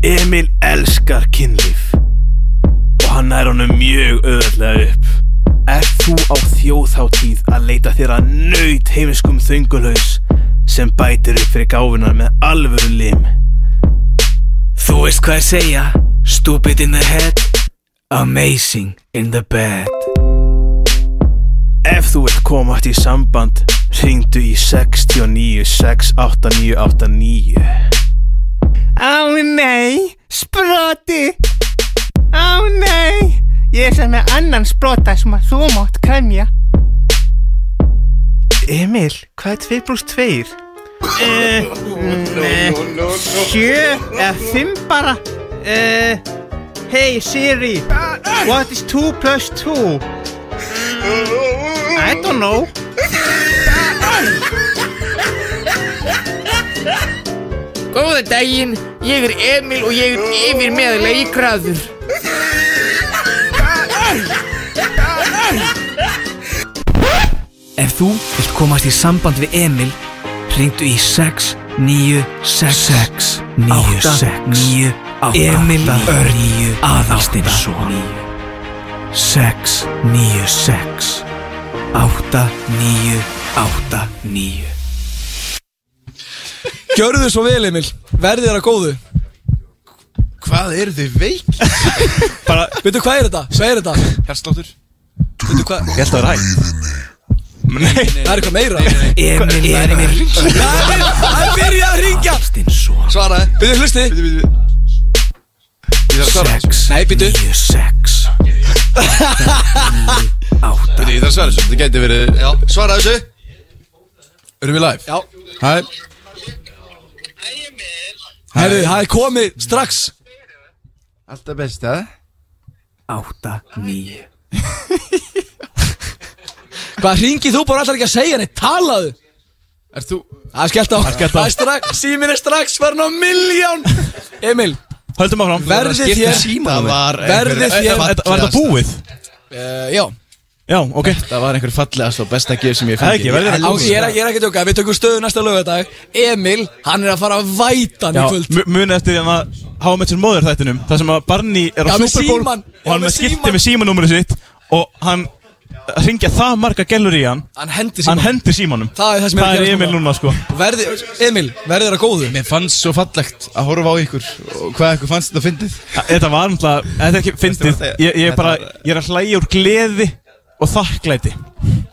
K: Emil elskar kynlíf og hann er honum mjög öðlega upp Er þú á þjóðháttíð að leita þér að nöyt heimskum þöngulhaus sem bætir upp fyrir gáfunar með alvöru lim Þú veist hvað ég segja Stupid in the head Amazing in the bed Ef þú vilt komast í samband Ringdu í 69 68989
L: Ó nei, sproti Ó nei Ég er sem með annan sprota sem að þú mátt kremja
K: Emil, hvað er 2 pluss 2?
L: Eh, eh, Sjö eða fimm bara uh, Hey Siri What is 2 plus 2? I don't know
M: Góða daginn, ég er Emil og ég er yfir meðlega í græður.
B: Ef þú vilt komast í samband við Emil Ringdu í 6 9 6
M: níu, sex.
B: 9
M: Átta,
B: Emil
M: níu,
B: Örn
M: níu,
B: Aðalstinsson 6 9 6 8 9 8 9
C: Gjörðu svo vel, Emil, verði þér að góðu
E: Hvað eru þið veik?
D: Bara,
C: veitu hvað er þetta? Hvað er þetta?
E: Hérsláttur
C: Veitu hvað?
D: Ég held að það er hægt Nei,
C: það er eitthvað meira Emil,
B: Emil
C: Hann byrjaði að ringja
J: Svaraði
C: Byrju, hlusti
E: Sex
C: Nei, býtu
B: Níu, sex
E: Þetta ég þarf að svara þessu, þetta gæti verið Já, svara þessu Erum við live?
C: Já
E: Hæ
C: Herðu, það er komið strax
E: Alltaf besta
B: 8 9
C: Hvað ringið þú bara allar ekki að segja neitt? Talaðu
E: Er þú?
C: Það er skellt á
D: Það er skellt á.
C: er strax Símin er strax farin á miljón Emil
D: Höldum áfram
C: Verði þér
E: Það var
C: Verði
E: einhver-
C: þér
E: Var þetta
D: búið?
C: Eh, Já
D: Já, ok
E: Það var einhver fallegast og besta gef sem ég
D: Það er
E: fengi
D: ekki, verður
E: Ég
C: Á,
E: elska
C: Ég er, ég er ekki að tjóka, við tökum stöðu næsta lögadag Emil, hann er að fara að væta hann í kvöld
D: mu- munið eftir því að hafa með sér móður þættinum þar sem að Barney er á
C: Já, með
D: Super Bowl
C: símann.
D: og hann
C: Já,
D: með
C: með
D: skilti með símanúmerið sitt og hann ringja það marga gellur í hann
C: Hann hendir
D: hann
C: símanum.
D: hendir símanum
C: Það er það sem er að
D: það er
C: gerast
D: Emil
C: núna.
D: núna sko
C: Verði, Emil, verði þér að góðu
E: Mér fannst svo fallegt að horfa á ykkur og hvað ykkur fannst þetta fyndið
D: þetta var náttúrulega þetta er ekki fyndið
E: Þetta-
D: ég, ég, er bara,
E: þetta
D: ég er að hlæja úr gleði og þakklæti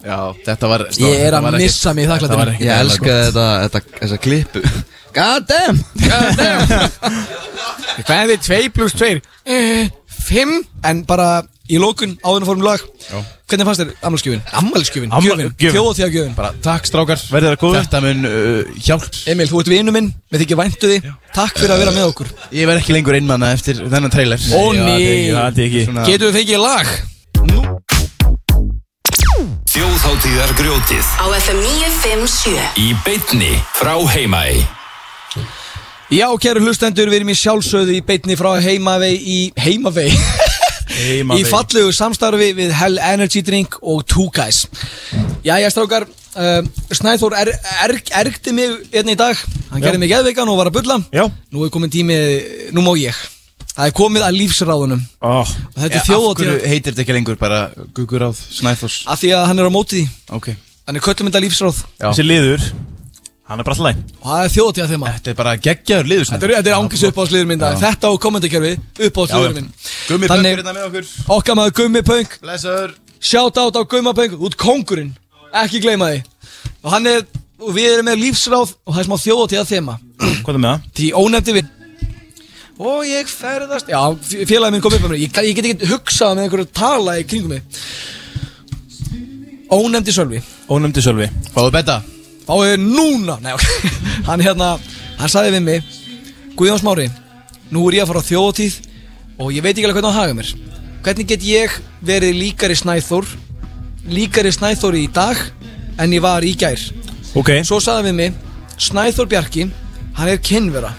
E: Já, þetta var
C: Ég er að missa mig í
E: Þetta var
C: þakklætinu
E: ekki
J: Ég
E: meðalega
J: elska
E: gott.
J: þetta, þetta, þessa klippu God damn God damn
C: Hvað er þið 2 pluss 2? 5 Eh, En bara í lókun áðurinn fórum í lag
E: Já.
C: Hvernig fannst þér ammálskjöfin? Ammálskjöfin,
D: Ammæl-
C: gjöfin,
D: gjöfin.
C: þjóðtíðagjöfin
E: Bara takk strákar
D: Verðið það góður?
E: Þetta mun uh, hjálp
C: Emil, þú ert vinnu minn, með þykir væntu því Takk fyrir að vera með okkur
E: Ég verð ekki lengur einmanna eftir þennan trailer
C: Ó,
E: Já,
C: nei.
E: þetta er ekki-
D: Já, þetta er ekki.
E: Svona-
C: Getum við fengið lag?
A: Þjóðháttíðar grjótið
B: Á FM 957
A: Í beitni frá heimæ
C: Já, kæru hlustendur, við erum í sjálfsöðu í beitni frá heimavei í heimavei
D: Heima
C: Í
D: við.
C: fallegu samstarfi við Hell Energy Drink og Two Guys Jæja, strákar, um, Snæþór er, er, ergdi mig einn í dag Hann
D: Já.
C: gerði mig geðveikan og var að bulla
D: Já.
C: Nú er komin tími, nú má ég Það er komið að lífsráðunum
E: oh.
C: Þetta er þjóðatíð-
E: Af hverju heitir þetta ekki lengur bara Guguráð Snæfors
C: Af því að hann er á móti því
E: Ok
C: Hann er köllum þetta lífsráð
D: Þessi liður Hann er bara alltaf
C: Og það er þjóðatíða þeim Þetta
E: er bara geggjaður liður
C: Þetta er, þetta er ángis uppáðsliður minn dag.
E: Já.
C: Þetta og kommentarkerfi uppáðsliður
E: Já, já.
C: minn
E: Gummi Pönk er
C: Þannig-
E: hérna með okkur.
C: Okkar maður Gummi Pönk
E: Blessaður
C: Shout out á Gummi Pönk Út kongurinn Ekki gleyma því Og hann er Og við erum með lífsráð Og það er smá þjóðatíða þema
D: Hvað er með það?
C: Því ónefndi við Og ég ferðast Já, f- félagið minn kom upp með mér Ég, ga- ég get ekki hugsað með einhverju tala í kringum mig Ónefndi Sölvi
D: Ónefndi Sölvi
E: Fáðu betta
C: Fáðu núna Nei, ok Hann hérna Hann sagði við mig Guðjón Smári Nú er ég að fara á þjóðatíð Og ég veit ekki alveg hvernig hann haga mér Hvernig get ég verið líkari Snæþór Líkari Snæþór í dag En ég var í gær
D: Ok
C: Svo sagði við mig Snæþór Bjarki Hann er kynvera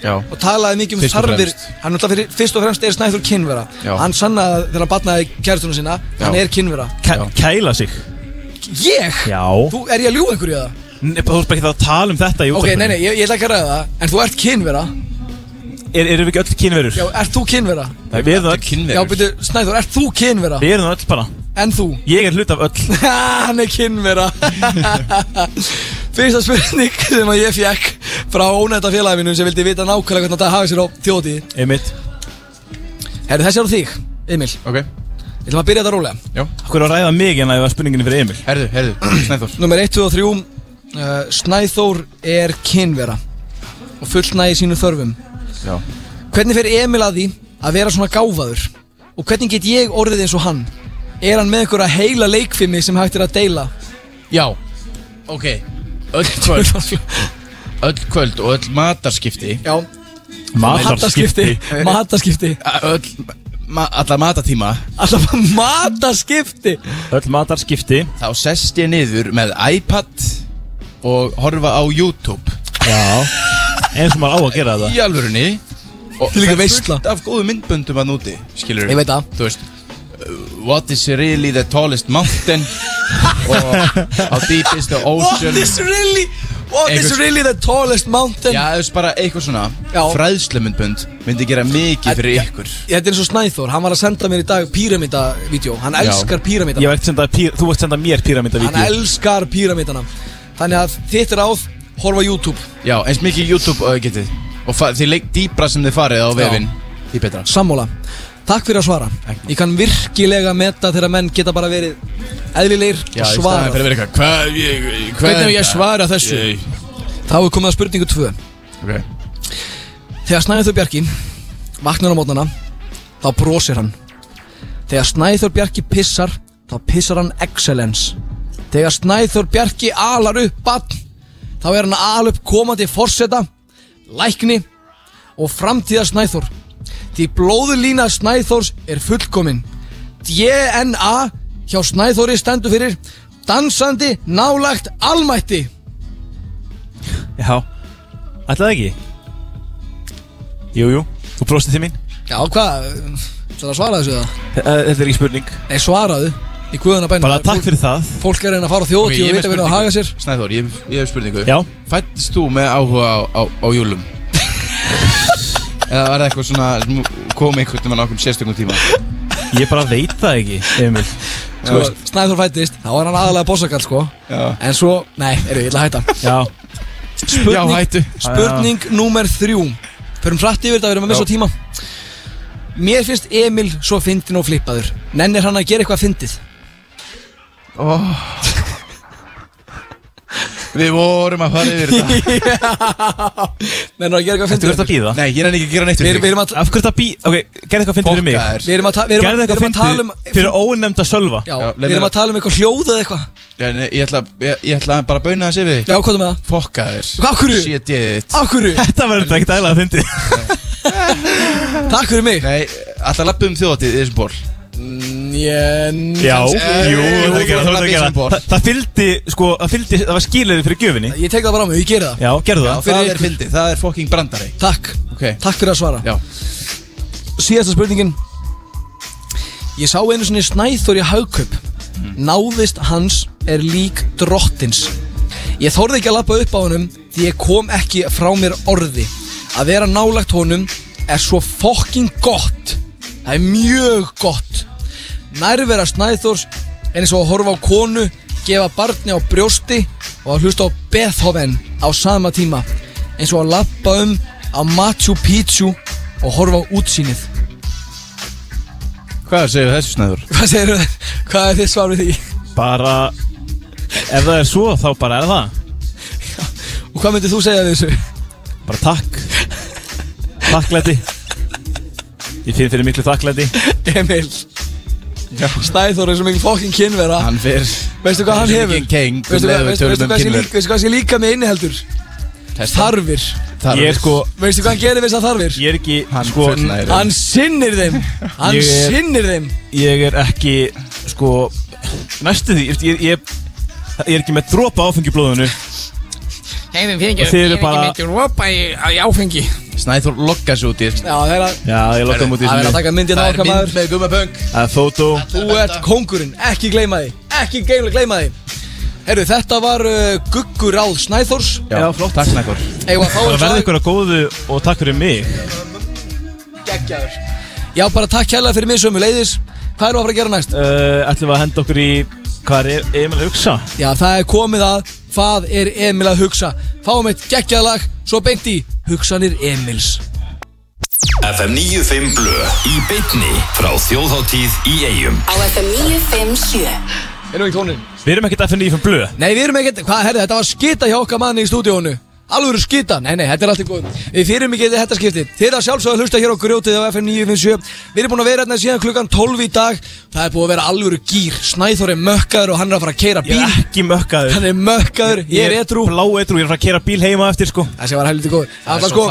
E: Já
C: og talaði mikið um
E: Fyrst og
C: þarfir
E: fremst.
C: hann náttúrulega fyrir, fyrst og fremst er Snæþór kynvera
D: Já.
C: hann sannaði það þegar hann batnaði kærtunum sína hann
D: Já.
C: er kynvera
D: Kæ- Kæla sig
C: ég?
D: Já
C: Þú, er ég að ljúga einhverju það?
D: Nei, Þú ert bara ekki að tala um þetta í
C: ok,
D: útvarpinu.
C: nei, nei, ég, ég ætla ekki að ræða það en þú ert kynvera
D: Er, Erum við ekki öll kynverur?
C: já, ert þú kynvera?
D: Nei, Við erum öll
C: já, byrju, Snæþór, ert þú kynvera?
D: Við erum öll bara
C: en þú?
D: Ég er hlut af öll
C: hann er kynvera fyrsta spurning sem að ég fekk frá ónæta félagi mínum sem vildi vita nákvæmlega hvernig það hafa sér á þjóðtíð
D: Einmitt
C: Herru, þessi er á þig, Emil
E: Ok
C: Ég ætlum að byrja þetta rólega
E: Já
D: Hvað er að ræða mig en að það var spurningin fyrir Emil?
E: Herðu, herðu, Snæþór
C: Númer 1, 2 og 3 uh, Snæþór er kynvera og fullnægi sínum þörfum
E: Já
C: Hvernig fer Emil að því að vera svona gáfaður og hvernig get ég orðið eins og hann Er hann með einhverja heila leikfimi sem hægt er að deila
E: Já Ok Öll kvöld Öll kvöld og öll matarskipti
C: Já
E: Matarskipti.
C: Matarskipti
E: Öll ma Alla matatíma
C: Alltaf matarskipti
D: Öll matarskipti
E: Þá sest ég niður með iPad Og horfa á YouTube
D: Já Eins og maður á að gera þetta
E: Í alvörunni Og
C: Þvílík
E: það er
C: veisla.
E: fullt Af góðu myndböndum að núti Skilur
C: Ég veit það.
E: Þú veist uh, What is really the tallest mountain Og How deep is the
C: What
E: ocean
C: is really What is
E: Einhvers-
C: really the tallest mountain
E: Já, þú veist bara eitthvað svona
C: Já.
E: Fræðslumundbund myndi gera mikið fyrir ykkur
C: Þetta er eins og Snæþór, hann var að senda mér í dag píramítavídeó Hann elskar píramíta
D: Ég var ekki sendað pí- Þú ert sendað mér
C: Hann
D: píramítavídeó
C: elskar píramítana Þannig að þitt ráð, horfa á YouTube
E: Já, eins mikið YouTube og þið getið Og fa- því leik dýbra sem þið farið á vefinn Því betra
C: Sammála Takk fyrir að svara Ég kann virkilega meta þegar menn geta bara verið eðlilegir
E: Já,
C: og
E: í
C: svara
E: staðan fyrir að vera eitthvað Hvað, ég, hvað
C: Hvernig hef ég svarað þessu?
E: Ég-
C: Þá er komið að spurningu 2
E: Ok
C: Þegar Snæður Bjarki vaknar á mótnana þá brosir hann Þegar Snæður Bjarki pissar þá pissar hann excellence Þegar Snæður Bjarki alar upp bann þá er hann að ala upp komandi forseta lækni og framtíðar Snæþór því blóðulína Snæþórs er fullkomin DNA hjá Snæþóri stendur fyrir dansandi nálagt almætti
D: Já Ætlaði ekki? Jú, jú Þú brostið til mín
C: Já, hvað? Það að svara þessu það?
D: Eh, Þetta er ekki spurning
C: Nei, svaraðu Í guðuna bænum
D: Bara takk fyrir það
C: Fólk er að reyna að fara á þjóðtíð og vita hvernig það haga sér
E: Snæþór, ég, ég hef spurningu
D: Já
E: Fættist þú með áhuga á, á, á júlum? Eða var það eitthvað svona sem kom einhvern veginn á okkur sérstökum tíma?
D: Ég bara veit það ekki, Emil
C: Sko, Snæður fættist, þá er hann aðalega bossakall, sko
E: Já.
C: En svo, nei, eru, ég ætla að hætta
D: Já
C: Spurning,
E: Já, hættu.
C: Spurning númer þrjú Förum hratt yfir þetta, við erum að missa
E: Já.
C: á tíma Mér finnst Emil svo fyndin og flippaður Nennir hann að gera eitthvað fyndið
E: oh. Við vorum að fara yfir þetta
C: Nennir hann að gera eitthvað
D: Þetta
C: fyndið
D: verður að býða
E: Nei, ég er ekki að gera neitt
C: Við við erum að
D: Af hverju þetta býða? Ok, gerði eitthvað fyndið fyrir mig
E: Fokkaðir.
C: Við erum að, ta við erum að,
D: Gerði
C: við
D: eitthvað
C: erum að tala um
D: fyndið fyrir ónefnda sölva
C: Já,
E: Já, leið
C: við erum
E: mér-
C: að tala um eitthvað hljóð eða eitthvað
E: Já, nei, ég, ætla, ég, ég ætla bara að bauna þessi við þig
C: Já, hvað er með það?
E: Fokka þér
C: Af hverju?
E: Shit, ég þitt
C: Af hverju?
D: Þetta verður ekki dæla að fyndið
C: Takk fyrir mig
E: Nei, alltaf lappu um þjóðatíð í þessum ból
C: Njén
D: Já,
E: Eh,
D: jú,
E: jú,
D: það
E: þú
D: gerði
E: ætlar að
D: það
E: vísa
D: gera.
E: um borð.
D: Þa- Það fylgdi, sko, það fylgdi, það var skilirði fyrir gjöfinni
C: Ég tek það bara á mig, ég geri það
D: Já, gerðu
E: Já,
D: það
E: það
C: fyrir
E: er
C: ykkur.
E: fyndið, það er fucking brandari
C: Takk,
E: Ok,
C: takk fyrir að svara
E: já
C: Síðasta spurningin Ég sá einu sinni Snæþór í haugkaup Náðist hans er lík drottins Ég þorði ekki að lappa upp á honum Því ég kom ekki frá mér orði Að vera nálagt honum er svo fucking gott Það er mjög gott Nærvera Snæþórs er eins og að horfa á konu Gefa barni á brjósti Og að hlusta á Bethoven á sama tíma Eins og að lappa um á Machu Picchu Og horfa á útsýnið
E: Hvað segir þessu snæður?
C: Hvað segirðu? Hvað er þið svarið því?
D: Bara Ef það er svo þá bara er það
C: Og hvað myndir þú segja við þessu?
D: Bara takk Takklæti Ég finn fyrir miklu takklæti
C: Emil Snæþór er svo mikið fokkin kynvera
E: Hann fyrr
C: Veistu hvað hann
E: Hann er
C: hefur?
E: mikið king,
C: Veistu
E: um leið
C: hvað
E: við
C: veistu-
E: tölum
C: veistu
E: um
C: hvað sé
E: kynver.
C: líka- veistu hvað sé líka með inniheldur? Þarfir
D: Ég er sko
C: Veistu hvað hann gerir við þessar þarfir?
D: Ég er ekki Hann sko,
C: fullnægir þeim. Hann sinnir þeim Hann
D: Ég er-
C: sinnir þeim
D: Ég er ekki Sko Næstu því Ég, ég, ég er ekki með dropa áfengi í blóðinu
M: Heiðin fyrir
D: Og þið eru
M: ekki, ég
D: bara-
M: er ekki með ropa í, í áfengi
E: Snæður lokka svo út í
C: Já, það er að
D: Já, ég lokka mútið
C: Það er að taka myndin á okkar maður
E: með gummapöng
D: Það er fótó
C: Þú ert kongurinn, ekki gleyma því Ekki gleyma, gleyma því Herru, þetta var uh, Guggur Ráð Snæþórs
D: Já, flott Takk nægur
C: Eigum að fá
D: Það
C: einn
D: verði
C: slag?
D: ykkur að góðu og takk fyrir mig
C: Geggjaður Já, bara takk kærlega fyrir mig sömu leiðis Hvað erum við að fara að gera næst?
D: uh, Ætlum við að henda okkur í Hvað er Emil að hugsa?
C: Já, það er komið að Hvað er Emil að hugsa? Fáum eitt geggjað lag Svo beint í Hugsanir Emils
A: FM 95 Blö í bytni frá þjóðháttíð í eigum
B: Á FM 957
C: Erum við tónin?
D: Við erum ekkert FNI fyrir blöð
C: Nei, við erum ekkert Hvað, herru, þetta var skita hjá okkar manni í stúdíónu Alvöru skita, nei, nei, þetta er alltaf góð Við fyrirum ekki þetta skipti Þið er að sjálfsögða hlusta hér á grjótið á FM 957 Við erum búin að vera hérna síðan klukkan 12 í dag Það er búin að vera alvöru gýr Snæþór er mökkaður og hann er að fara að keira bíl
D: Ég er ekki mökkaður
C: Hann er mökkaður, ég er
D: edru Blá edru, ég er að fara að kera bíl heima eftir sko
C: Það sé var helviti góður Það var sko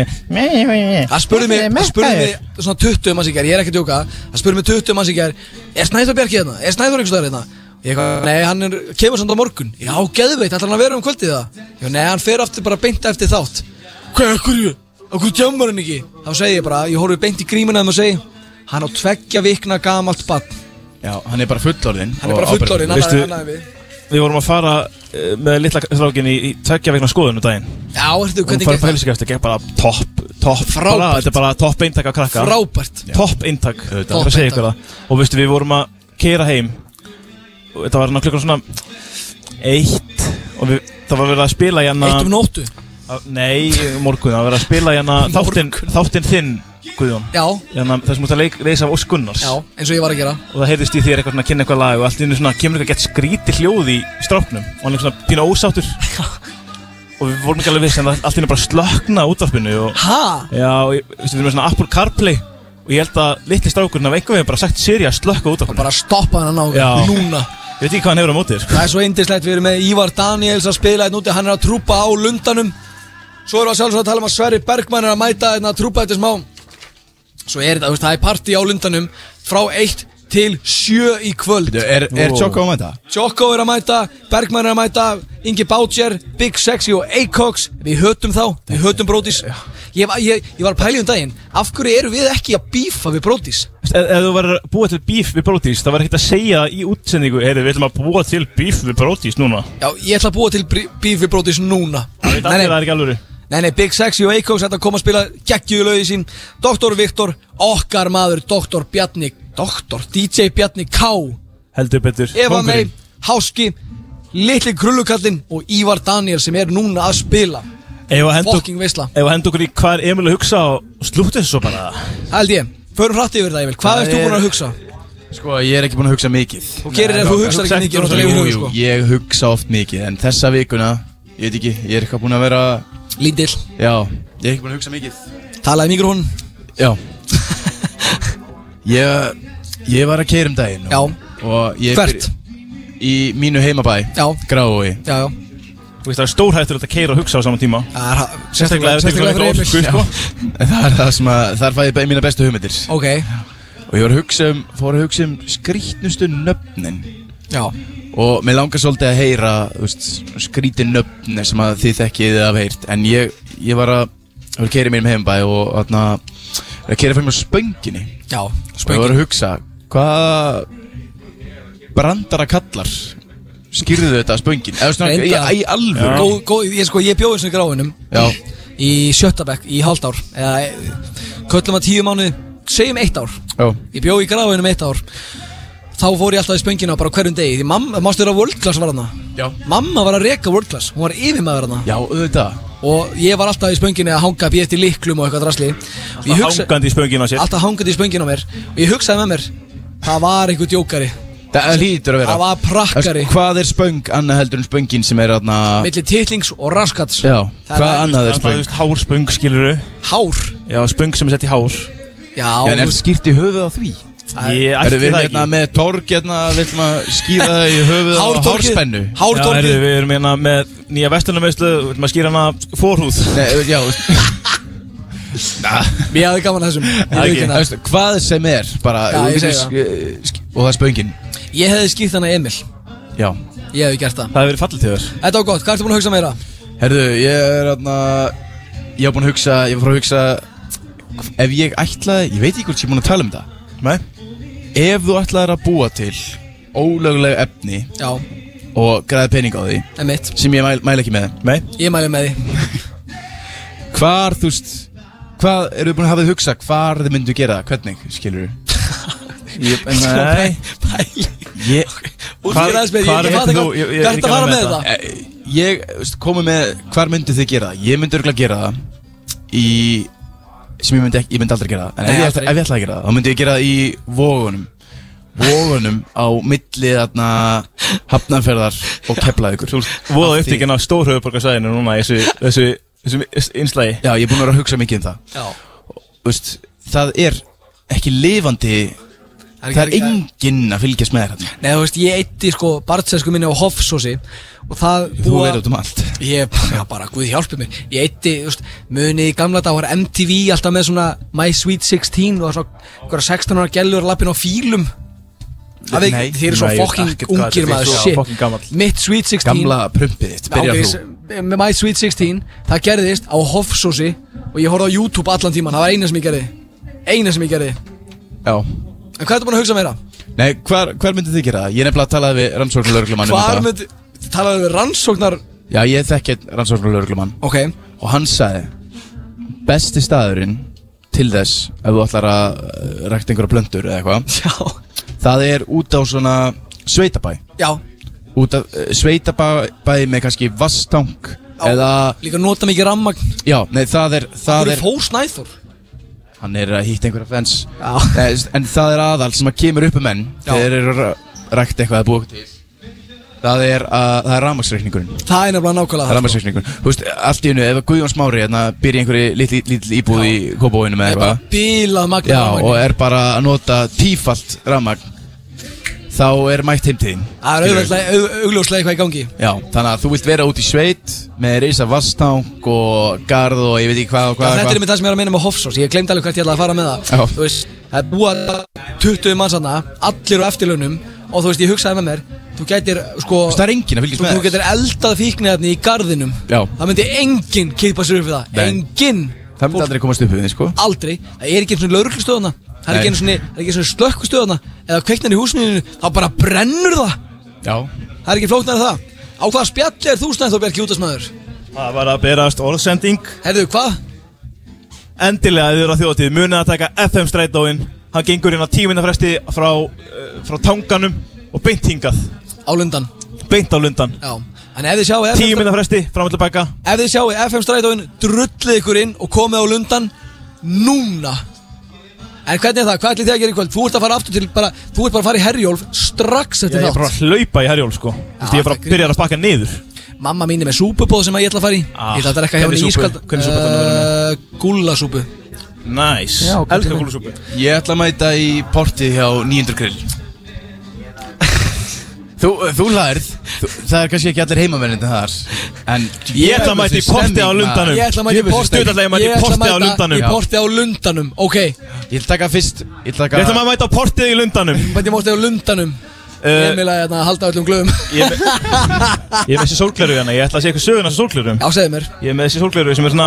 D: Það
C: Það spurði mig, það spurði mig svona 20 manns í gær, ég er ekki að djóka Það spurði mig 20 manns í gær Er Snæþór Bjarki hérna? Er Snæþór einhvers staðar hérna? Ég eitthvað, nei, hann er, kemur samt á morgun Já, geðveitt, ætlar hann að vera um kvöldið það? Já, nei, hann fer aftur bara beint eftir þátt Hvað, af hverju? Af hverju tjámar hann ekki? Þá segi ég bara, ég horfi beint í grímuna þeim og segi Hann á tveggja vikna gamalt barn
E: Já, hann er bara fullorðinn
C: Hann er bara fullorinn, hann
D: Veistu-
C: er hann við
D: Við vorum að fara eh, með litla strákin í, í tveggja vegna skoðunum daginn
C: Já, ertu,
D: Hún
C: hvernig
D: fara
C: gekk það?
D: pælsingast, það gekk bara topp, topp
C: Frábært.
D: bara, Þetta er bara topp eintak að krakka
C: Frábært.
D: Topp eintak,
C: Auðvitað.
D: það er að segja
C: Topp
D: ykkur það Og veistu, við vorum að keira heim Og þetta var hann að klukkan svona Eitt Og við, það var verið að spila hérna
C: Eitt um nóttu
D: Að- Nei, morgun, það var verið að spila hérna þáttinn þáttin þinn, Guðjón
C: Já.
D: hérna, Það sem út að leik, leysa af Ósk Gunnars
C: Já, eins og ég var að gera
D: og það heyrðist í þér eitthvað svona að kynna eitthvað lag og allt í einu svona kemur eitthvað gett skríti hljóð í stráknum og hann er svona pína ósáttur og við vorum ekki alveg viss en það allt í einu bara slökna á útvarpinu og
C: Ha?
D: já, og ég- veistu, við erum með svona Apple CarPlay og ég held að litli strákurinn af einhver veginn bara sagt Siri að slökka á útvarpinu
C: Bara stoppa hann á
D: Já.
C: núna
D: ég veit ekki hvað hann hefur á sko. mótið
C: Það er svo indislegt, við erum með Ívar Daniels að spila hérna úti, hann er að trúpa á lundanum Svo erum við að sjálfsög að tala um að Sverri Bergmann er að mæta hérna að trúpa þetta smá Svo er þetta, þú veist, það er party á lundanum frá 1 til 7 í kvöld
E: Er, er Tjokko á þetta?
C: Jokko er að mæta, Bergmann er að mæta, Ingi Bátjer, Big Sexy og Acox Við hötum þá, við hötum Brodís ég, var- ég, ég var að pæla í um daginn, af hverju eru við ekki að bífa við Brodís?
D: Ef, ef þú verður að búa til bíf við Brodís, það verður ekkert að segja í útsendingu, heyrðu, við ætlum að búa til bíf við Brodís núna.
C: Já, ég ætla að búa til brí- bíf við Brodís núna
D: Það veit allir að það er ekki alvöru.
C: Nei, nei, Big Sexy og Acox þetta kom að spila geggjuðu lögi sín Dr. Viktor, okkar maður, Dr. Bjarni Dr. DJ Bjarni K
D: Heldur betur.
C: Eva May,
D: Kóngurinn.
C: Háski Litli Krullukallinn og Ívar Daniel sem er núna að spila
D: Eigum við að henda-
C: Fokking veisla,
D: Ef að henda okkur í hvað er Emil að hugsa og slúttu þessu svo bara.
C: held ég Förum hratt yfir það, Emil, hvað
E: Það
C: ert þú
E: er-
C: búin að hugsa?
E: Sko, ég er ekki búin að hugsa mikið
C: Þú gerir ef þú hugsar ekki mikið, náttúrulega yfir
E: Jú,
C: höfuð,
E: jú,
C: sko.
E: ég hugsa oft mikið En þessa vikuna, ég veit ekki, ég er eitthvað búin að vera
D: sko.
C: Lítill
E: Já, ég er ekki búin að hugsa mikið
C: Talaði mikið hún
E: Já Ég, ég var að keira um daginn og, Já Og ég
C: Hvert?
E: Í mínu heimabæ
C: Já
E: Grái
C: Já, já
D: Þú veist það er stórhættur að keira og hugsa á saman tíma.
C: Það er
D: sérstaklega ef þetta er eitthvað orku, sko.
E: Það er það sem að, þar fæði ég be- mína bestu hugmyndir
C: Ok
E: Og ég var að hugsa um, fór að hugsa um skrýtnustu nöfnin
C: Já
E: Og mér langar svolítið að heyra, þú veist, skrítin nöfn sem að þið þekkið eða hafið heyrt En ég, ég var að, ég var að keira í mínum heimabæ og þarna Ég var að keira fyrir mér spönginni
C: Já,
E: Og ég var að hugsa, hvað brandara kallar skýrðu þetta spöngin Eða svona,
C: Reyndar.
E: í, í alvöru
C: Góð- góð- Ég sko, ég bjóði sem gráinum
E: Já,
C: í sjöttabekk í hálft ár eða köllum að tíu mánuði segjum eitt ár
E: Já.
C: ég bjó í grafunum eitt ár þá fór ég alltaf í spöngina bara hverjum degi því mamma, mástu vera world class var hana
E: Já.
C: mamma var að reka world class, hún var yfirmaður hana
E: Já, auðvitað
C: og ég var alltaf í spönginu að hanga býð eftir liklum og eitthvað drasli
D: Alltaf hangandi í spöngina á sér.
C: alltaf hangandi í spönginu á mér og ég hugsaði með mér það var einhver djókari
E: Það hlýtur að vera
C: Það var prakkari.
E: Hvað er spöng, annað heldur en spöngin sem er aðna
C: milli titlings og raskats
E: Já,
C: Það
E: hvað annað er
D: Það er
E: spöng?
D: veist hár spöng, skilur
C: hár?
D: Já, spöng sem er sett í hár
C: Já,
E: En er skýrt í höfuð á því?
D: Ég ætti
E: Erum við
D: það ekki.
E: hérna með torg hérna, við ætlum að skýra það í höfuð á hárspennu?
D: Já, heyrðu, við erum hérna með nýja vestunumveislu Við erum að skýra hana fórhúð
E: Nei, já
C: Mér hafði gaman að þessum Ég
E: Það er
C: viðurkenni
E: ekki,
C: það.
E: veistu, hvað sem er bara,
C: Já,
E: þú
C: ég
E: getur
C: segi
E: sk- sk- og það er spöngin
C: ég hefði skýrt hana Emil
E: Já
C: ég hefði gert það
D: Það hefur verið fallið til þér
C: Þetta var gott, hvað ertu búin að hugsa meira?
E: Herðu, ég er aðna ég hef búin að hugsa, ég var frá að hugsa ef ég ætlaði, ég veit ekki hvort ég er búin að tala um það Nei Ef þú ætlaðir að búa til ólögleg efni
C: Já
E: og græði pening á því
C: Emitt
E: sem ég mæl, mæl ekki með Nei
C: Ég mæli með því
E: Hvar, þú veist, hvað eru þið búin að hafa þið hugsa hvar þið myndu gera það, hvernig, skilur Ég,
D: Nei.
E: Ég
C: Útskýraðis með, ég fatt ekki hvað Hvað ertu að fara með þetta?
E: Eh, Ég veist, komi með, hvar myndu þið gera það? Ég myndi örgulega gera það Í Sem ég myndi, ekki, ég myndi aldrei gera það En
C: Nei,
E: ef ég,
C: aldrei.
E: ætla, ef ég ætla að gera það Þá myndi ég gera það í vógunum Vógunum á milli þarna Hafnanferðar og Keflavíkur
D: Voða upptíkinn af stórhauðborgarsæðinu núna í þessu, þessu, þessu einslægi
E: Já, ég er búin að vera að hugsa mikið um það
C: Já
E: Þú veist, það er ekki lifandi
C: er ekki-
E: Það er enginn að fylgjast með þér
C: Nei, þú veist, ég eitti sko barnsesku minni á Hoffsósi og það
E: Þú verður út um allt
C: Ég, já bara, guð hjálpi mér Ég eitti, þú veist, muni í gamla dag var MTV alltaf með svona My Sweet 16 og svona einhverja 16 ára gælur lappin á fílum Það veit, þið eru svo
E: nei, ég veit
C: fokking
E: ekkert hvað þetta
C: ungir
E: er.
C: maður,
E: Já, fucking gamall.
C: shit Mitt Sweet 16
E: Gamla prumpið þitt, byrja
C: Ok,
E: frú
C: s- Með My Sweet 16, það gerðist á Hoffsósi og ég horfði á YouTube allan tíman, það var eina sem ég gerði Eina sem ég gerði
E: Já
C: En hvað ertu búin að hugsa meira?
E: Nei, hvar, hvar myndið þið gera það? Ég er nefnilega að talaði við rannsóknarlauruglumann
C: Hvar myndi, talaðu við rannsóknar
E: Já, ég þekki einn rannsóknarlauruglumann
C: Ok
E: Og hann sagði Besti staðurinn til þess Ef þú ætlar að uh, rækta einhverja blöndur eða eitthvað
C: Já
E: Það er út á svona sveitabæ
C: Já
E: Út af uh, sveitabæ með kannski vasstang Eða
C: Líka nota mikið rammagn
E: Já, nei, það er
C: Hvað
E: Það
C: er
E: er
C: fór Snæþór?
E: Hann er að hýtta einhverja fens
C: Já.
E: Nei, En það er aðal sem að kemur upp um menn
C: Já.
E: Þeir eru að rækta eitthvað að búa eitthvað til Það er, að, það er rafmagsreikningurinn
C: Það sko. er nefnilega nákvæmlega
E: Það er rafmagsreikningur Þú veist, allt í einu, ef Guðjón Smári hérna, byrja einhverju litli, litli íbúð í kópóinu með eitthvað
C: Bílað magna
E: Já, og er bara að nota tífalt rafmagn Þá er mætt heimtíðin
C: Það er
E: Skilurðu?
C: auðvitað augljóslega eitthvað í gangi
E: Já, þannig að þú vilt vera út í sveit með reysa vastang og garð og ég veit ekki hvað og
C: Já,
E: hvað og
C: Þetta
E: hvað.
C: er með það sem ég er að minna með Hofsós Ég glemd alveg hvert ég ætlaði að fara með það
E: Já.
C: Þú veist, það er búið að 20 manns hana Allir á eftirlaunum Og þú veist, ég hugsaði með mér Þú gætir, sko
E: Þú veist, það er enginn að fylgjast
C: þú-
E: með
C: Þú getur eldað fíknefni í garðinum
E: Já.
C: Það myndi enginn kippa sér upp við það
E: Nei.
C: Enginn
E: Það myndi aldrei komast upp við þig, sko
C: aldrei, það er ekki einu svona lauruglustöðuna það er
E: Nei.
C: ekki einu svona, það er ekki einu svona slökkustöðuna eða kveiknar í húsinu, þá bara brennur það
E: Já
C: það er ekki flóknar en það á hvaða spjalli er þú Snæþór Bjarki útasmaður?
D: Það var að berast orðsending
C: Herðu, hvað?
D: Endilega þið eru á þjóðatíð Munið að taka FM strætóinn Hann gengur inn á tíminna fresti frá, uh, frá tanganum Og beint hingað
C: Á lundan
D: Beint á lundan
C: Já en ef þið sjáu FM
D: Tíu minna fresti, framöldu bæka
C: ef þið sjáu FM strætóin drullið ykkur inn og komið á lundan núna en hvernig er það, hvað ætlið þið að gera í kvöld? þú ert að fara aftur til bara, þú ert bara að fara í herjólf strax
D: Ég
C: eftir
D: er bara
C: þátt
D: að hlaupa í herjól sko Þú veist, Ég er bara að byrja að spakka niður
C: mamma mín er með súpubóð sem að ég ætla að fara í
D: Ah,
C: ég ætla að drekka hjá
D: hvernig
C: henni
D: súpu?
C: ískald
D: Hvernig súpu ætlar hún að vera
C: gúllasúpu
D: Næs, nice.
C: Já, hvað
D: elskar
C: til minn?
D: kúlusúpu
E: Ég ætla að mæta í portið hjá 900 grill Þú, þú lærð þú, Það er kannski ekki allir heimamennin þar En
D: Ég ætla að mæta í portið á lundanum.
C: Ég ætla að mæta í porti
D: Stutt ætla ég að mæta í porti á lundanum.
C: Í porti á lundanum, ok Ég
E: ætla að taka fyrst Ég ætla
D: Ég ætla maður að mæta á portið í lundanum
C: Mæta í porti á lundanum
D: Eh,
C: Emil að hérna, halda öllum glöðum
D: Ég Ég er með þessi sólgleru hérna, ég ætla að sé eitthvað söguna þessi sólgleru
C: Já, segðu mér
D: Ég er með þessi sólgleru sem er svona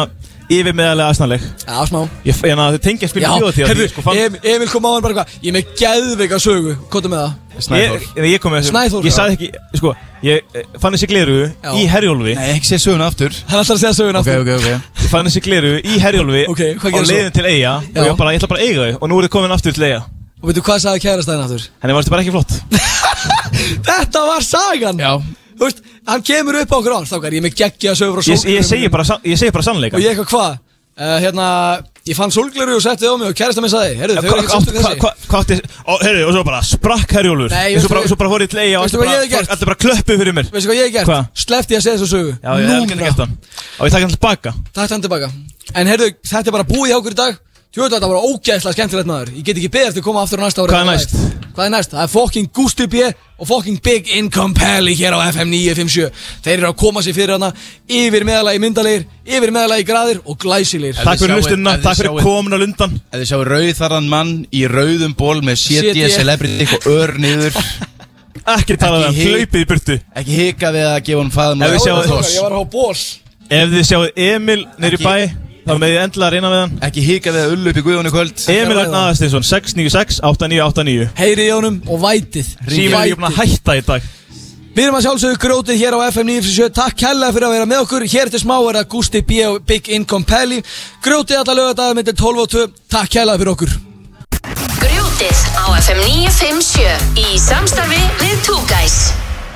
D: yfirmeðalega aðsnaleg
C: Já, smá
D: Ég fann að sko, þau tengja spil
C: Já,
D: í þjóðatíð
C: herðu, Emil kom á hann bara eitthvað Ég er með geðveika sögu, kóta með það
E: Snæþór.
D: Ég, ég kom með þessu
E: Snæþór,
D: Ég
E: já.
D: sagði ekki, sko Ég eh, fann þessi gleru
E: Já.
D: í Herjólfi
E: Nei, ekki segja söguna aftur
C: Hann ætlar að segja söguna
E: Ok,
D: aftur.
E: ok, ok
D: Ég fann þessi gleru í Herjólfi
C: Ok, hvað
D: Á
C: gerðist svo?
D: leiðin til Eyja Og
C: Já.
D: ég, var bara, ég ætla bara að eiga þau Og nú er þið komin aftur til Eyja
C: Og veitu hvað sagði kærastæðin aftur?
D: Henni varstu bara ekki flott
C: Þetta var sagan Já Þú veist, hann kemur upp á okkur án Stákar, ég er með geggja sögur og
D: Ég, ég, segi bara, san- ég segi bara sannleika
C: Og ég eitthvað hvað uh, Hérna, ég fann sólgleru og setti á mig Og kærasta minn sagði Herðu, þau
D: Hvað
C: eru
D: átti,
C: ekki sáttu þessi
D: hvað hvað átti, og herru, og svo bara sprakk Herjólfur
C: Nei,
D: Og
C: veistu
D: svo bara,
C: hvað-
D: svo bara fór ég til Eyja og
C: Veistu
D: allir
C: hvað ég
D: bara-
C: hef gert?
D: Allir bara klöppu fyrir mér
C: Veistu hvað ég hef gert?
D: Hvað?
C: Sleppti ég að segja þessu sögu
D: Já, ég hef
C: Núna.
D: gert hann Og ég takk hann tilbaka
C: Takk hann tilbaka En herðu, þetta er bara búið hjá okkur í dag Tjóðlega þetta var ógæðslega skemmtilegt maður Ég get ekki beðast að koma aftur á næsta ári
D: Hvað er næst?
C: Hvað er næst? Það er fucking Gusti B og fucking Big Income Pally hér á FM 957 Þeir eru að koma sér fyrir hana Yfir meðalagi myndalegir, yfir meðalagi graðir og glæsilegir
E: Takk fyrir hlustunina, takk fyrir komin
D: á lundan
E: Ef þið sjáu rauðarðan mann í rauðum ból með CD
C: CD.
E: Celebrity og ör niður
D: Ekki tala um það, hlaupið í burtu
E: Ekki hika við að gefa hann faðum
D: Ef þið sjáið-
C: Ég var á ból
D: Ef þið sjáuð Emil neyri bæ Þá með ég endilega að reyna við hann
E: Ekki hika við að ullu upp í guðunni kvöld
D: Emil Örn Aðarstinsson 696 8989
C: Heyri í honum og vætið
D: Síminn er ekki búin að hætta í dag
C: Við erum að sjálfsögðu grótið hér á FM 957 Takk hella fyrir að vera með okkur Hér til smá er það Gusti B og Big Income Pally Grótið alla lögadagum myndir 12 og 2 Takk hella fyrir okkur
B: Grjótið á FM 957 í samstarfi við Two Guys